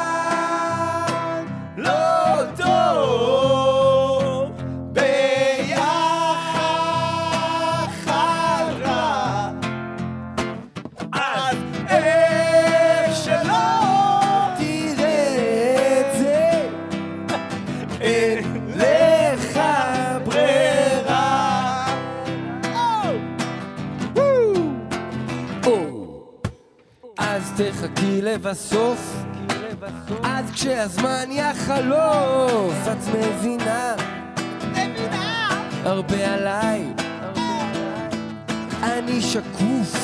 H: לבד לא טוב, ביחד רע. אז איך שלא תראה את זה, אין לך ברירה. או, אז תחכי לבסוף, אז כשהזמן יחלוף, את מבינה, הרבה עליי, אני שקוף,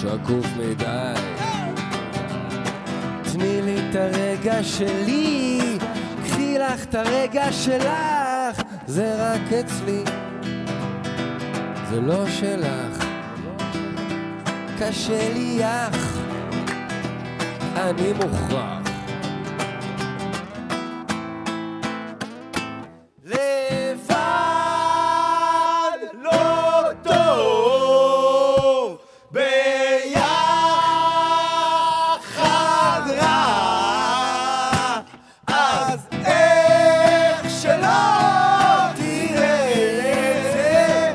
H: שקוף מדי. תני לי את הרגע שלי, קחי לך את הרגע שלך, זה רק אצלי, זה לא שלך. קשה לי אך, אני מוכרח. לבד לא טוב, ביחד רע, אז איך שלא תראה את זה,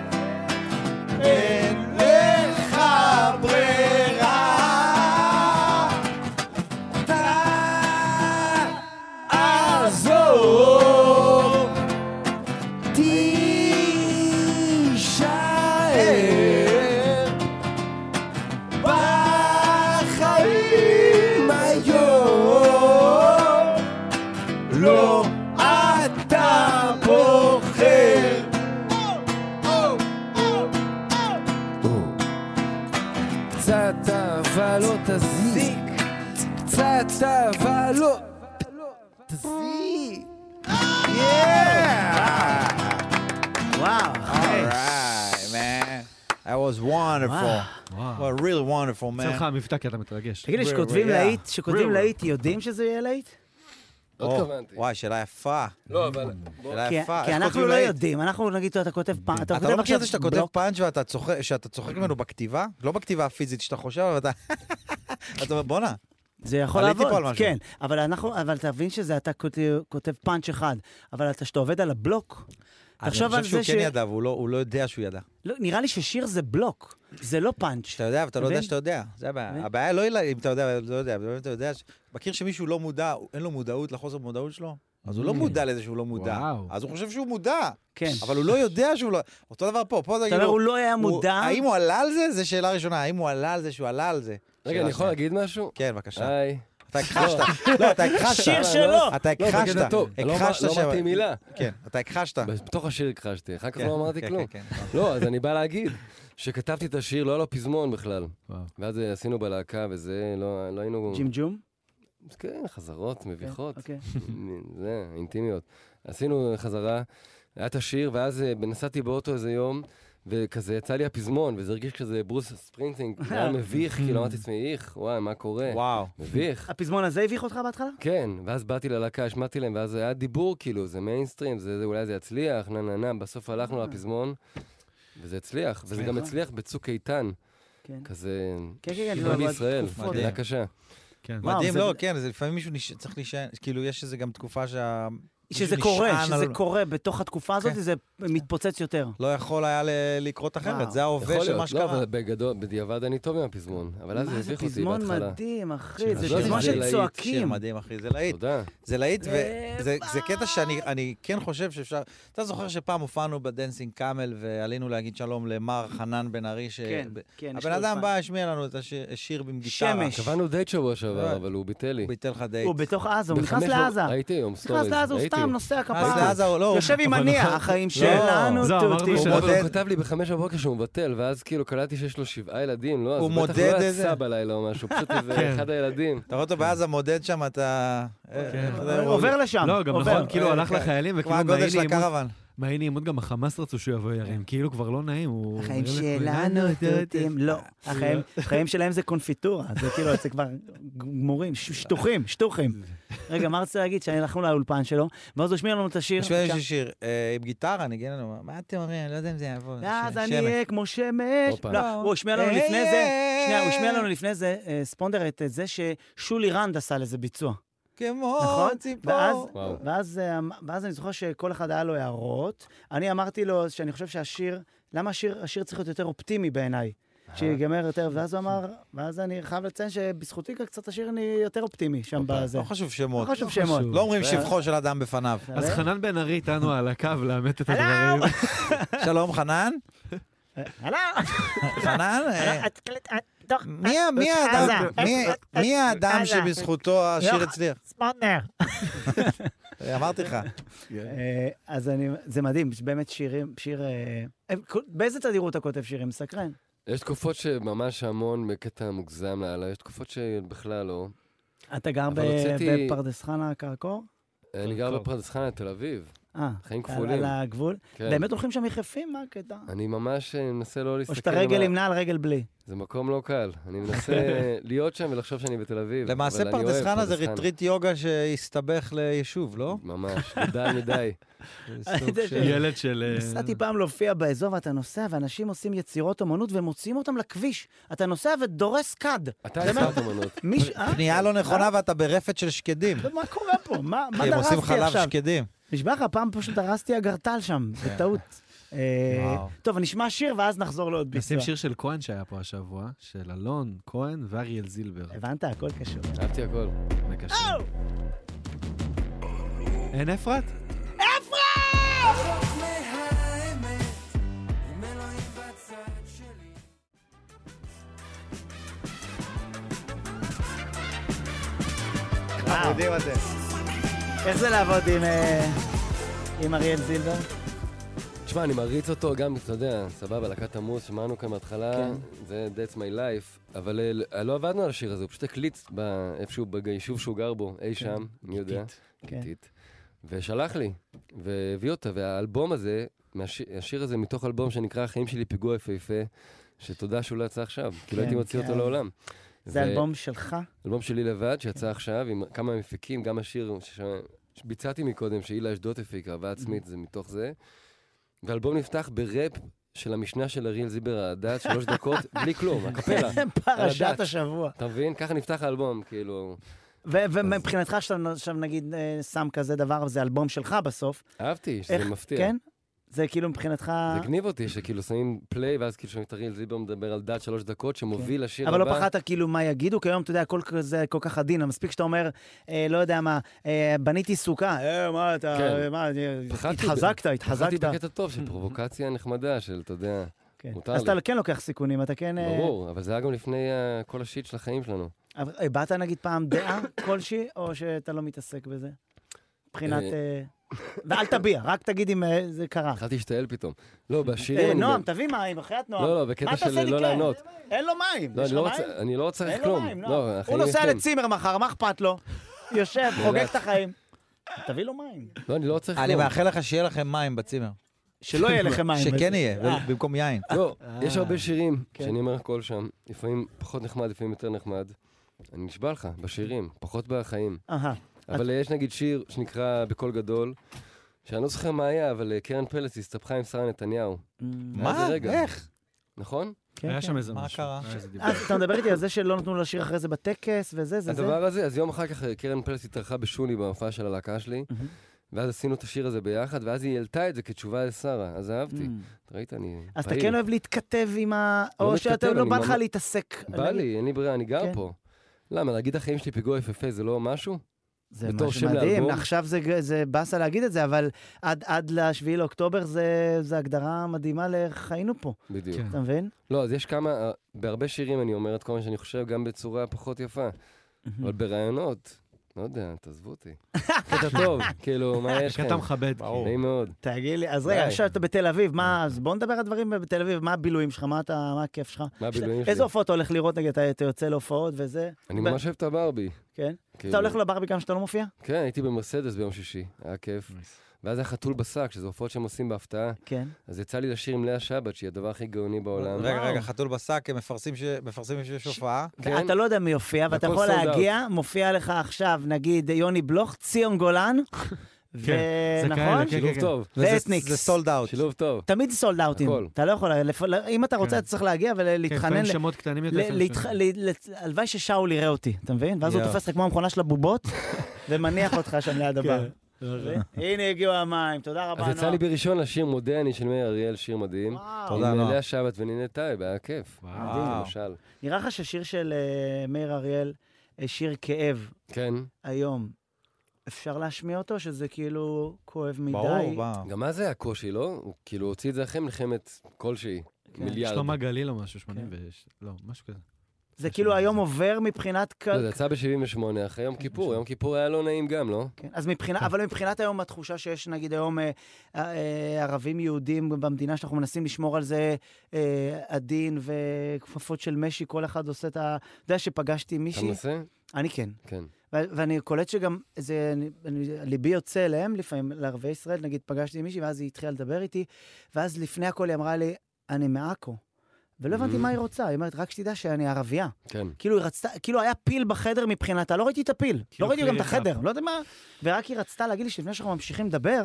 H: אין לך ברירה. תעזוב, תישאר בחיים היום. לא אתה בוחר. קצת אהבה לא תזיק, קצת אהבה לא תזיק.
A: וואו, אחי.
B: Right, man. That was wonderful. Well, really wonderful,
C: יוצא לך
B: man.
C: המבטא אה, כי אתה מתרגש.
A: תגיד לי,
B: Real,
A: שכותבים
B: real, yeah. Oh.
A: להיט, שכותבים
C: Real.
A: להיט, יודעים שזה יהיה להיט?
G: לא
B: או,
G: התכוונתי.
B: oh, וואי, שאלה יפה.
G: לא, אבל... בוא-
B: שאלה
A: כי-
B: יפה.
A: כי
B: איך
A: אנחנו
B: כותבים
A: לא
B: להיט?
A: יודעים, אנחנו נגיד, אתה כותב פעם, אתה
B: אתה
A: כותב
B: לא מכיר
A: עכשיו
B: את זה שאתה כותב
A: בלוק,
B: פאנץ' ואתה צוחק- שאתה צוחק ממנו בכתיבה? לא בכתיבה הפיזית שאתה חושב, אבל אתה... אתה אומר, בואנה,
A: זה יכול
B: עליתי פה
A: לעבוד,
B: על משהו.
A: כן, אבל אנחנו, אבל תבין שזה אתה כותב- כותב פאנץ' אחד, אבל אתה- כשאתה עובד על הבלוק,
B: אני
A: תחשוב
B: חושב
A: על
B: שהוא
A: זה ש...
B: כן ידע, והוא לא- הוא לא יודע שהוא ידע.
A: לא, נראה לי ששיר זה בלוק, זה לא פאנץ'.
B: שאתה יודע, ואתה לא יודע
A: מבין?
B: שאתה יודע. זה הבעיה.
A: מבין?
B: הבעיה לא היא אם אתה יודע, לא יודע, אבל אם אתה יודע, ש- מכיר שמישהו לא מודע, הוא- אין לו מודעות לחוסר מודעות שלו? אז הוא לא
C: Mm.
B: מודע לזה שהוא לא מודע.
C: וואו.
B: אז הוא חושב שהוא מודע,
A: כן.
B: אבל הוא לא יודע שהוא לא... אותו דבר פה, פה זה
A: אתה אומר,
B: כאילו...
A: הוא לא היה מודע,
B: הוא- האם הוא עלה על זה? זו שאלה ראשונה. האם הוא עלה על זה שהוא עלה על זה?
G: רגע,
B: שאלה
G: אני יכול
B: שנייה.
G: להגיד משהו?
B: כן, בבקשה.
G: היי.
B: אתה הכחשת. לא, אתה הכחשת.
A: שיר שלו.
B: אתה
G: לא,
B: הכחשת.
G: בקטע טוב. לא אמר-
B: הכחשת
G: לא
B: ש-
G: אמרתי מילה.
B: כן, אתה הכחשת.
G: בתוך השיר הכחשתי, אחר כך
B: כן,
G: לא אמרתי
B: כן,
G: כלום.
B: כן,
G: לא, אז אני בא להגיד שכתבתי את השיר, לא היה לו פזמון בכלל.
C: וואו.
G: ואז אה, עשינו בלהקה וזה, לא לא היינו...
A: ג'ימג'ום?
G: כן, חזרות מביכות.
A: אוקיי.
G: זה, אינטימיות. עשינו חזרה, היה את השיר, ואז אה, נסעתי באוטו איזה יום, וכזה יצא לי הפזמון, וזה הרגיש כזה ברוס ספרינגסטינג, זה היה מביך, כאילו אמרתי לעצמי, איך, וואי, מה קורה?
B: כן. וואו.
G: מביך.
A: הפזמון הזה הביך אותך בהתחלה?
G: כן, ואז באתי ללהקה, השמעתי להם, ואז היה דיבור, כאילו, זה מיינסטרים, זה, זה, אולי זה יצליח, נה נה נה, בסוף הלכנו
A: אה.
G: לפזמון, וזה הצליח, וזה גם הצליח בצוק איתן,
A: כן.
G: כזה...
A: כן, כן,
G: שירה
A: אבל
G: בישראל,
A: תקופות.
G: זה היה קשה.
C: כן.
A: וואו,
B: מדהים,
A: זה-
B: לא, כן, זה לפעמים מישהו נש- צריך להישען, כאילו, יש איזה גם תקופה שה...
A: שזה
B: מישהו
A: קורה,
B: נשען
A: שזה
B: על-
A: קורה בתוך התקופה הזאת,
B: כן.
A: זה מתפוצץ יותר.
B: לא יכול היה ל- לקרות
A: וואו.
B: אחרת, זה ההווה
G: יכול
B: של מה
G: להיות, לא,
B: שקרה.
G: אבל בגדול, בדיעבד אני טוב עם הפזמון, אבל אז זה
A: מה זה
G: הביך אותי בהתחלה.
A: פזמון מדהים, אחי, זה
G: אז לא,
A: פזמון
G: זה
A: של
G: להיט,
B: שיר
A: צועקים.
B: מדהים, אחי, זה להיט.
G: תודה.
B: זה להיט, וזה זה קטע שאני אני כן חושב שאפשר... אתה זוכר שפעם הופענו בדנסינג קאמל ועלינו להגיד שלום למר חנן בן ארי, ש...
A: כן, כן. יש
B: הבן
A: לו
B: אדם
A: פאנץ'.
B: בא, השמיע לנו את השיר שיר עם גיטרה.
A: שמש.
G: קבענו דייט שבוע שעבר,
B: לא.
G: אבל הוא ביטל לי.
B: הוא ייתן לך דייט.
A: הוא בתוך עזה, הוא נכנס
G: בחמש בב-
A: לעזה.
G: ראיתי היום סטוריז.
A: נכנס לעזה, הוא
G: ראיתי.
A: סתם נוסע
B: אז
A: כפיים.
B: לעזה הוא לא... הוא-
A: יושב עם מניע, החיים שלנו,
C: זה אמרתי
A: תותים.
G: נכון. הוא
C: שלא.
G: הוא כתב לי בחמש בבוקר שהוא מבטל, ואז כאילו קלטתי שיש לו שבעה ילדים, לא? אז
B: הוא
G: הוא בטח
B: מודד
G: לא יצא
B: איזה-
G: בלילה או משהו, פשוט איזה
C: כן.
G: אחד הילדים.
B: אתה רואה אותו בעזה מודד שם, אתה...
C: כן.
A: אוקיי, הוא עובר לשם,
C: לא, גם
A: עובר.
C: נכון, כאילו,
B: אה,
C: הלך
B: כן.
C: לחיילים,
B: כמו
C: וכאילו,
B: הגודל
C: מהאי
B: של
C: נעימות-
B: הקרוון.
C: מהאי נעימות גם החמאס רצו שהוא יבוא ירים. כאילו, כבר לא נעים, הוא...
A: כן. החיים
C: אומר
A: שלנו
C: לכולם,
A: תותים. לא, החיים- החיים שלהם זה קונפיטורה, זה כאילו, זה כבר גמורים, ש- שטוחים, שטוחים. רגע, מה רצית להגיד? שהלכנו לאולפן שלו, ואז הוא השמיע לנו את השיר.
B: יש לי שיר אה, עם גיטרה, ניגן לנו, מה אתם אומרים? אני לא יודע אם זה יעבור.
A: אז
B: ש-
A: אני
B: שמש.
A: אהיה כמו שמש.
G: הופה.
A: לא, הוא השמיע לנו
B: היי,
A: לפני זה,
B: היי,
A: שנייה, הוא השמיע לנו לפני זה, אה, ספונדר, את את זה ששולי רנד עשה לזה ביצוע.
B: כמו
A: נכון?
B: ציפור.
A: ואז,
G: וואו.
A: ואז, אה, אמ- ואז אני זוכר שכל אחד היה לו הערות. אני אמרתי לו שאני חושב שהשיר, למה השיר, השיר צריך להיות יותר אופטימי בעיניי? שיגמר יותר, ואז הוא אמר, ואז אני חייב לציין שבזכותי קצת השיר אני יותר אופטימי שם בזה.
B: לא חשוב שמות.
A: לא חשוב אה. שמות.
C: חשוב.
B: לא אומרים
A: זה-
B: שבחו של אדם בפניו.
C: אז חנן בן ארי איתנו על הקו לאמת את הדברים.
B: שלום, חנן.
A: אהלן.
B: חנן, אה, מי ה- מי האדם- מי- מי האדם שבזכותו השיר הצליח?
A: סמונר.
B: אמרתי לך.
A: אה, אז אני, זה מדהים, באמת שירים, שיר... אה, אה, כל- באיזה תדירות אתה כותב שירים? מסקרן.
G: יש תקופות שממש המון בקטע מוגזם לאללה, יש תקופות שבכלל לא.
A: אתה גר
G: אבל
A: ב-
G: הוצאתי-
A: בפרדס חנה כרכור?
G: אני גר בפרדס חנה, תל אביב.
A: אה,
G: חיים
A: אתה
G: כפולים.
A: על הגבול?
G: כן.
A: באמת הולכים שם יחפים? מה הקטע?
G: אני ממש אה, מנסה לא להסתכל...
A: או שאתה רגל
G: על ה-
A: עם נעל, רגל בלי.
G: זה מקום לא קל. אני מנסה להיות שם ולחשוב שאני בתל אביב.
B: למעשה
G: אבל אני
B: פרדס
G: אוהב
B: חנה
G: פרדס
B: זה
G: חנה.
B: ריטריט יוגה שהסתבך ליישוב, לא?
G: ממש, גדל מדי.
B: זה סוג
A: זה
B: של-
C: ילד של... אה,
A: נסעתי פעם להופיע באזור ואתה נוסע, ואנשים עושים יצירות אומנות ומוציאים אותם לכביש. אתה נוסע ודורס כד.
G: אתה
A: באמת.
G: יצרת אמנות.
A: מי ש... אה?
B: פנייה לא נכונה ואתה ברפת של שקדים.
A: מה קורה פה? מה מה
B: כי הם עושים
A: דרסתי
B: חלב
A: עכשיו?
B: שקדים.
A: נשבע לך, פעם פשוט דרסתי אגרטל שם, בטעות. אה,
B: כן. וואו.
A: טוב, נשמע שיר ואז נחזור לעוד
C: נשים
A: ביצוע.
C: שיר של כהן שהיה פה השבוע, של אלון כהן ואריאל זילבר.
A: הבנת? הכל קשור.
G: אהבתי הכל.
C: מקשר. אין אפרת?
A: וואו, איך זה לעבוד עם, אה, עם אריאל זילבר?
G: תשמע, אני מעריץ אותו גם, אתה יודע, סבבה, להקת עמוס, שמענו כאן
A: כן.
G: בהתחלה, זה That's My Life, אבל אה, לא עבדנו על השיר הזה, הוא פשוט הקליט ב- איפשהו ביישוב שהוא גר בו, אי שם, אני יודע.
A: כן.
G: גיטית. ושלח לי, והביא אותה, והאלבום הזה, מהשיר, השיר הזה מתוך אלבום שנקרא "החיים שלי פיגוע יפהפה", שתודה שהוא לא יצא עכשיו, כי
A: כן,
G: לא הייתי מוציא אותו
A: כן.
G: לעולם.
A: זה אלבום שלך?
G: אלבום שלי לבד, שיצא עכשיו, עם כמה מפיקים, גם השיר שש- שביצעתי מקודם, שהילה אשדוד הפיקה, אהבה
A: Mm-hmm.
G: עצמית, זה מתוך זה. והאלבום נפתח בראפ של המשנה של אריאל זיבר העדת, שלוש דקות, בלי כלום, הקפלה.
A: פרשת
G: הדק.
A: השבוע.
G: אתה מבין? ככה נפתח האלבום, כאילו...
A: ו- ומבחינתך, שאתה עכשיו נגיד אה, שם כזה דבר, זה אלבום שלך בסוף.
G: אהבתי, שזה
A: איך-
G: מפתיע.
A: כן? זה כאילו מבחינתך...
G: זה הגניב אותי, שכאילו שמים פליי, ואז כאילו שומעים את אריאל זיבר מדבר על דת שלוש דקות, שמוביל לשיר הבא.
A: אבל לא פחדת כאילו מה יגידו, כי היום אתה יודע, הכל כזה כל כך עדין, מספיק שאתה אומר, אה, לא יודע מה, אה, בניתי סוכה, אה, מה אתה,
G: כן.
A: אה, מה, אה,
G: פחדתי ב-
A: התחזקת,
G: פחדתי
A: התחזקת. Mm-hmm.
G: בקטע טוב של פרובוקציה נחמדה, של, אתה יודע,
A: כן.
G: מותר
A: אז
G: לי.
A: אתה כן לוקח סיכונים, אתה כן... אה,
G: ברור, אבל זה היה גם לפני אה, כל השיט של החיים שלנו.
A: אבל הבעת נגיד פעם דעה כלשהי, או שאתה לא מתעסק בזה? מבחינת...
G: אה,
A: אה, ואל תביע, רק תגיד אם אה, זה קרה.
G: התחלתי להשתעל פתאום. לא,
A: אה,
G: בשירים... אני
A: נועם,
G: ב-
A: תביא מים, בחייאת נועם.
G: לא, לא,
A: מה
G: בקטע
A: אתה עושה
G: של
A: לי
G: לא
A: כן?
G: לענות.
A: אין לו מים.
G: לא, אני
A: יש לך
G: לא
A: מים?
G: רוצה- אני לא צריך
A: אין לו
G: כלום.
A: מים,
G: לא,
A: נועם. הוא
G: החיים
A: נוסע
G: יפים.
A: לצימר מחר, מה אכפת לו? יושב, חוגג
G: יודעת.
A: את החיים. תביא לו מים.
G: לא, אני לא צריך
B: אה, אני
G: כלום.
B: מאחל לך שיהיה לכם מים בצימר.
A: שלא יהיה לכם מים.
B: שכן יהיה,
A: אה.
B: ו- במקום יין.
G: לא, יש הרבה שירים
A: כן.
G: שאני אומר הכל שם, לפעמים פחות נחמד, לפעמים יותר נחמד. אני נשבע לך, בשירים, פחות בחיים.
A: אהה.
G: אבל יש נגיד שיר שנקרא בקול גדול, שאני לא זוכר מה היה, אבל אה, קרן פלס הסתבכה עם שרה נתניהו,
B: מה?
G: זה רגע.
B: איך?
G: נכון?
A: Mm. כן,
C: היה
A: כן.
C: שם איזה
B: מה
C: משהו.
B: קרה?
G: אה,
C: היה איזה דיבור.
A: אז אתה מדבר איתי על זה שלא נתנו לו לשיר אחרי זה בטקס וזה, זה, זה.
G: הדבר הזה, אז יום אחר כך אה, קרן פלס התארחה בשולי בהופעה של הלהקה שלי,
A: מהמם.
G: ואז עשינו את השיר הזה ביחד, ואז היא העלתה את זה כתשובה לשרה, אז אהבתי.
A: Mm.
G: ראית, אני
A: אז אתה
G: פעיל.
A: כן אוהב להתכתב עם ה...
G: לא
A: או שאתה
G: מתכתב,
A: לא
G: אני
A: בא לך
G: ממש-
A: להתעסק.
G: בא לי, אין לי ברירה, אני גר
A: כן.
G: פה. למה, להגיד החיים שלי פיגוע יפהפה זה לא משהו?
A: זה
G: בתור
A: משהו
G: שם
A: מדהים,
G: לאלבום.
A: עכשיו זה ג- זה באסה להגיד את זה, אבל עד- עד ל-7 לאוקטובר זה זה הגדרה מדהימה לחיינו פה,
G: בדיוק.
C: כן.
A: אתה מבין?
G: לא, אז יש כמה, אה, בהרבה שירים אני אומר את כל מה שאני חושב, גם בצורה פחות יפה. אבל ברעיונות, לא יודע, תעזבו אותי. קטע טוב, כאילו, מה יש
C: קטע
G: כאן?
C: מכבד.
G: נעים מאוד.
A: תגיד לי, אז רגע,
G: די.
A: עכשיו אתה בתל אביב, מה, אז בוא נדבר על דברים בתל אביב, מה הבילויים שלך, מה אתה, מה הכיף שלך?
G: מה הבילויים
A: איזה
G: שלי?
A: הופעות אתה הולך לראות, נגיד, אתה אתה יוצא להופעות וזה?
G: אני
A: ב-
G: ממש אוהב את הברבי.
A: כן?
G: כאילו.
A: אתה הולך לברבי גם כשאתה לא מופיע?
G: כן, הייתי במרסדס ביום שישי, היה כיף. ואז היה חתול בשק, שזה הופעות שהם עושים בהפתעה.
A: כן.
G: אז יצא לי לשיר עם לאה שבת, שהיא הדבר הכי גאוני בעולם.
B: רגע, רגע, חתול בשק, הם מפרסמים ש- מפרסמים שיש הופעה.
G: כן.
A: אתה לא יודע מי יופיע, ואתה
G: והכל
A: יכול
G: sold out.
A: להגיע, מופיע לך עכשיו, נגיד, יוני בלוך, ציון גולן,
C: כן. זה
A: ונכון?
C: כאלה, כן,
G: שילוב
C: כן,
G: טוב,
B: וזה-
A: ואתניקס.
B: זה סולד אאוט.
G: שילוב טוב.
A: תמיד סולד אאוטים.
G: הכל.
A: אתה לא יכול, לפ- אם אתה רוצה,
C: כן.
A: אתה צריך להגיע
C: כן, לפעמים
A: ולהתחנן. ל-
C: שמות קטנים יותר.
A: ל-
C: לפעמים
A: להתח-
C: שמות.
A: ל- ל- הלוואי ששאול יראה אותי, אתה מבין? ואז הוא
B: יואו.
A: תופס לך כמו המכונה של הבובות, ומניח אותך שם ליד הבר.
C: כן, לא,
A: הנה הגיעו המים, תודה רבה,
G: אז יצא
A: נועם.
G: לי בראשון לשיר מודה אני של מאיר אריאל, שיר מדהים.
A: וואו.
B: תודה,
G: עם
B: נועה.
G: לאה שבת ונינה טייב, היה כיף.
C: וואו.
G: למשל.
A: נראה לך ששיר של אה, מאיר אריאל, אה, שיר כאב
G: כן,
A: היום, אפשר להשמיע אותו? שזה כאילו כואב מדי?
B: ברור, ברור.
G: גם אז היה קושי, לא? הוא כאילו הוציא את זה אחרי מלחמת כלשהי.
A: כן.
G: מיליארד.
C: שלמה גליל או משהו, 86, לא, משהו כזה.
A: זה כאילו היום עובר מבחינת... כ-
G: לא, זה יצא ב-78, אחרי יום כיפור. יום כיפור היה לא נעים גם, לא?
A: כן, אז מבחינה, אבל מבחינת היום, התחושה שיש נגיד היום אה, אה, אה, ערבים יהודים במדינה, שאנחנו מנסים לשמור על זה אה, עדין וכפפות של משי, כל אחד עושה את ה... אתה יודע שפגשתי
G: אתה
A: מישהי?
G: מנסה?
A: אני כן.
G: כן.
A: ו- ואני קולט שגם, זה, אני, אני, ליבי יוצא אליהם לפעמים, לערביי ישראל, נגיד פגשתי מישהי, ואז היא התחילה לדבר איתי, ואז לפני הכל היא אמרה לי, אני מעכו. ולא הבנתי
G: Mm.
A: מה היא רוצה, היא אומרת, רק שתדע שאני ערבייה.
G: כן.
A: כאילו היא רצתה, כאילו היה פיל בחדר מבחינתה, לא ראיתי את הפיל, לא
C: כאילו
A: ראיתי גם
C: כלי
A: את
C: רצח.
A: החדר, לא יודע מה, ורק היא רצתה להגיד לי שלפני שאנחנו ממשיכים לדבר,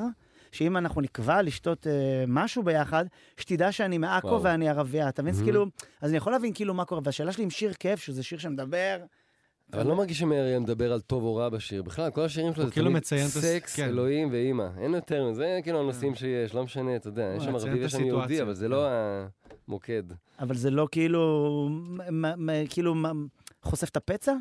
A: שאם אנחנו נקבע לשתות אה, משהו ביחד, שתדע שאני מעכו
G: וואו.
A: ואני ערבייה, אתה מבין? אז
G: Mhm.
A: כאילו, אז אני יכול להבין כאילו מה קורה, והשאלה שלי עם שיר כיף, שזה שיר שמדבר,
G: אבל אני לא מרגיש שמאריה מדבר על טוב או רע בשיר. בכלל, כל השירים שלו
C: הוא
G: זה
C: כאילו
G: תמיד
C: מציין את הס-
G: סקס,
C: כן.
G: אלוהים ואימא. אין יותר, מזה, זה כאילו
A: כן.
G: הנושאים שיש, לא משנה, אתה יודע, יש שם
C: מציין את
G: ערבי ויש שם יהודי,
C: הסיטואציה. כן.
G: אבל זה לא המוקד.
A: אבל זה לא כאילו, מ- מ- מ- כאילו מ- חושף את הפצע?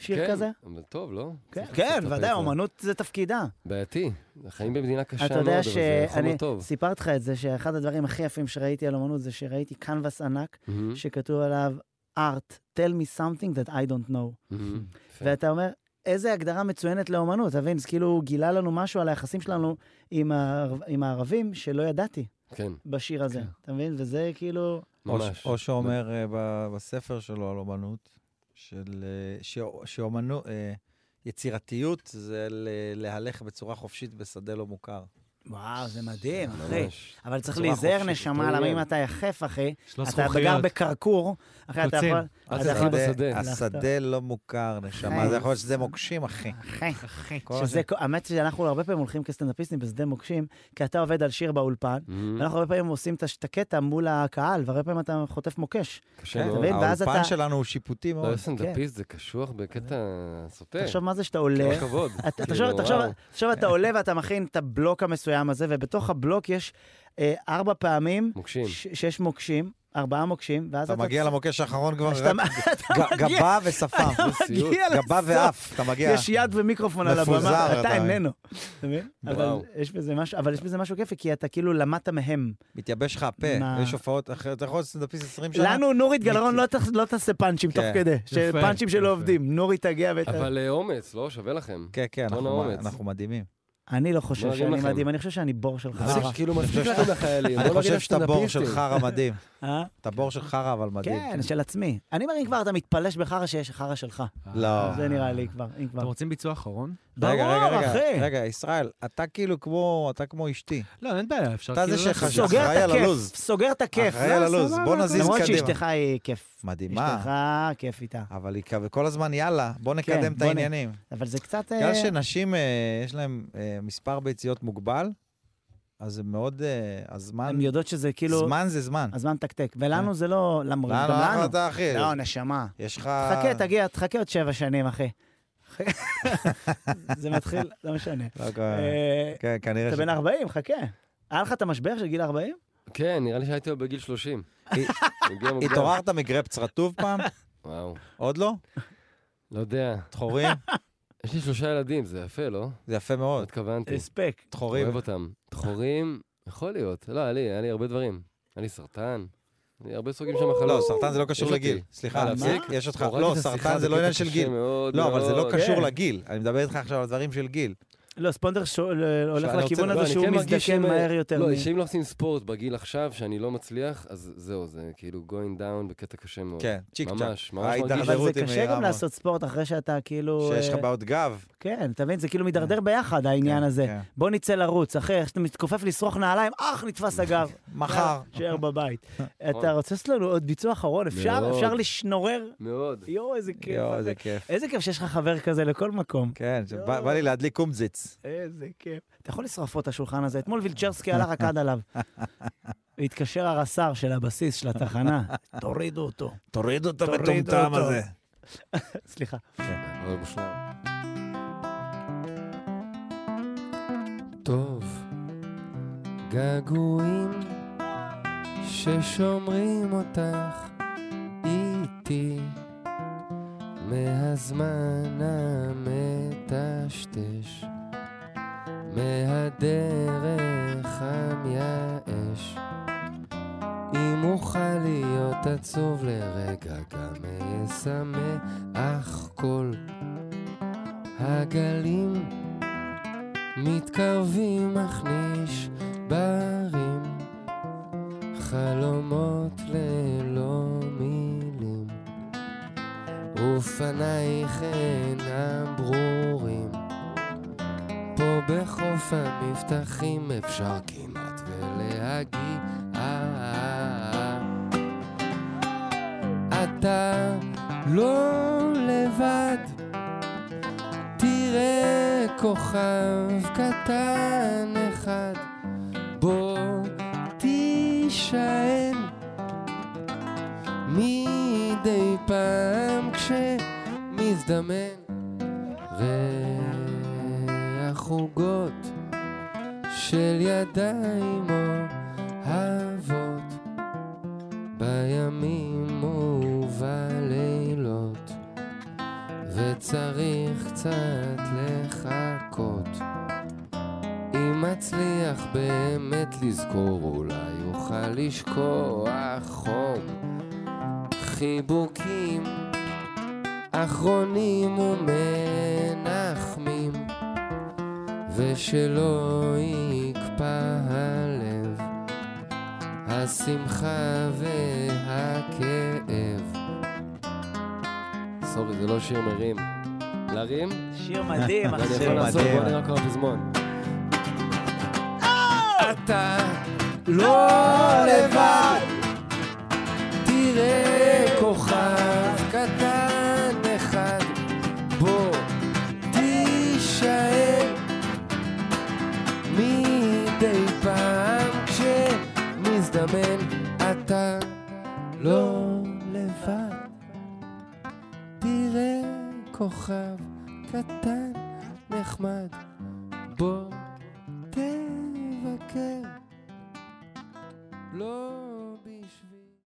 A: שיר
G: כן,
A: כזה?
G: אבל טוב, לא?
A: כן,
G: צריך
A: כן,
G: לספר את
A: ודאי,
G: זה.
A: אומנות זה תפקידה.
G: בעייתי. החיים במדינה קשה מאוד,
A: אתה
G: אבל
A: יודע
G: זה חומר
A: שאני כן,
G: טוב.
A: סיפרתי לך את זה, שאחד הדברים הכי יפים שראיתי על אומנות זה שראיתי קנבס ענק,
G: מהמם,
A: שכתוב עליו art, tell me something that I don't know.
G: מהמם.
A: Mm-hmm.
G: יפה.
A: ואתה אומר, איזה הגדרה מצוינת לאומנות, אתה מבין? זה כאילו הוא גילה לנו משהו על היחסים שלנו עם הערב- עם הערבים שלא ידעתי
G: כן, לא.
A: בשיר הזה, אתה מבין? וזה כאילו...
B: או ש-
G: ממש.
B: או שאומר אה, ב- בספר שלו על אומנות, של, אה, ש- שאומנות, אה, יצירתיות זה ל- להלך בצורה חופשית בשדה לא מוכר.
A: וואו, זה מדהים, אחי.
G: ממש.
A: אבל צריך
B: בצורה
A: להיזהר,
B: חופשית,
A: נשמה,
G: כן.
A: למה אם אתה יחף, אחי,
C: יש לו
A: אתה גר
C: זכוכיות.
A: בקרקור, אחי, אתה
C: קוצים.
A: יכול...
G: אל
A: אתה
G: תלכי
A: יכול-
G: בשדה.
B: השדה לא מוכר, נשמה,
A: אחי.
B: זה יכול להיות שזה מוקשים, אחי.
A: אחי,
B: כל
A: שזה, האמת שאנחנו הרבה פעמים הולכים כסטנדאפיסטים בשדה מוקשים, כי אתה עובד על שיר באולפן,
G: מהמם,
A: ואנחנו הרבה פעמים עושים את הש- את הקטע מול הקהל, והרבה פעמים אתה חוטף מוקש.
G: קשה
A: אתה
G: מאוד.
A: מבין? ואז
B: האולפן
A: אתה- כן.
B: שלנו הוא שיפוטי
G: לא,
B: מאוד.
G: יש סטנדאפיסט, זה קשוח בקטע סוטה.
A: תחשוב מה זה שאתה עולה,
G: כן. כל הכבוד.
A: אתה-
G: כאילו,
A: תחשוב, תחשוב,
G: וואו.
A: תחשוב, אתה עולה ואתה מכין את הבלוק המסוים הזה, ובתוך הבלוק יש אה, ארבע פעמים
G: מוקשים.
A: ש- שיש מוקשים, ארבעה מוקשים, ואז
B: אתה
A: אתה...
B: מגיע למוקש האחרון כבר,
A: כשאתה-
B: רק
A: אתה
B: ג-
A: מגיע-
B: גבה ושפם.
G: סיוט.
A: מגיע
B: גבה
A: לסוף.
B: ואף, אתה מגיע.
A: יש יד ומיקרופון על
B: מפוזר,
A: הבמה, אתה
B: אתה מבין.
A: איננו. אתה מבין? אבל
G: וואו.
A: יש בזה משהו, אבל יש בזה משהו כיפי, כי אתה כאילו למדת מהם.
B: מתייבש לך הפה,
A: מה?
B: יש הופעות אחרת, אתה יכול להיות סטנדאפיסט 20 שנה.
A: לנו נורית גלרון לא תח- לא תעשה פאנצ'ים
B: כן.
A: תוך כדי, שפאנצ'ים שלא
C: יפה.
A: עובדים, נורית תגיע ות...
G: כן. אבל אה, אומץ, לא? שווה לכם.
B: כן, כן,
G: המון
B: אנחנו-
G: אומץ.
B: אנחנו מדהימים. אה.
A: אני לא
G: לא
A: חושב
G: נרים
A: שאני
G: לכם.
A: מדהים, אני חושב שאני בור שלך.
G: זה כאילו מספיק לכם לחיילים. לא
B: אני
G: בוא נגיד
B: חושב שאתה בור של
G: לסטנדאפיסטים.
B: חרא מדהים.
A: אה?
B: אתה בור של חרא, אבל מדהים.
A: כן, של עצמי. אני אומר, אם כבר אתה מתפלש בחרא שיש חרא שלך.
B: לא.
A: זה נראה לי כבר, אם
C: אתם
A: כבר.
C: רוצים ביצוע אחרון?
B: רגע, רגע,
A: ברור,
B: רגע,
A: אחי.
B: רגע, ישראל, אתה כאילו כמו, אתה כמו אשתי.
C: לא, אין בעיה, אפשר
B: אתה זה
C: כאילו...
B: שחשב.
C: לעשות.
A: סוגר
B: אחראי
A: את
B: על
A: הכיף,
B: הלו"ז.
A: סוגר את הכיף. לא,
B: אחראי על הלו"ז, בוא נזיז
A: למרות
B: קדימה.
A: שאשתך היא אה, כיף.
B: מדהימה.
A: אשתך כיף איתה.
B: אבל היא כ- כל הזמן, יאללה, בוא
A: כן,
B: נקדם את
A: בוא נ-
B: העניינים.
A: אבל זה קצת... אה,
B: בגלל שנשים, אה, יש להן אה, מספר ביציות מוגבל, אז זה מאוד, אה, הזמן,
A: הן יודעות שזה כאילו...
B: זמן זה זמן.
A: הזמן מתקתק. ולנו זה לא... למרות,
B: לאן
A: גם
B: הלך
A: לנו.
B: אתה, אחי?
A: לא, נשמה.
B: יש לך...
A: תחכה, תגיע, תחכה עוד שבע שנים, אחי. זה מתחיל, לא משנה.
B: לא, כן,
A: אה,
B: כן, כנראה
A: אתה
B: ש...
A: בן 40, חכה. היה לך את המשבר של גיל 40?
G: כן, נראה לי שהייתי עוד בגיל 30.
B: היא-
G: הגיע מוקדם.
B: התעוררת מגרפס רטוב פעם?
G: וואו,
B: עוד לא?
G: לא יודע.
B: דחורים?
G: יש לי שלושה ילדים, זה יפה, לא?
B: זה יפה
G: לא
B: מאוד.
G: התכוונתי.
A: הספק.
B: דחורים.
G: אוהב אותם. דחורים, יכול להיות. לא, היה לי, היה לי הרבה דברים. היה לי סרטן. היה לי הרבה סוגים של מחלות.
B: לא, סרטן זה לא קשור
G: יש אותי.
B: לגיל. סליחה,
G: אה, להפסיק?
B: יש אותך.
G: הורדתי
B: לא,
G: את השיחה
B: סרטן זה לא
G: בקטע
B: עניין של
G: קשה
B: גיל.
G: מאוד,
B: לא, אבל זה לא
G: מאוד.
B: קשור
A: כן.
B: לגיל. אני מדבר איתך עכשיו על דברים של גיל.
A: לא, ספונדר שו- ל- הולך
B: אני רוצה-
A: לכיוון
B: לא,
A: הזה
G: אני
A: שהוא
G: כן מרגיש
A: מזדקן
G: שאם-
A: מהר יותר.
G: לא,
A: מ-
G: שאם לא עושים ספורט בגיל עכשיו, שאני לא מצליח, אז זהו, זה כאילו going down בקטע קשה מאוד.
B: כן, צ'יק צ'אק.
G: ממש, ממש
B: ההידרדרות
G: מרגיש-
A: אבל
B: היא
A: זה קשה
B: מהירה
A: גם
B: מאוד.
A: לעשות ספורט אחרי שאתה כאילו...
B: אה, שיש לך
A: אה,
B: בעיות גב.
A: כן, אתה מבין? זה כאילו מידרדר ביחד, העניין
B: כן,
A: הזה.
B: כן.
A: בוא נצא לרוץ, אחי, איך שאתה מתכופף לשרוך נעליים, אך, נתפס הגב.
B: מחר.
A: שער בבית. אתה רוצה לעשות לנו עוד ביצוע אחרון? אפשר?
G: מאוד.
A: אפשר לשנורר?
G: מאוד.
A: יואו, איזה כיף.
B: יואו,
A: אחי.
B: איזה כיף.
A: איזה כיף שיש לך חבר כזה לכל מקום.
B: כן, זה בא בא לי להדליק קומזיץ.
A: איזה כיף. אתה יכול לשרוף פה את השולחן הזה. אתמול וילצ'רסקי הלך רקד עליו. התקשר הרס"ר של הבסיס של התחנה. תורידו אותו.
B: תוריד אותו
A: מטומטם הזה. סליחה.
G: אבל מושלם. טוב, געגועים ששומרים אותך איתי מהזמן המטשטש, מהדרך המייאש, עם
H: מוכן להיות עצוב לרגע, גם אהיה שמח כל הגלים מתקרבים, אך נשברים חלומות ללא מילים, אופנייך אינם ברורים. פה בחוף המבטחים אפשר כמעט ולהגיע. אתה לא לבד, תראה כוכב קטן אחד, בו תישען מדי פעם כשמזדמן ריח עוגות של ידיים אוהבות בימים ובלילות וצריך קצת לחכות אם אצליח באמת לזכור אולי אוכל לשכוח חום חיבוקים אחרונים ומנחמים ושלא יקפא הלב השמחה והכאב סורי, זה לא שיר מרים. להרים?
A: שיר מדהים,
G: אני
A: אחי.
G: יכול לעשות,
B: מדהים.
G: בוא נראה כל הפזמון.
H: אתה לא לבד. תראה כוכב קטן אחד, בוא תישאר מדי פעם כשמזדמן אתה לא לבד. תראה כוכב קטן נחמד, בוא תבקר. לא